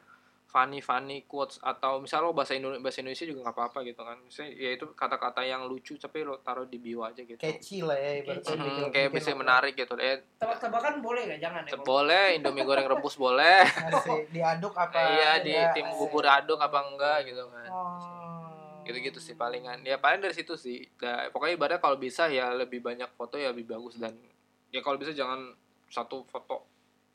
Speaker 4: funny funny quotes atau misal lo bahasa Indonesia bahasa Indonesia juga nggak apa-apa gitu kan misalnya ya itu kata-kata yang lucu tapi lo taruh di bio aja gitu
Speaker 2: catchy lah ya ibaratnya
Speaker 1: Catchy.
Speaker 2: bikin-
Speaker 4: Hmm, kayak
Speaker 2: bikin
Speaker 4: bisa
Speaker 2: orang
Speaker 4: menarik gitu deh
Speaker 1: Tebak-tebakan boleh nggak? Jangan ya.
Speaker 4: Tetep boleh, Indomie goreng rebus boleh.
Speaker 2: asik. diaduk apa
Speaker 4: iya, di
Speaker 2: enggak,
Speaker 4: tim
Speaker 2: asik.
Speaker 4: bubur aduk apa enggak gitu kan.
Speaker 2: Oh.
Speaker 4: Gitu-gitu sih palingan. Ya paling dari situ sih. Nah, pokoknya ibaratnya kalau bisa ya lebih banyak foto ya lebih bagus dan ya kalau bisa jangan satu foto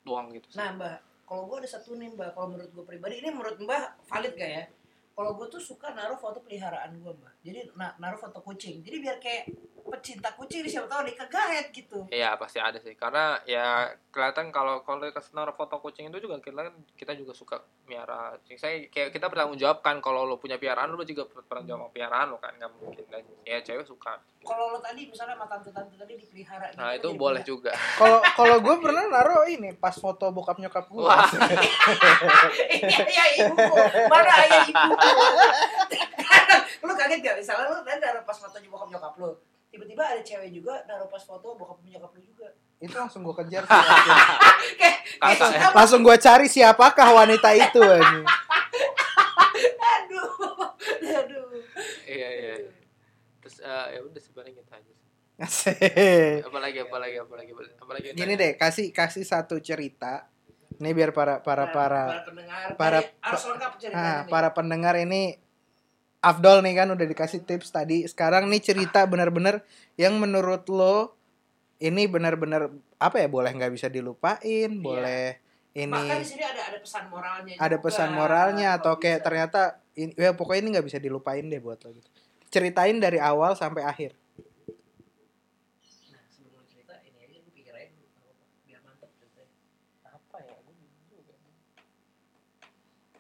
Speaker 4: doang gitu sih.
Speaker 1: Nah mbak, kalau gue ada satu nih mbak, kalau menurut gue pribadi ini menurut mbak valid gak ya? Kalau gue tuh suka naruh foto peliharaan gue mbak, jadi na- naruh foto kucing, jadi biar kayak pecinta kucing nih, siapa tahu nih kegaet gitu.
Speaker 4: Iya pasti ada sih karena ya kelihatan kalau kalau dikasih naruh foto kucing itu juga kita kita juga suka miara. kucing. Saya kayak kita bertanggung jawab kan kalau lo punya piaraan lo juga bertanggung jawab sama piaraan lo kan nggak mungkin dan ya cewek suka.
Speaker 1: Kalau lo tadi misalnya sama tante-tante tadi dipelihara.
Speaker 4: Nah
Speaker 1: gitu,
Speaker 4: itu
Speaker 1: jadi
Speaker 4: boleh
Speaker 1: punya-
Speaker 4: juga.
Speaker 2: kalau kalau gue pernah naruh ini pas foto bokap nyokap gue
Speaker 4: Wah.
Speaker 1: Iya iya ibuku, mana ayah ibuku? lo kaget gak? Misalnya lo tadi naruh pas fotonya bokap nyokap lo, tiba-tiba ada cewek juga naruh pas foto bokap nyokap lo juga.
Speaker 2: itu langsung gue kejar sih, langsung.
Speaker 1: Kayak kayak
Speaker 4: Kasar ya.
Speaker 1: siapa?
Speaker 2: langsung gue cari siapakah wanita itu anjing.
Speaker 1: Aduh, aduh.
Speaker 4: Iya iya. iya. Terus eh, ya udah sebenarnya gitu aja. sih.
Speaker 2: Asik.
Speaker 4: apalagi apalagi apalagi apalagi
Speaker 2: gini deh kasih kasih satu cerita ini biar para para para
Speaker 1: para pendengar
Speaker 2: para-
Speaker 1: Jadi harus lengkap ceritanya
Speaker 2: ah,
Speaker 1: nih.
Speaker 2: para pendengar ini Afdol nih kan udah dikasih tips tadi sekarang nih cerita benar-benar yang menurut lo ini benar-benar apa ya boleh nggak bisa dilupain boleh ini
Speaker 1: Iya. Bahkan di sini ada ada pesan moralnya.
Speaker 2: ada
Speaker 1: juga.
Speaker 2: pesan moralnya atau
Speaker 1: Kalau
Speaker 2: kayak
Speaker 1: bisa.
Speaker 2: ternyata ini ya pokoknya ini nggak bisa dilupain deh buat lo gitu ceritain dari awal sampai akhir
Speaker 1: Nah, sebelum lu cerita ini aja gue pikir aja dulu, apa-apa. biar mantep ceritanya. Apa ya? Gue bingung juga.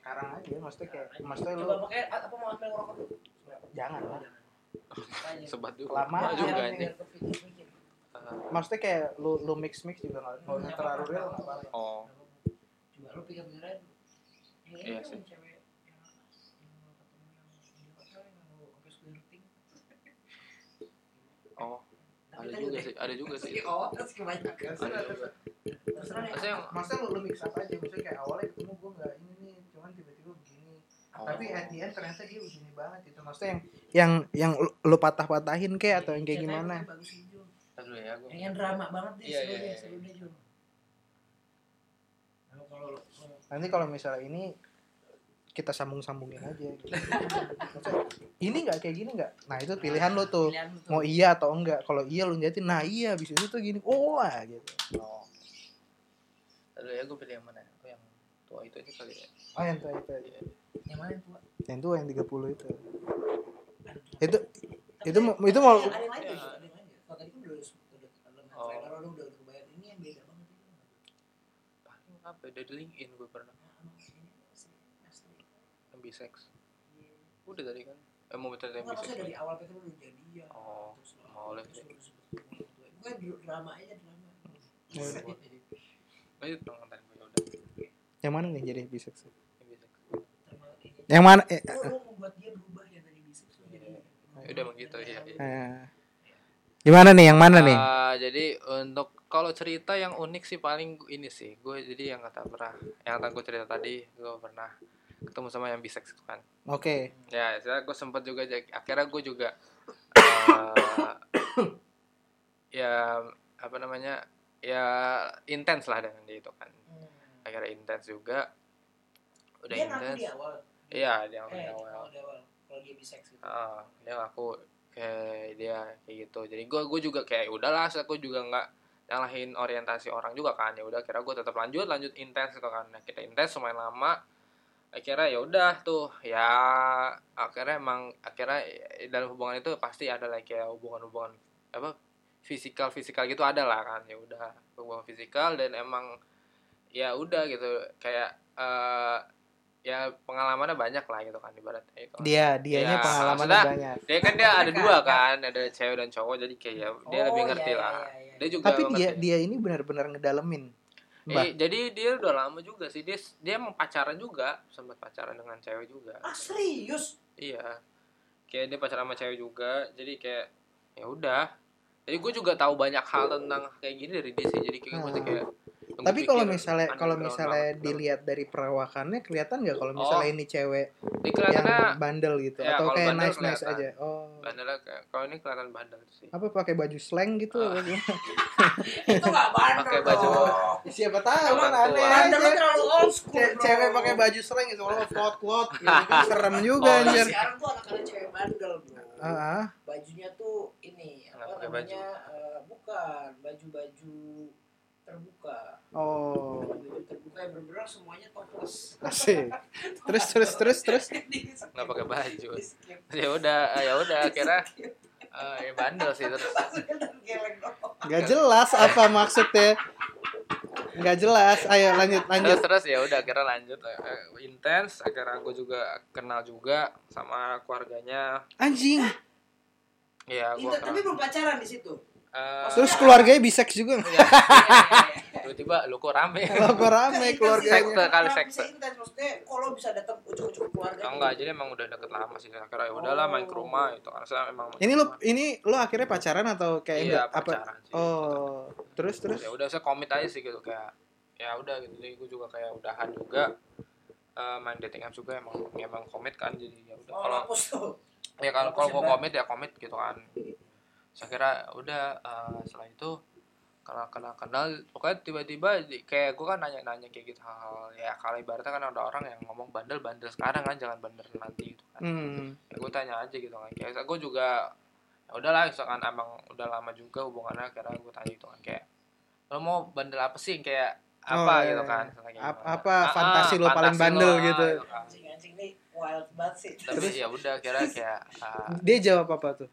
Speaker 2: sekarang aja maksudnya kayak maksudnya
Speaker 1: Coba
Speaker 2: lo
Speaker 1: pakai apa mau ambil rokok dulu?
Speaker 2: jangan lah
Speaker 1: Tanya.
Speaker 4: sebat dulu
Speaker 2: Lama
Speaker 4: Lama juga Eh,
Speaker 1: Biar-
Speaker 4: anjing
Speaker 1: biar kepikir-pikir.
Speaker 2: maksudnya kayak lo lo mix mix juga nggak kalau nggak terlalu real nggak apa-apa
Speaker 4: oh
Speaker 1: Coba lu pikir-pikir aja dulu. Ini
Speaker 4: Iya
Speaker 1: kan
Speaker 4: sih.
Speaker 1: cewek yang- yang lu ketemu yang di hotel yang lu sampai squirting.
Speaker 4: oh
Speaker 1: Tapi
Speaker 4: ada
Speaker 1: tadi
Speaker 4: juga
Speaker 1: udah-
Speaker 4: sih ada juga sih
Speaker 1: Iya,
Speaker 4: itu.
Speaker 1: oh, terus kebanyakan.
Speaker 4: ada juga
Speaker 1: Terserah deh.
Speaker 4: maksudnya oh. yang
Speaker 2: maksudnya lu, lu mix up aja maksudnya kayak awalnya ketemu gue nggak ini nih cuman tiba-tiba begini tapi at the end ternyata dia begini banget itu maksudnya yang yang yang lu- lu patah-patahin kayak Iya, atau yang kayak
Speaker 1: Ceritanya
Speaker 2: gimana
Speaker 1: bagus sih, Jul.
Speaker 4: Ntar dulu ya gua
Speaker 1: Yang yang drama banget deh,
Speaker 4: Iya,
Speaker 1: seru
Speaker 4: iya,
Speaker 1: deh,
Speaker 4: iya.
Speaker 1: seru deh Jul. Nah, kalau lo- lo-
Speaker 2: nanti kalau misalnya ini kita sambung-sambungin aja gitu. Maksudnya, ini nggak kayak gini nggak nah itu pilihan lo tuh
Speaker 1: Pilihan lu tuh.
Speaker 2: mau iya atau enggak kalau iya lu jadi nah iya abis itu tuh gini oh ah, gitu
Speaker 4: oh Ntar dulu ya gue pilih yang mana aku yang tua itu aja kali ya
Speaker 2: oh yang tua itu aja.
Speaker 1: Yang mana yang tua?
Speaker 2: yang tua yang 30 itu
Speaker 1: Aduh,
Speaker 2: itu
Speaker 1: tapi
Speaker 2: itu mau-
Speaker 1: ada-
Speaker 2: itu mau-
Speaker 1: ada yang lain juga, ada yang lain juga. Kalau tadi kan udah udah udah
Speaker 4: Iya. Oh.
Speaker 1: trailer, udah udah kebayang. ini yang beda banget itu. kan
Speaker 4: paling apa ya dari LinkedIn gue pernah yang bisex udah tadi kan eh mau bicara yang
Speaker 1: Enggak,
Speaker 4: bisex
Speaker 1: maksudnya dari awal kan lu udah jadian.
Speaker 4: Oh,
Speaker 1: terus lu-
Speaker 4: mau oleh.
Speaker 1: terus lu udah sebut sama orang tua. Gue dulu drama aja drama.
Speaker 2: Ya udah.
Speaker 4: lanjut dong ntar gue udah
Speaker 2: yang mana nih jadi bisa
Speaker 4: yang bisex
Speaker 1: Drama ini.
Speaker 2: yang mana eh,
Speaker 1: Lu lu membuat dia berubah ya dari bisnis lu jadi.
Speaker 4: Ya udah begitu, iya, iya.
Speaker 2: eh. gimana nih yang mana nih
Speaker 4: Ah, jadi untuk kalau cerita yang unik sih paling ini sih gue jadi yang kata pernah yang kata gue cerita tadi gue pernah ketemu sama yang bisex itu kan
Speaker 2: oke
Speaker 4: ya saya gue sempat juga jadi- akhirnya gue juga eh, ya apa namanya ya intens lah dengan dia itu kan
Speaker 1: Hmm.
Speaker 4: akhirnya intens juga udah
Speaker 1: Dia ngaku
Speaker 4: intens
Speaker 1: di awal.
Speaker 4: iya dia
Speaker 1: Eh,
Speaker 4: yang awal
Speaker 1: di awal. Kalau dia bisex gitu.
Speaker 4: Ah, dia ngaku kayak dia kayak gitu jadi gue gue juga kayak udahlah saya gue juga nggak nyalahin orientasi orang juga kan ya udah kira gue tetap lanjut lanjut intens gitu kan Nah, kita intens lumayan lama akhirnya ya udah tuh ya akhirnya emang akhirnya dalam hubungan itu pasti ada like ya hubungan-hubungan apa fisikal fisikal gitu ada lah kan ya udah hubungan fisikal dan emang ya udah gitu kayak eh ya pengalamannya banyak lah gitu kan ibaratnya itu
Speaker 2: Dia, dianya
Speaker 4: Ya,
Speaker 2: pengalaman
Speaker 4: maksudnya-
Speaker 2: banyak.
Speaker 4: dia kan dia ada
Speaker 1: Mereka-
Speaker 4: dua kan ada cewek dan cowok jadi kayak ya
Speaker 2: Oh,
Speaker 4: dia lebih
Speaker 1: Oh,
Speaker 4: ngerti
Speaker 1: iya,
Speaker 4: lah dia juga
Speaker 2: iya, Tapi dia
Speaker 4: ngerti.
Speaker 2: dia ini benar-benar ngedalemin. Mbak.
Speaker 4: Eh, jadi dia udah lama juga sih dia dia emang pacaran juga sempat pacaran dengan cewek juga
Speaker 1: Ah serius?
Speaker 4: iya kayak dia pacaran sama cewek juga jadi kayak ya udah jadi gue juga tahu banyak hal tentang kayak gini dari dia sih jadi kayak gue masih
Speaker 2: Hmm.
Speaker 4: kayak yang
Speaker 2: Tapi
Speaker 4: gua
Speaker 2: kalau
Speaker 4: pikir
Speaker 2: misalnya kalau
Speaker 4: underground
Speaker 2: misalnya
Speaker 4: banget. gitu.
Speaker 2: dilihat dari perawakannya kelihatan nggak kalau misalnya ini cewek
Speaker 4: ini
Speaker 2: yang
Speaker 4: kelihatannya
Speaker 2: bandel gitu
Speaker 4: Oh. ya,
Speaker 2: atau
Speaker 4: kalau
Speaker 2: kayak
Speaker 4: bandel
Speaker 2: nice nice
Speaker 4: kelihatan.
Speaker 2: aja. Oh.
Speaker 4: bandel kayak kalau ini kelihatan bandel sih
Speaker 2: Apa pakai baju slang gitu?
Speaker 4: Ah. Oh.
Speaker 1: Itu gak bandel
Speaker 4: Pakai baju.
Speaker 1: dong.
Speaker 2: Siapa tahu kan
Speaker 4: Orang
Speaker 2: aneh
Speaker 4: tua.
Speaker 1: Bandel lu
Speaker 2: aja.
Speaker 1: terlalu old school
Speaker 2: Ce-
Speaker 1: bro.
Speaker 2: cewek pakai baju slang gitu kalau klot klot gitu kan serem juga
Speaker 4: Oh,
Speaker 2: anjir.
Speaker 1: Sekarang tuh anak-anak cewek bandel bro.
Speaker 2: Ah, ah.
Speaker 1: Bajunya tuh ini
Speaker 4: Nggak
Speaker 1: apa
Speaker 4: pakai baju.
Speaker 1: namanya? eh, bukan baju-baju terbuka.
Speaker 2: Oh.
Speaker 1: Baju terbuka yang bener-bener semuanya topless.
Speaker 2: Asik. Terus terus terus terus.
Speaker 4: nggak pakai baju
Speaker 1: Di skip.
Speaker 4: ya udah eh, ya udah akhirnya eh, ya bandel sih terus
Speaker 1: Langsung geleng dong.
Speaker 2: Gak jelas apa maksudnya. Gak jelas. Ayo lanjut lanjut.
Speaker 4: terus terus ya udah akhirnya lanjut eh, eh, intens akhirnya gue juga kenal juga sama keluarganya
Speaker 2: Anjing.
Speaker 4: ya Eh, gue
Speaker 1: Itu, tapi belum pacaran di situ.
Speaker 2: Terus keluarganya bisex juga. nggak?
Speaker 4: tiba-tiba lu kok rame
Speaker 2: Kalau kok rame keluarganya.
Speaker 4: Sekte kali,
Speaker 1: Kan Kenapa
Speaker 4: sekte.
Speaker 1: Bisa intens maksudnya kalau bisa datang ujung-ujung keluarga.
Speaker 4: Ya
Speaker 1: gitu
Speaker 4: enggak jadi emang udah deket lama sih akhirnya ya udahlah main ke rumah itu karena saya emang main
Speaker 2: Ini
Speaker 4: ke
Speaker 2: lo
Speaker 4: rumah.
Speaker 2: ini lo akhirnya pacaran atau kayak
Speaker 4: Iya,
Speaker 2: enggak apa?
Speaker 4: pacaran sih.
Speaker 2: Oh. Terus terus.
Speaker 4: ya udah saya komit aja sih gitu kayak ya udah gitu jadi gue juga kayak udahan juga Eh, main dating apps juga emang emang komit kan jadi ya udah
Speaker 1: Oh,
Speaker 4: kalau
Speaker 1: mampus tuh.
Speaker 4: ya kalau kalau gue
Speaker 1: Mampus ya,
Speaker 4: komit ya komit gitu kan saya kira udah eh, setelah itu kenal kenal kenal pokoknya tiba-tiba di- kayak gue kan nanya-nanya kayak gitu hal-hal ya kalau ibaratnya kan ada orang yang ngomong bandel bandel sekarang kan jangan bandel nanti gitu kan
Speaker 2: Hmm.
Speaker 4: ya, gue tanya aja gitu kan kayak gue juga ya udahlah misalkan emang udah lama juga hubungannya karena gue tanya gitu kan kayak lo mau bandel apa sih kayak apa
Speaker 2: Oh, iya,
Speaker 4: gitu
Speaker 2: iya.
Speaker 4: kan misalnya kayak
Speaker 2: Ap-
Speaker 4: gitu kan.
Speaker 2: apa
Speaker 4: Ah, ah,
Speaker 2: fantasi lo paling
Speaker 4: fantasi
Speaker 2: bandel
Speaker 4: ah,
Speaker 2: gitu.
Speaker 4: kan.
Speaker 1: Anjing-anjing nih wild banget sih.
Speaker 4: tapi ya udah kira kayak ah,
Speaker 2: Dia jawab apa tuh?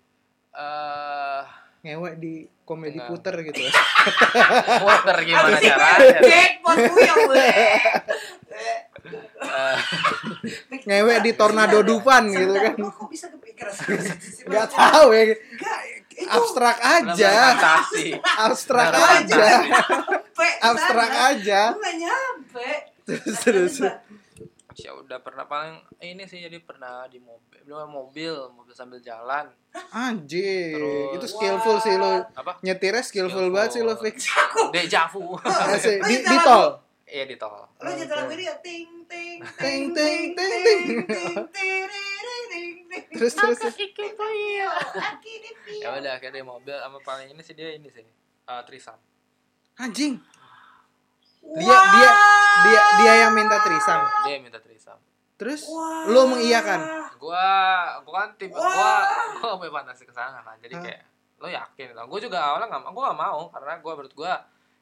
Speaker 4: eh
Speaker 2: Ngewek di komedi
Speaker 4: Enggak.
Speaker 2: puter gitu.
Speaker 4: water gimana
Speaker 1: Abis ini
Speaker 4: caranya
Speaker 1: Jackpot puyeng gue.
Speaker 4: Eh,
Speaker 2: Ngewek di tornado dupan gitu kan.
Speaker 1: Sebentar, Kok bisa kepikiran sih?
Speaker 2: Gak tahu ya.
Speaker 1: Enggak, itu
Speaker 2: Abstrak
Speaker 4: bener-bener
Speaker 2: aja.
Speaker 4: fantasi
Speaker 2: Abstrak
Speaker 4: Bener-bener
Speaker 2: aja.
Speaker 4: fantasi.
Speaker 1: nyampe
Speaker 2: Abstrak
Speaker 1: sana.
Speaker 2: aja.
Speaker 1: Gue nggak nyampe.
Speaker 2: Terus terus.
Speaker 4: ya udah pernah paling eh, ini sih jadi pernah di mobil belum mobil mobil sambil jalan
Speaker 2: Anjir,
Speaker 4: Terus-
Speaker 2: itu skillful sih lo.
Speaker 4: apa
Speaker 2: Nyetirnya skillful
Speaker 4: Skillful.
Speaker 2: banget sih lo, Fix.
Speaker 4: deja vu
Speaker 2: Asik. Di,
Speaker 1: Bisa
Speaker 2: di
Speaker 1: lagu.
Speaker 2: tol.
Speaker 4: iya di tol
Speaker 1: Lu nyetel lagu ini ya ting ting
Speaker 2: Ting,
Speaker 1: ting ting
Speaker 2: ting, ting,
Speaker 1: ting
Speaker 2: ting.
Speaker 1: ting ting ting
Speaker 2: Terus terus. terus.
Speaker 4: ya udah akhirnya di mobil sama paling ini sih dia ini sih eh trisam
Speaker 2: Anjing, Dia- dia- dia dia yang minta trisam.
Speaker 4: dia yang minta trisam
Speaker 2: Terus lo mengiyakan.
Speaker 4: gua gua kan tipe gua gua gak punya fantasi ke sana kan jadi
Speaker 2: Hah?
Speaker 4: kayak lo yakin gitu. gua juga awalnya nggak gua gak mau karena gua menurut gua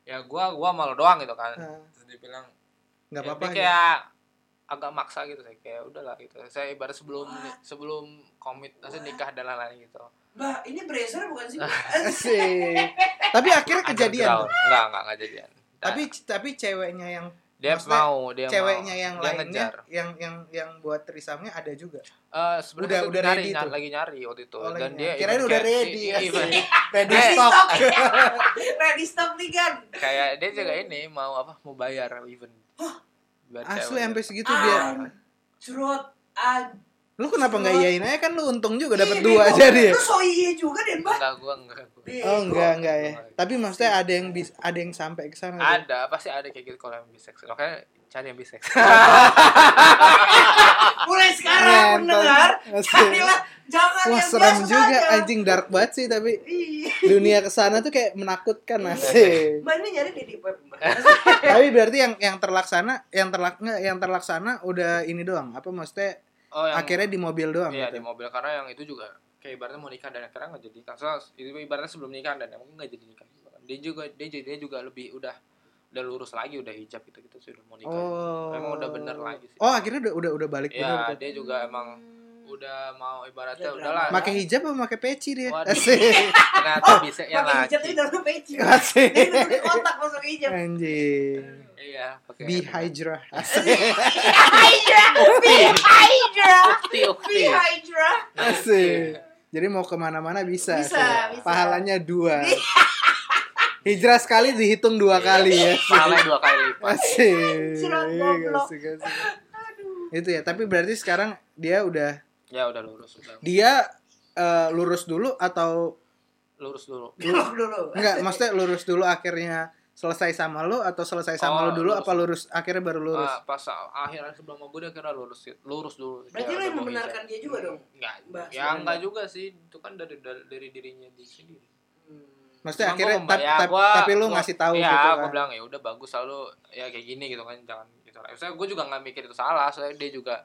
Speaker 4: ya gua gua malu doang gitu kan
Speaker 2: Hah.
Speaker 4: terus dia bilang
Speaker 2: Gak
Speaker 4: ya,
Speaker 2: apa-apa.
Speaker 4: dia
Speaker 2: ya.
Speaker 4: kayak agak maksa gitu saya kayak udahlah gitu saya ibarat sebelum sebelum komit maksudnya nikah dan lain-lain gitu
Speaker 1: Mbak, ini bracer bukan sih?
Speaker 4: Eh,
Speaker 2: Asik. Tapi akhirnya kejadian.
Speaker 4: Underground.
Speaker 2: tuh.
Speaker 4: nggak nggak nggak kejadian Dan
Speaker 2: Tapi tapi ceweknya yang
Speaker 4: dia
Speaker 2: maksudnya
Speaker 4: mau dia
Speaker 2: ceweknya
Speaker 4: mau.
Speaker 2: yang
Speaker 4: dia
Speaker 2: lainnya
Speaker 4: ngejar
Speaker 2: yang yang yang buat trisamnya ada juga.
Speaker 4: Eh,
Speaker 2: Udah-
Speaker 4: sebenarnya
Speaker 2: udah
Speaker 4: udah, nyari,
Speaker 2: ready
Speaker 4: nyari-
Speaker 2: tuh.
Speaker 4: lagi nyari waktu itu
Speaker 2: Oh,
Speaker 4: dan
Speaker 2: lainnya.
Speaker 4: dia
Speaker 2: kirain
Speaker 4: even
Speaker 2: udah
Speaker 4: kayak-
Speaker 2: ready
Speaker 4: i-
Speaker 2: ya. sih.
Speaker 4: even-
Speaker 2: Ready
Speaker 4: Eh,
Speaker 1: Ready
Speaker 2: stock.
Speaker 1: stop. Ready stop nih kan.
Speaker 4: kayak dia juga ini mau apa mau bayar even Buat
Speaker 2: Asli
Speaker 4: cewek.
Speaker 2: sampai segitu
Speaker 1: Ah.
Speaker 2: dia.
Speaker 1: Curut an.
Speaker 2: Lu kenapa nggak iyain aja kan lu untung juga
Speaker 1: Ih,
Speaker 2: dapat dua
Speaker 1: bego.
Speaker 2: aja dia.
Speaker 1: Iya, Lu so iye juga deh, Mbak.
Speaker 4: enggak gua enggak gua.
Speaker 1: Bego.
Speaker 2: Oh enggak enggak ya.
Speaker 4: Enggak.
Speaker 2: Tapi maksudnya ada yang bis, ada yang sampai ke sana. tuh.
Speaker 4: Iya. ada pasti ada kayak gitu kalau yang bisex makanya cari yang bisex
Speaker 1: Mulai sekarang
Speaker 2: Ngentot.
Speaker 1: mendengar.
Speaker 2: Asik.
Speaker 1: Carilah jangan
Speaker 2: Iya, Wah
Speaker 1: yang
Speaker 2: serem
Speaker 1: biasa Iya.
Speaker 2: juga
Speaker 1: aja.
Speaker 2: anjing dark banget sih tapi
Speaker 1: Iya.
Speaker 2: dunia ke sana tuh kayak menakutkan
Speaker 4: Iya,
Speaker 2: asik.
Speaker 1: Mbak ini nyari di deep web,
Speaker 4: Eh,
Speaker 1: Mbak.
Speaker 2: tapi berarti yang yang terlaksana yang terlak nggak, yang terlaksana udah ini doang. Apa maksudnya
Speaker 4: oh yang
Speaker 2: akhirnya di mobil doang
Speaker 4: iya
Speaker 2: gitu.
Speaker 4: di mobil karena yang itu juga kayak ibaratnya mau nikah dan akhirnya nggak jadi nikah soalnya itu ibaratnya sebelum nikah dan emang nggak jadi nikah juga kan. dia juga dia jadi dia juga lebih udah udah lurus lagi udah hijab gitu gitu sudah mau nikah
Speaker 2: Oh.
Speaker 4: Emang udah bener lagi sih.
Speaker 2: Oh, akhirnya udah udah udah balik
Speaker 4: ya
Speaker 2: bener tuh.
Speaker 4: dia juga emang udah mau ibaratnya
Speaker 1: Udah
Speaker 4: udahlah.
Speaker 1: drama.
Speaker 2: Pakai hijab apa pakai peci dia?
Speaker 4: Waduh.
Speaker 2: Asik.
Speaker 4: Ternyata
Speaker 2: Oh,
Speaker 4: bisa ya
Speaker 1: Pakai hijab ini
Speaker 4: laki.
Speaker 1: dalam peci.
Speaker 2: Asik.
Speaker 1: Ini tutup otak masuk hijab.
Speaker 2: Anjing.
Speaker 4: Iya, pakai.
Speaker 2: Be hydra.
Speaker 1: Hydra, be Hydra,
Speaker 4: Ukti,
Speaker 1: be
Speaker 4: ukti.
Speaker 1: Hydra.
Speaker 2: Asik. Jadi mau kemana-mana
Speaker 1: Bisa,
Speaker 2: bisa. asik.
Speaker 1: bisa. Iya.
Speaker 2: Pahalanya dua. Hijrah sekali dihitung dua kali ya.
Speaker 4: Pahala dua kali lipat.
Speaker 2: Asik.
Speaker 1: Surat goblok.
Speaker 2: Asik, asik. Itu ya. Tapi berarti sekarang dia udah
Speaker 4: Ya udah lurus, udah
Speaker 2: dia eh, lurus dulu atau
Speaker 4: lurus dulu.
Speaker 1: Belok dulu.
Speaker 2: enggak? Maksudnya lurus dulu akhirnya selesai sama lo atau selesai sama
Speaker 4: Oh,
Speaker 2: lo dulu
Speaker 4: lurus.
Speaker 2: apa lurus akhirnya baru lurus?
Speaker 4: Ah, pas akhirnya sebelum mau gue dia kira lurus lurus dulu.
Speaker 1: Berarti
Speaker 4: Ya,
Speaker 1: lu
Speaker 4: udah
Speaker 1: yang
Speaker 4: mau
Speaker 1: membenarkan
Speaker 4: hijab.
Speaker 1: dia juga dong?
Speaker 4: Enggak.
Speaker 1: Mbak,
Speaker 4: Ya
Speaker 1: sebenarnya.
Speaker 4: enggak juga sih. Itu kan dari dari, dari dirinya di sini.
Speaker 2: Maksudnya
Speaker 4: Cuman
Speaker 2: akhirnya
Speaker 4: gua
Speaker 2: tap-
Speaker 4: membayar,
Speaker 2: tap-
Speaker 4: gua-
Speaker 2: tapi lu
Speaker 4: gua-
Speaker 2: ngasih tahu
Speaker 4: iya,
Speaker 2: gitu
Speaker 4: gue
Speaker 2: kan.
Speaker 4: bilang ya udah bagus selalu ya kayak gini gitu kan jangan gitu lah. Saya gue juga nggak mikir itu salah, soalnya dia juga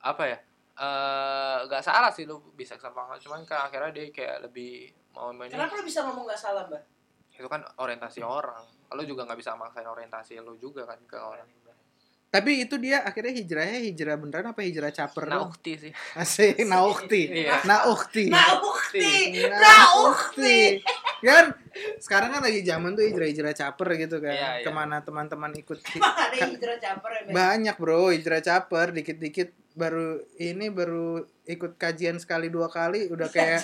Speaker 4: apa ya eh nggak salah sih lu bisa sama cuman kan akhirnya dia kayak lebih mau main
Speaker 1: Kenapa lu bisa ngomong gak salah, Mbak?
Speaker 4: itu kan orientasi orang lu juga nggak bisa maksain orientasi lu juga kan ke orang
Speaker 2: Tapi itu dia akhirnya hijrahnya hijrah beneran apa hijrah caper?
Speaker 4: nah
Speaker 2: Nah,
Speaker 4: ukti sih
Speaker 2: Asik, naukti.
Speaker 4: Iya.
Speaker 2: Naukti.
Speaker 1: Nah, ukti,
Speaker 2: Nah,
Speaker 1: nah,
Speaker 2: ukti.
Speaker 1: ukti.
Speaker 2: Kan sekarang kan lagi zaman tuh hijrah-hijrah caper gitu kan.
Speaker 4: Iya, iya.
Speaker 2: Kemana teman-teman ikut
Speaker 1: Emang ada hijrah caper ya, Mbak?
Speaker 2: banyak bro hijrah caper dikit-dikit baru ini baru ikut kajian sekali dua kali udah
Speaker 4: Iya,
Speaker 2: kayak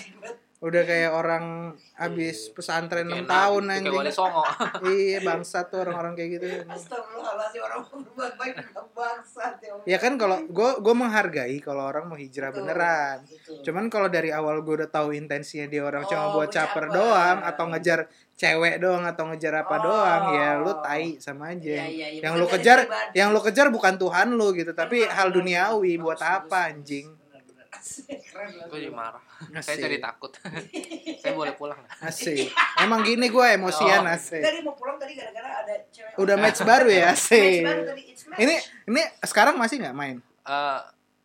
Speaker 2: udah kayak orang abis pesantren enam
Speaker 4: Kayak
Speaker 2: tahun
Speaker 4: nabi, gitu, kayak wali
Speaker 2: anjing
Speaker 4: songo
Speaker 2: iya bangsa tuh orang-orang kayak gitu
Speaker 1: Astagfirullahaladzim, orang mau berbuat baik bilang bangsat ya.
Speaker 2: ya kan kalau gue gue menghargai kalau orang mau hijrah beneran
Speaker 1: Gitu.
Speaker 2: Cuman kalau dari awal gue udah tahu intensinya dia orang cuma
Speaker 1: Oh, buat
Speaker 2: buat
Speaker 1: caper.
Speaker 2: caper doang atau ngejar cewek doang atau ngejar apa
Speaker 1: Oh. Iya,
Speaker 2: doang ya lu tai sama aja. Yang
Speaker 1: lo
Speaker 2: lu kejar, yang lu kejar bukan Tuhan lu gitu, tapi
Speaker 1: Benar,
Speaker 2: hal
Speaker 1: benar.
Speaker 2: duniawi buat
Speaker 1: Bagus,
Speaker 2: apa
Speaker 1: bagus.
Speaker 2: anjing?
Speaker 1: Benar-benar. Asik, keren banget.
Speaker 4: gue jadi marah saya
Speaker 2: Asik.
Speaker 4: jadi takut saya boleh pulang
Speaker 2: Asik. Emang gini gue emosian
Speaker 4: Oh.
Speaker 2: asik.
Speaker 1: Tadi mau pulang tadi gara-gara ada cewek.
Speaker 2: Udah match baru ya
Speaker 1: Match
Speaker 2: asik.
Speaker 1: baru tadi, it's match.
Speaker 2: Ini ini sekarang masih nggak main?
Speaker 4: Eh,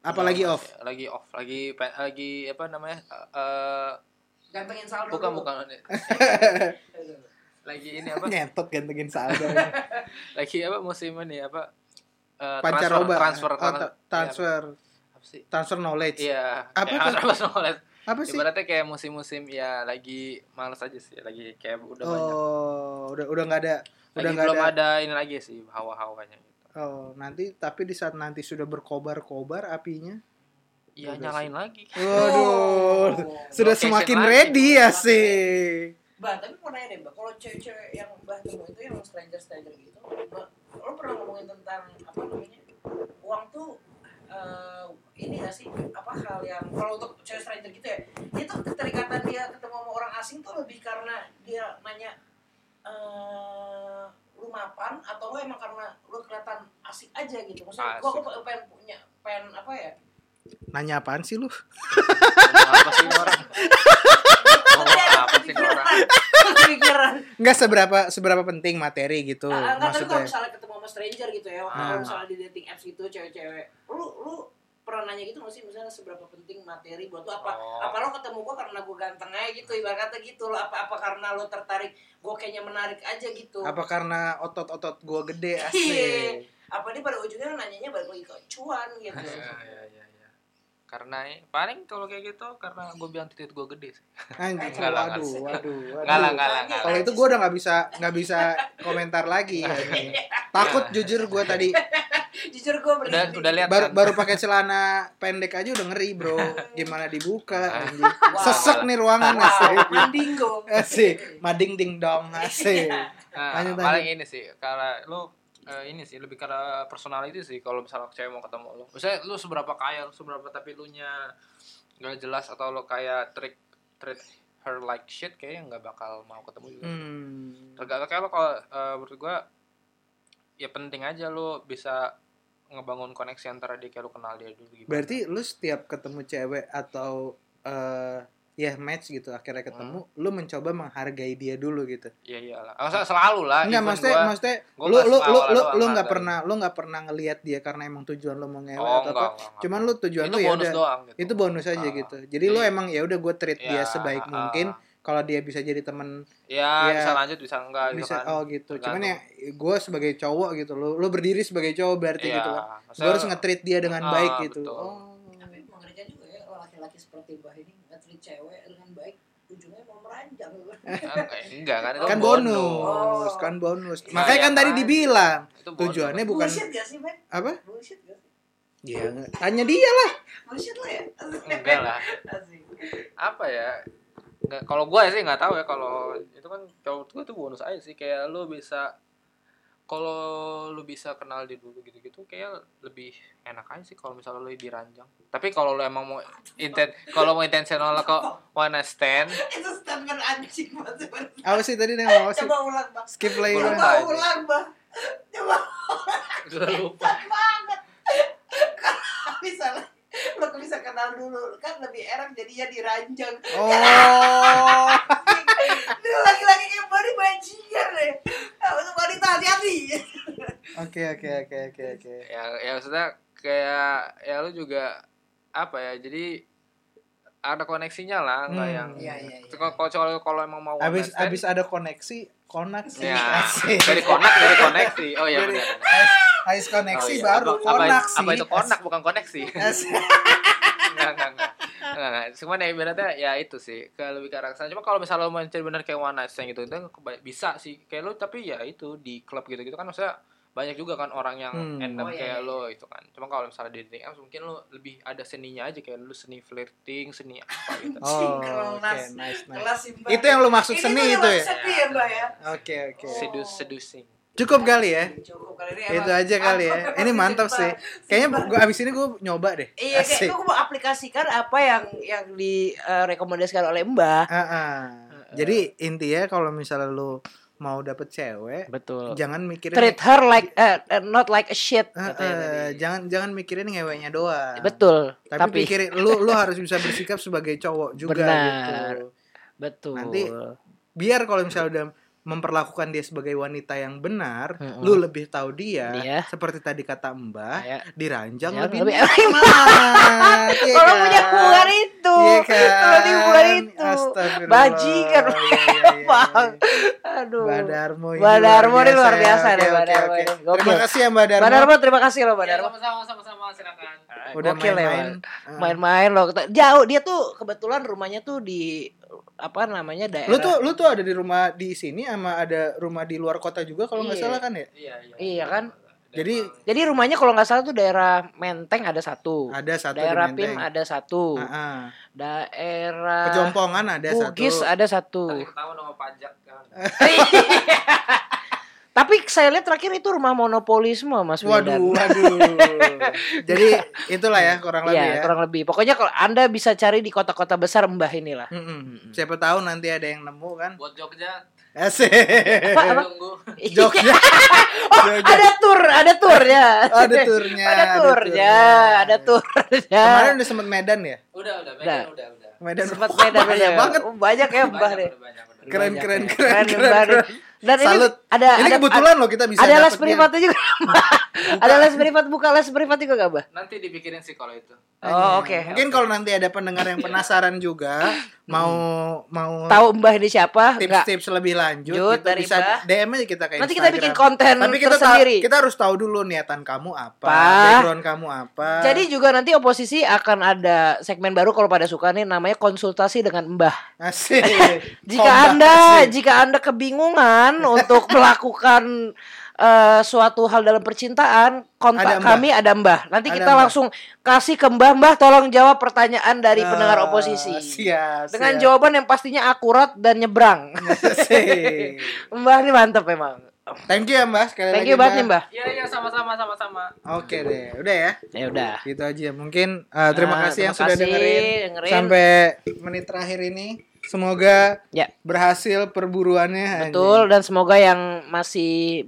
Speaker 2: Apalagi
Speaker 4: Enggak,
Speaker 2: off.
Speaker 4: lagi off lagi pe- lagi apa namanya eh, eh,
Speaker 1: Gantengin saldo.
Speaker 4: bukan
Speaker 1: dulu.
Speaker 4: bukan lagi ini apa
Speaker 2: Nyetot gantengin saldo.
Speaker 4: lagi apa musim ini apa eh,
Speaker 2: Pancaroba.
Speaker 4: transfer transfer
Speaker 2: Oh,
Speaker 4: tran-
Speaker 2: ta- transfer
Speaker 4: iya, apa sih
Speaker 2: transfer knowledge.
Speaker 4: iya
Speaker 2: Apa
Speaker 4: ya,
Speaker 2: tuh?
Speaker 4: transfer knowledge.
Speaker 2: Apa sih?
Speaker 4: ibaratnya kayak musim-musim ya lagi males aja sih lagi kayak udah banyak
Speaker 2: Oh, udah udah nggak ada, udah
Speaker 4: lagi
Speaker 2: nggak
Speaker 4: belum
Speaker 2: ada.
Speaker 4: ada. ini lagi sih hawa-hawanya gitu
Speaker 2: Oh, nanti tapi di saat nanti sudah berkobar-kobar apinya.
Speaker 4: iya
Speaker 2: Udah
Speaker 4: nyalain lagi
Speaker 2: Waduh, sudah
Speaker 4: Oh. Location
Speaker 2: semakin
Speaker 4: lagi.
Speaker 2: ready ya sih.
Speaker 1: Mbak, tapi mau nanya deh Mbak, kalau cewek-cewek yang Mbak temu itu yang stranger-stranger gitu, Mbak, lo pernah ngomongin tentang apa namanya, uang tuh eh, ini gak sih, apa hal yang, kalau untuk cewek stranger gitu ya, itu keterikatan dia ketemu sama orang asing tuh lebih karena dia nanya, eh lu mapan atau lo emang karena lu kelihatan asik aja gitu maksudnya gua,
Speaker 4: Asik.
Speaker 1: gua pengen punya pengen apa ya
Speaker 2: Nanya apaan sih lu?
Speaker 4: apa sih ini orang ngomong apa sih ini orang
Speaker 1: pikiran
Speaker 2: Nggak seberapa seberapa penting materi gitu
Speaker 1: Ah, enggak, tapi kalau
Speaker 2: maksudnya.
Speaker 1: misalnya ketemu sama stranger gitu ya,
Speaker 2: Ah.
Speaker 1: kalau misalnya di dating apps gitu cewek-cewek, lu lu pernah nanya gitu nggak sih misalnya seberapa penting materi buat lu apa?
Speaker 4: Oh.
Speaker 1: Apa lo ketemu gua karena gua ganteng aja gitu, ibarat kata gitu lo apa apa karena lo tertarik, gua kayaknya menarik aja gitu.
Speaker 2: Apa karena otot-otot gua gede
Speaker 1: Iya.
Speaker 2: asik?
Speaker 1: Apa dia pada ujungnya nanyanya balik lagi ke cuan gitu.
Speaker 4: Iya, iya, iya, iya. karena eh, paling kalau kayak gitu karena gue bilang titik gue gede sih
Speaker 2: Anjing,
Speaker 4: Enggak lah,
Speaker 2: waduh, waduh,
Speaker 4: enggak. Enggak lah,
Speaker 2: waduh.
Speaker 4: enggak lah, enggak lah.
Speaker 2: Kalau itu gua udah nggak bisa nggak bisa komentar lagi. anjing.
Speaker 4: Iya.
Speaker 2: Takut jujur gua tadi
Speaker 1: Jujur gua
Speaker 4: udah
Speaker 1: berhenti.
Speaker 4: udah lihat
Speaker 2: Iya, baru
Speaker 4: kan?
Speaker 2: baru pakai celana pendek aja udah ngeri bro gimana dibuka anjing.
Speaker 1: Wow.
Speaker 2: sesek nih ruangan
Speaker 1: Wow,
Speaker 2: asik
Speaker 1: mandingo.
Speaker 2: asik mading ding dong asik
Speaker 4: Nah,
Speaker 2: Lanjut,
Speaker 4: paling ini sih karena lu eh, ini sih lebih karena personality sih kalau misalnya cewek mau ketemu lu misalnya lu seberapa kaya lu seberapa tapi lu nya nggak jelas atau lu kayak trick treat her like shit kayaknya nggak bakal mau ketemu juga
Speaker 2: hmm.
Speaker 4: tergantung kayak lo kalau eh, menurut gua ya penting aja lu bisa ngebangun koneksi antara dia kayak lu kenal dia dulu gimana
Speaker 2: berarti lu setiap ketemu cewek atau eh ya match gitu akhirnya ketemu
Speaker 4: Hmm.
Speaker 2: lu mencoba menghargai dia dulu gitu
Speaker 4: iya iyalah Oh, se- selalu lah
Speaker 2: Enggak
Speaker 4: even
Speaker 2: maksudnya
Speaker 4: gua-
Speaker 2: maksudnya
Speaker 4: gua
Speaker 2: lu
Speaker 4: pas
Speaker 2: lu lu
Speaker 4: awal-awal
Speaker 2: lu
Speaker 4: doang
Speaker 2: lu nggak
Speaker 4: hargai.
Speaker 2: pernah lu nggak pernah ngelihat dia karena emang tujuan lu mau ngewe
Speaker 4: oh
Speaker 2: atau apa
Speaker 4: enggak, enggak, enggak.
Speaker 2: cuman lu tujuan lu
Speaker 4: itu
Speaker 2: ya
Speaker 4: bonus
Speaker 2: udah
Speaker 4: doang gitu.
Speaker 2: itu bonus aja
Speaker 4: Ah.
Speaker 2: gitu jadi lu
Speaker 4: Jadi-
Speaker 2: emang ya udah gue treat dia
Speaker 4: Ya,
Speaker 2: sebaik
Speaker 4: ah.
Speaker 2: mungkin kalau dia bisa jadi temen
Speaker 4: ya,
Speaker 2: Ya.
Speaker 4: bisa lanjut bisa enggak gitu
Speaker 2: bisa
Speaker 4: kan
Speaker 2: oh gitu cuman ya
Speaker 4: Tergantung.
Speaker 2: gue sebagai cowok gitu lo lo berdiri sebagai cowok berarti
Speaker 4: Iya,
Speaker 2: gitu kan
Speaker 4: maksudnya-
Speaker 2: gue harus nge-treat dia dengan
Speaker 4: Ah,
Speaker 2: baik gitu
Speaker 4: betul.
Speaker 2: oh
Speaker 1: Tapi mengerikan juga ya. laki-laki seperti Bah ini nge-treat cewek dengan baik ujungnya mau meranjang
Speaker 4: enggak kan itu
Speaker 2: kan bonus, kan bonus.
Speaker 4: Iya,
Speaker 2: Makanya kan
Speaker 4: iya,
Speaker 2: tadi
Speaker 4: kan.
Speaker 2: dibilang
Speaker 4: Itu bonus.
Speaker 2: tujuannya bukan
Speaker 1: bullshit gak sih Ben?
Speaker 2: apa?
Speaker 1: bullshit gak sih?
Speaker 2: Ya, tanya dia lah.
Speaker 1: bullshit lah ya
Speaker 4: enggak lah
Speaker 1: Asik.
Speaker 4: apa ya nggak kalau gue sih nggak tahu ya kalau itu kan kalau gue tuh bonus aja sih kayak lu bisa kalau lu bisa kenal dia dulu gitu-gitu kayak lebih enak aja sih kalau misalnya lu diranjang tapi kalau lu emang mau inten kalau mau intensional kok wanna stand
Speaker 1: itu statement anjing banget sebenarnya.
Speaker 2: Apa sih tadi dia ngomong apa sih?
Speaker 1: coba ulang bang
Speaker 2: Skip play
Speaker 4: Bonus
Speaker 1: coba
Speaker 2: lah.
Speaker 4: aja.
Speaker 1: ulang bang coba
Speaker 4: udah lupa
Speaker 1: banget kalau misalnya lo bisa kenal dulu kan lebih enak jadinya diranjang
Speaker 2: Oh.
Speaker 1: Ini laki-laki kayak body bajingan deh. Nah, Untuk wanita hati-hati.
Speaker 2: Oke oke oke oke oke.
Speaker 4: ya ya maksudnya kayak ya lu juga apa ya jadi ada koneksinya lah nggak
Speaker 2: Hmm.
Speaker 4: yang
Speaker 2: Iya,
Speaker 1: iya, iya.
Speaker 4: Kalau- kalau kalau emang mau wanna
Speaker 2: Abis
Speaker 4: stand,
Speaker 2: abis ada koneksi, konaksi.
Speaker 4: ya
Speaker 2: Asik.
Speaker 4: dari konak dari koneksi oh iya
Speaker 2: Dari-
Speaker 4: benar
Speaker 2: Habis koneksi
Speaker 4: Oh, iya.
Speaker 2: baru
Speaker 4: Apa- apa-
Speaker 2: konaksi.
Speaker 4: Apa, itu konak bukan koneksi?
Speaker 2: Asik.
Speaker 4: enggak, enggak, enggak. Enggak, enggak. Cuman ya ibaratnya ya itu sih. Ke lebih ke arah sana. Cuma kalau misalnya lo mencari bener kayak one night stand gitu, itu keba- bisa sih. Kayak lo tapi ya itu di klub gitu-gitu kan maksudnya banyak juga kan orang yang
Speaker 2: Hmm.
Speaker 4: endem
Speaker 1: Oh, iya,
Speaker 4: kayak
Speaker 1: iya.
Speaker 4: lo itu kan. Cuma kalau misalnya di dating apps mungkin lo lebih ada seninya aja kayak lo seni flirting, seni apa gitu.
Speaker 2: Oh, oke,
Speaker 1: Kelas.
Speaker 2: nice, nice.
Speaker 1: Kelas sih, Mbak.
Speaker 2: Nah, Itu yang lu maksud
Speaker 1: Ini
Speaker 2: seni
Speaker 1: tuh yang
Speaker 2: itu ya?
Speaker 1: maksud Seni ya, Mbak ya.
Speaker 2: Oke, oke.
Speaker 1: Oh.
Speaker 4: Sedus seducing.
Speaker 2: Cukup kali ya.
Speaker 1: Cukup kali ini.
Speaker 2: Itu
Speaker 1: emang
Speaker 2: aja kali ya.
Speaker 1: mantap,
Speaker 2: Ini
Speaker 1: emang
Speaker 2: mantap
Speaker 1: Simba.
Speaker 2: sih. Kayaknya
Speaker 1: Simba.
Speaker 2: gua abis ini gue nyoba deh.
Speaker 1: Iya, kayak gue mau aplikasikan apa yang yang
Speaker 5: eh,
Speaker 1: direkomendasikan oleh Mbak.
Speaker 2: Heeh. Jadi intinya kalau misalnya lu mau dapet cewek,
Speaker 5: Betul.
Speaker 2: jangan mikirin
Speaker 5: Treat her like eh, eh, not like a shit.
Speaker 2: Heeh,
Speaker 5: katanya ya tadi.
Speaker 2: jangan jangan mikirin ngeweknya doang.
Speaker 5: Betul.
Speaker 2: Tapi,
Speaker 5: Tapi,
Speaker 2: pikirin lu lu harus bisa bersikap sebagai cowok juga
Speaker 5: Benar.
Speaker 2: gitu.
Speaker 5: betul.
Speaker 2: Nanti- Biar kalau misalnya udah memperlakukan dia sebagai wanita yang benar,
Speaker 5: Mm-mm.
Speaker 2: lu lebih tahu dia.
Speaker 5: Iya.
Speaker 2: Seperti tadi kata Mbak,
Speaker 5: Iya.
Speaker 2: diranjang
Speaker 5: Iya,
Speaker 2: lebih,
Speaker 5: lebih
Speaker 2: nikmat, iya
Speaker 5: Kalau
Speaker 2: kan?
Speaker 5: punya hubungan itu,
Speaker 2: Iya kan?
Speaker 5: kalau di hubungan itu,
Speaker 2: Astagfirullah.
Speaker 5: bajingan,
Speaker 2: Iya, iya, iya, iya.
Speaker 5: Bang. aduh.
Speaker 2: Badarmo ini
Speaker 5: Mbak Darmo ini luar biasa
Speaker 2: ya.
Speaker 5: nih,
Speaker 2: Oke,
Speaker 5: Mbak
Speaker 2: oke,
Speaker 5: Darmo
Speaker 2: oke.
Speaker 5: ini.
Speaker 2: Terima
Speaker 5: Gokil.
Speaker 2: kasih ya Mbak Darmo.
Speaker 5: Mbak Darmo, terima kasih loh Mbak
Speaker 4: Iya,
Speaker 5: Darmo.
Speaker 8: sama-sama sama-sama silakan.
Speaker 2: Udah
Speaker 5: Gokil ya,
Speaker 2: main-main. Eh,
Speaker 5: Main-main loh. Jauh dia tuh kebetulan rumahnya tuh di apa namanya daerah.
Speaker 2: Lu tuh lu tuh ada di rumah di sini sama ada rumah di luar kota juga kalau nggak
Speaker 5: Iya.
Speaker 2: salah kan ya?
Speaker 4: Iya, iya.
Speaker 5: Iya kan?
Speaker 2: Jadi-
Speaker 5: Jadi rumahnya kalau nggak salah tuh daerah Menteng ada satu.
Speaker 2: Ada satu Ah,
Speaker 5: daerah
Speaker 2: di
Speaker 5: PIM
Speaker 2: Menteng.
Speaker 5: ada satu.
Speaker 2: Heeh.
Speaker 5: Daerah
Speaker 2: Pejompongan ada
Speaker 5: Bugis
Speaker 2: satu. Ah.
Speaker 5: ada satu.
Speaker 4: Tadi ketahuan sama pajak kan.
Speaker 5: Eh? Tapi saya lihat terakhir itu rumah monopoli semua Mas Wildan.
Speaker 2: Waduh, waduh. Jadi itulah ya kurang lebih
Speaker 5: Iya,
Speaker 2: ya.
Speaker 5: kurang lebih. Pokoknya kalau Anda bisa cari di kota-kota besar Mbah inilah.
Speaker 2: Mm-mm. Siapa tahu nanti ada yang nemu kan.
Speaker 4: Buat Jogja,
Speaker 2: Asik. Eh,
Speaker 5: Apa?
Speaker 4: tunggu.
Speaker 2: Jogja. Jogja.
Speaker 5: Iya. Oh, ada tur, ada turnya.
Speaker 2: Oh, Ada turnya.
Speaker 5: Ada turnya, ada turnya.
Speaker 2: Kemarin udah sempet Medan ya?
Speaker 4: Udah, udah,
Speaker 5: Udah.
Speaker 4: Medan udah, udah.
Speaker 2: Medan.
Speaker 5: sempat
Speaker 2: Wah,
Speaker 5: beda
Speaker 2: banyak banget.
Speaker 5: Banyak ya Mbah
Speaker 4: Banyak,
Speaker 5: deh.
Speaker 4: udah banyak, udah.
Speaker 2: Keren,
Speaker 5: Banyak
Speaker 2: keren,
Speaker 5: ya.
Speaker 2: keren, keren,
Speaker 5: Mbah deh. Dan ini
Speaker 2: Salut.
Speaker 5: ada
Speaker 2: Ini
Speaker 5: ada-
Speaker 2: kebetulan loh kita bisa
Speaker 5: ada
Speaker 2: dapet ya.
Speaker 5: Oh, les
Speaker 2: dia.
Speaker 5: privatnya juga. Mbah. ada les privat buka les privat juga gak, Mbah?
Speaker 4: Nanti dipikirin sih kalau itu.
Speaker 5: Oh, oke.
Speaker 2: Iya.
Speaker 5: Hmm.
Speaker 2: Mungkin kalau nanti ada pendengar yang penasaran juga mau mau
Speaker 5: tahu Mbah ini siapa? Enggak.
Speaker 2: tips-tips lebih lanjut
Speaker 5: Jut
Speaker 2: gitu,
Speaker 5: dari
Speaker 2: bisa
Speaker 5: Mbah.
Speaker 2: DM aja kita ke
Speaker 5: Nanti kita
Speaker 2: Instagram.
Speaker 5: bikin konten
Speaker 2: Tapi kita ta-
Speaker 5: tersendiri.
Speaker 2: kita harus tahu dulu niatan kamu apa,
Speaker 5: Apa?
Speaker 2: background kamu apa.
Speaker 5: Jadi juga nanti oposisi akan ada segmen baru kalau pada suka nih namanya konsultasi dengan Mbah.
Speaker 2: Asik.
Speaker 5: Jika
Speaker 2: Ombak,
Speaker 5: Anda
Speaker 2: asik.
Speaker 5: jika Anda kebingungan untuk melakukan eh, suatu hal dalam percintaan,
Speaker 2: Ada
Speaker 5: kontak
Speaker 2: Mbah.
Speaker 5: kami ada Mbah. Nanti
Speaker 2: Ada
Speaker 5: kita
Speaker 2: Mbah.
Speaker 5: langsung kasih ke Mbah, Mbah tolong jawab pertanyaan dari
Speaker 2: Ah,
Speaker 5: pendengar oposisi.
Speaker 2: siap,
Speaker 5: Dengan
Speaker 2: siap.
Speaker 5: jawaban yang pastinya akurat dan nyebrang.
Speaker 2: Iya. Asik.
Speaker 5: Mbah ini mantep memang.
Speaker 2: Thank you ya Mbak sekali
Speaker 5: Thank
Speaker 2: lagi.
Speaker 5: you banget nih Mbah.
Speaker 8: Iya iya sama-sama sama-sama.
Speaker 2: Oke deh, udah ya.
Speaker 5: Ya udah.
Speaker 2: Gitu aja. Mungkin eh, terima
Speaker 5: Ah,
Speaker 2: kasih yang
Speaker 5: terima
Speaker 2: sudah
Speaker 5: kasih,
Speaker 2: dengerin,
Speaker 5: dengerin.
Speaker 2: sampai menit terakhir ini. Semoga
Speaker 5: Ya.
Speaker 2: berhasil perburuannya.
Speaker 5: Betul dan semoga yang masih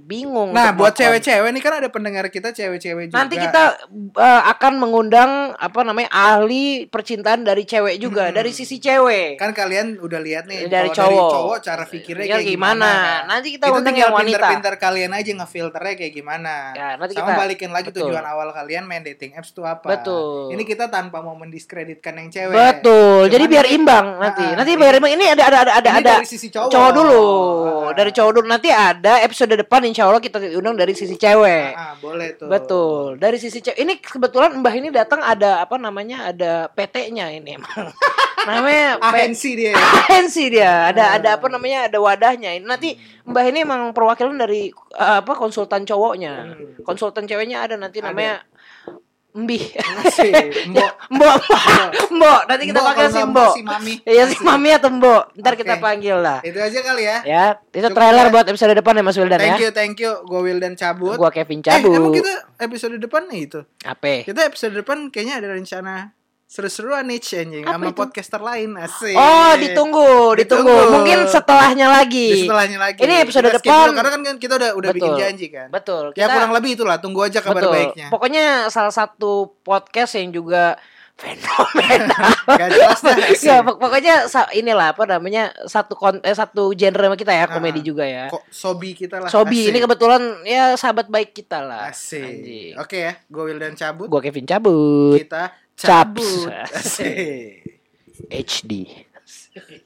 Speaker 2: anjing.
Speaker 5: bingung
Speaker 2: Nah,
Speaker 5: untuk
Speaker 2: buat
Speaker 5: melakukan-
Speaker 2: cewek-cewek nih kan ada pendengar kita cewek-cewek juga.
Speaker 5: Nanti kita eh, akan mengundang apa namanya ahli percintaan dari cewek juga dari sisi cewek.
Speaker 2: Hmm. kan kalian udah lihat nih
Speaker 5: Dari
Speaker 2: kalau
Speaker 5: cowok.
Speaker 2: dari cowok cara pikirnya
Speaker 5: Pikir
Speaker 2: kayak
Speaker 5: gimana.
Speaker 2: gimana.
Speaker 5: Nanti kita
Speaker 2: Itu
Speaker 5: undang
Speaker 2: tinggal
Speaker 5: yang wanita.
Speaker 2: Pinter-pinter kalian aja ngefilternya kayak gimana.
Speaker 5: Ya, nanti
Speaker 2: Sama
Speaker 5: kita-
Speaker 2: balikin lagi
Speaker 5: Betul.
Speaker 2: tujuan awal kalian main dating apps tuh apa.
Speaker 5: Betul.
Speaker 2: Ini kita tanpa mau mendiskreditkan yang cewek.
Speaker 5: Betul. Jadi
Speaker 2: Cuman
Speaker 5: biar
Speaker 2: ini-
Speaker 5: imbang nanti.
Speaker 2: Ah,
Speaker 5: nanti
Speaker 2: iya.
Speaker 5: biarin ini ada ada ada ada
Speaker 2: Ini
Speaker 5: ada
Speaker 2: dari sisi cowok.
Speaker 5: dulu.
Speaker 2: Ah.
Speaker 5: Dari cowok dulu nanti ada episode depan insya Allah kita undang dari sisi cewek.
Speaker 2: Ah, ah, boleh tuh.
Speaker 5: Betul. Dari sisi cewek ini kebetulan Mbah ini datang ada apa namanya? Ada PT-nya ini emang. namanya P-
Speaker 2: Ahensi dia. ya.
Speaker 5: ahensi dia ada ada apa namanya ada wadahnya Ini nanti
Speaker 2: Hmm.
Speaker 5: mbah ini emang perwakilan dari uh, apa konsultan cowoknya konsultan ceweknya ada nanti
Speaker 2: Hmm. Ada.
Speaker 5: namanya mbih
Speaker 2: Asik. Mbok.
Speaker 5: mbok mbok nanti kita
Speaker 2: Mbok,
Speaker 5: panggil
Speaker 2: kalau
Speaker 5: si
Speaker 2: nggak
Speaker 5: mbok
Speaker 2: si mami.
Speaker 5: iya si mami atau mbok ntar
Speaker 2: Oke.
Speaker 5: kita panggil lah
Speaker 2: Itu aja kali ya.
Speaker 5: ya itu
Speaker 2: Cukup
Speaker 5: trailer
Speaker 2: ya.
Speaker 5: buat episode depan ya Mas Wildan
Speaker 2: Thank
Speaker 5: ya
Speaker 2: you, thank you. Gue Wildan cabut.
Speaker 5: gua Kevin
Speaker 2: Eh, emang Gitu.
Speaker 5: cabut
Speaker 2: kita episode depan nih itu.
Speaker 5: apa
Speaker 2: Kita episode depan kayaknya ada rencana seru-seruan nih anjing
Speaker 5: Apa
Speaker 2: sama
Speaker 5: itu?
Speaker 2: podcaster lain asik.
Speaker 5: oh ditunggu ditunggu
Speaker 2: Iya. Ditunggu.
Speaker 5: mungkin setelahnya
Speaker 2: Di
Speaker 5: lagi
Speaker 2: setelahnya lagi.
Speaker 5: Ini episode
Speaker 2: Kita skip
Speaker 5: depan.
Speaker 2: dulu, karena kan kita udah udah bikin
Speaker 5: Betul.
Speaker 2: janji kan.
Speaker 5: betul
Speaker 2: Ya kurang lebih itulah, tunggu aja kabar
Speaker 5: Betul.
Speaker 2: baiknya.
Speaker 5: Pokoknya salah satu podcast yang juga fenomenal.
Speaker 2: Gak jelas dah. asik.
Speaker 5: Nggak, Iya, pok- pokoknya sa- inilah apa namanya satu kon eh, satu genre sama kita ya komedi
Speaker 2: Ah,
Speaker 5: juga ya.
Speaker 2: Kok sobi kita lah.
Speaker 5: Sobi
Speaker 2: asik.
Speaker 5: ini kebetulan ya sahabat baik kita lah.
Speaker 2: Asik.
Speaker 5: Anjing.
Speaker 2: Oke ya, gue Wildan cabut.
Speaker 5: Gua Kevin
Speaker 2: Gitu.
Speaker 5: cabut
Speaker 2: Kita
Speaker 5: Caps.
Speaker 2: cabut. Asik.
Speaker 5: HD.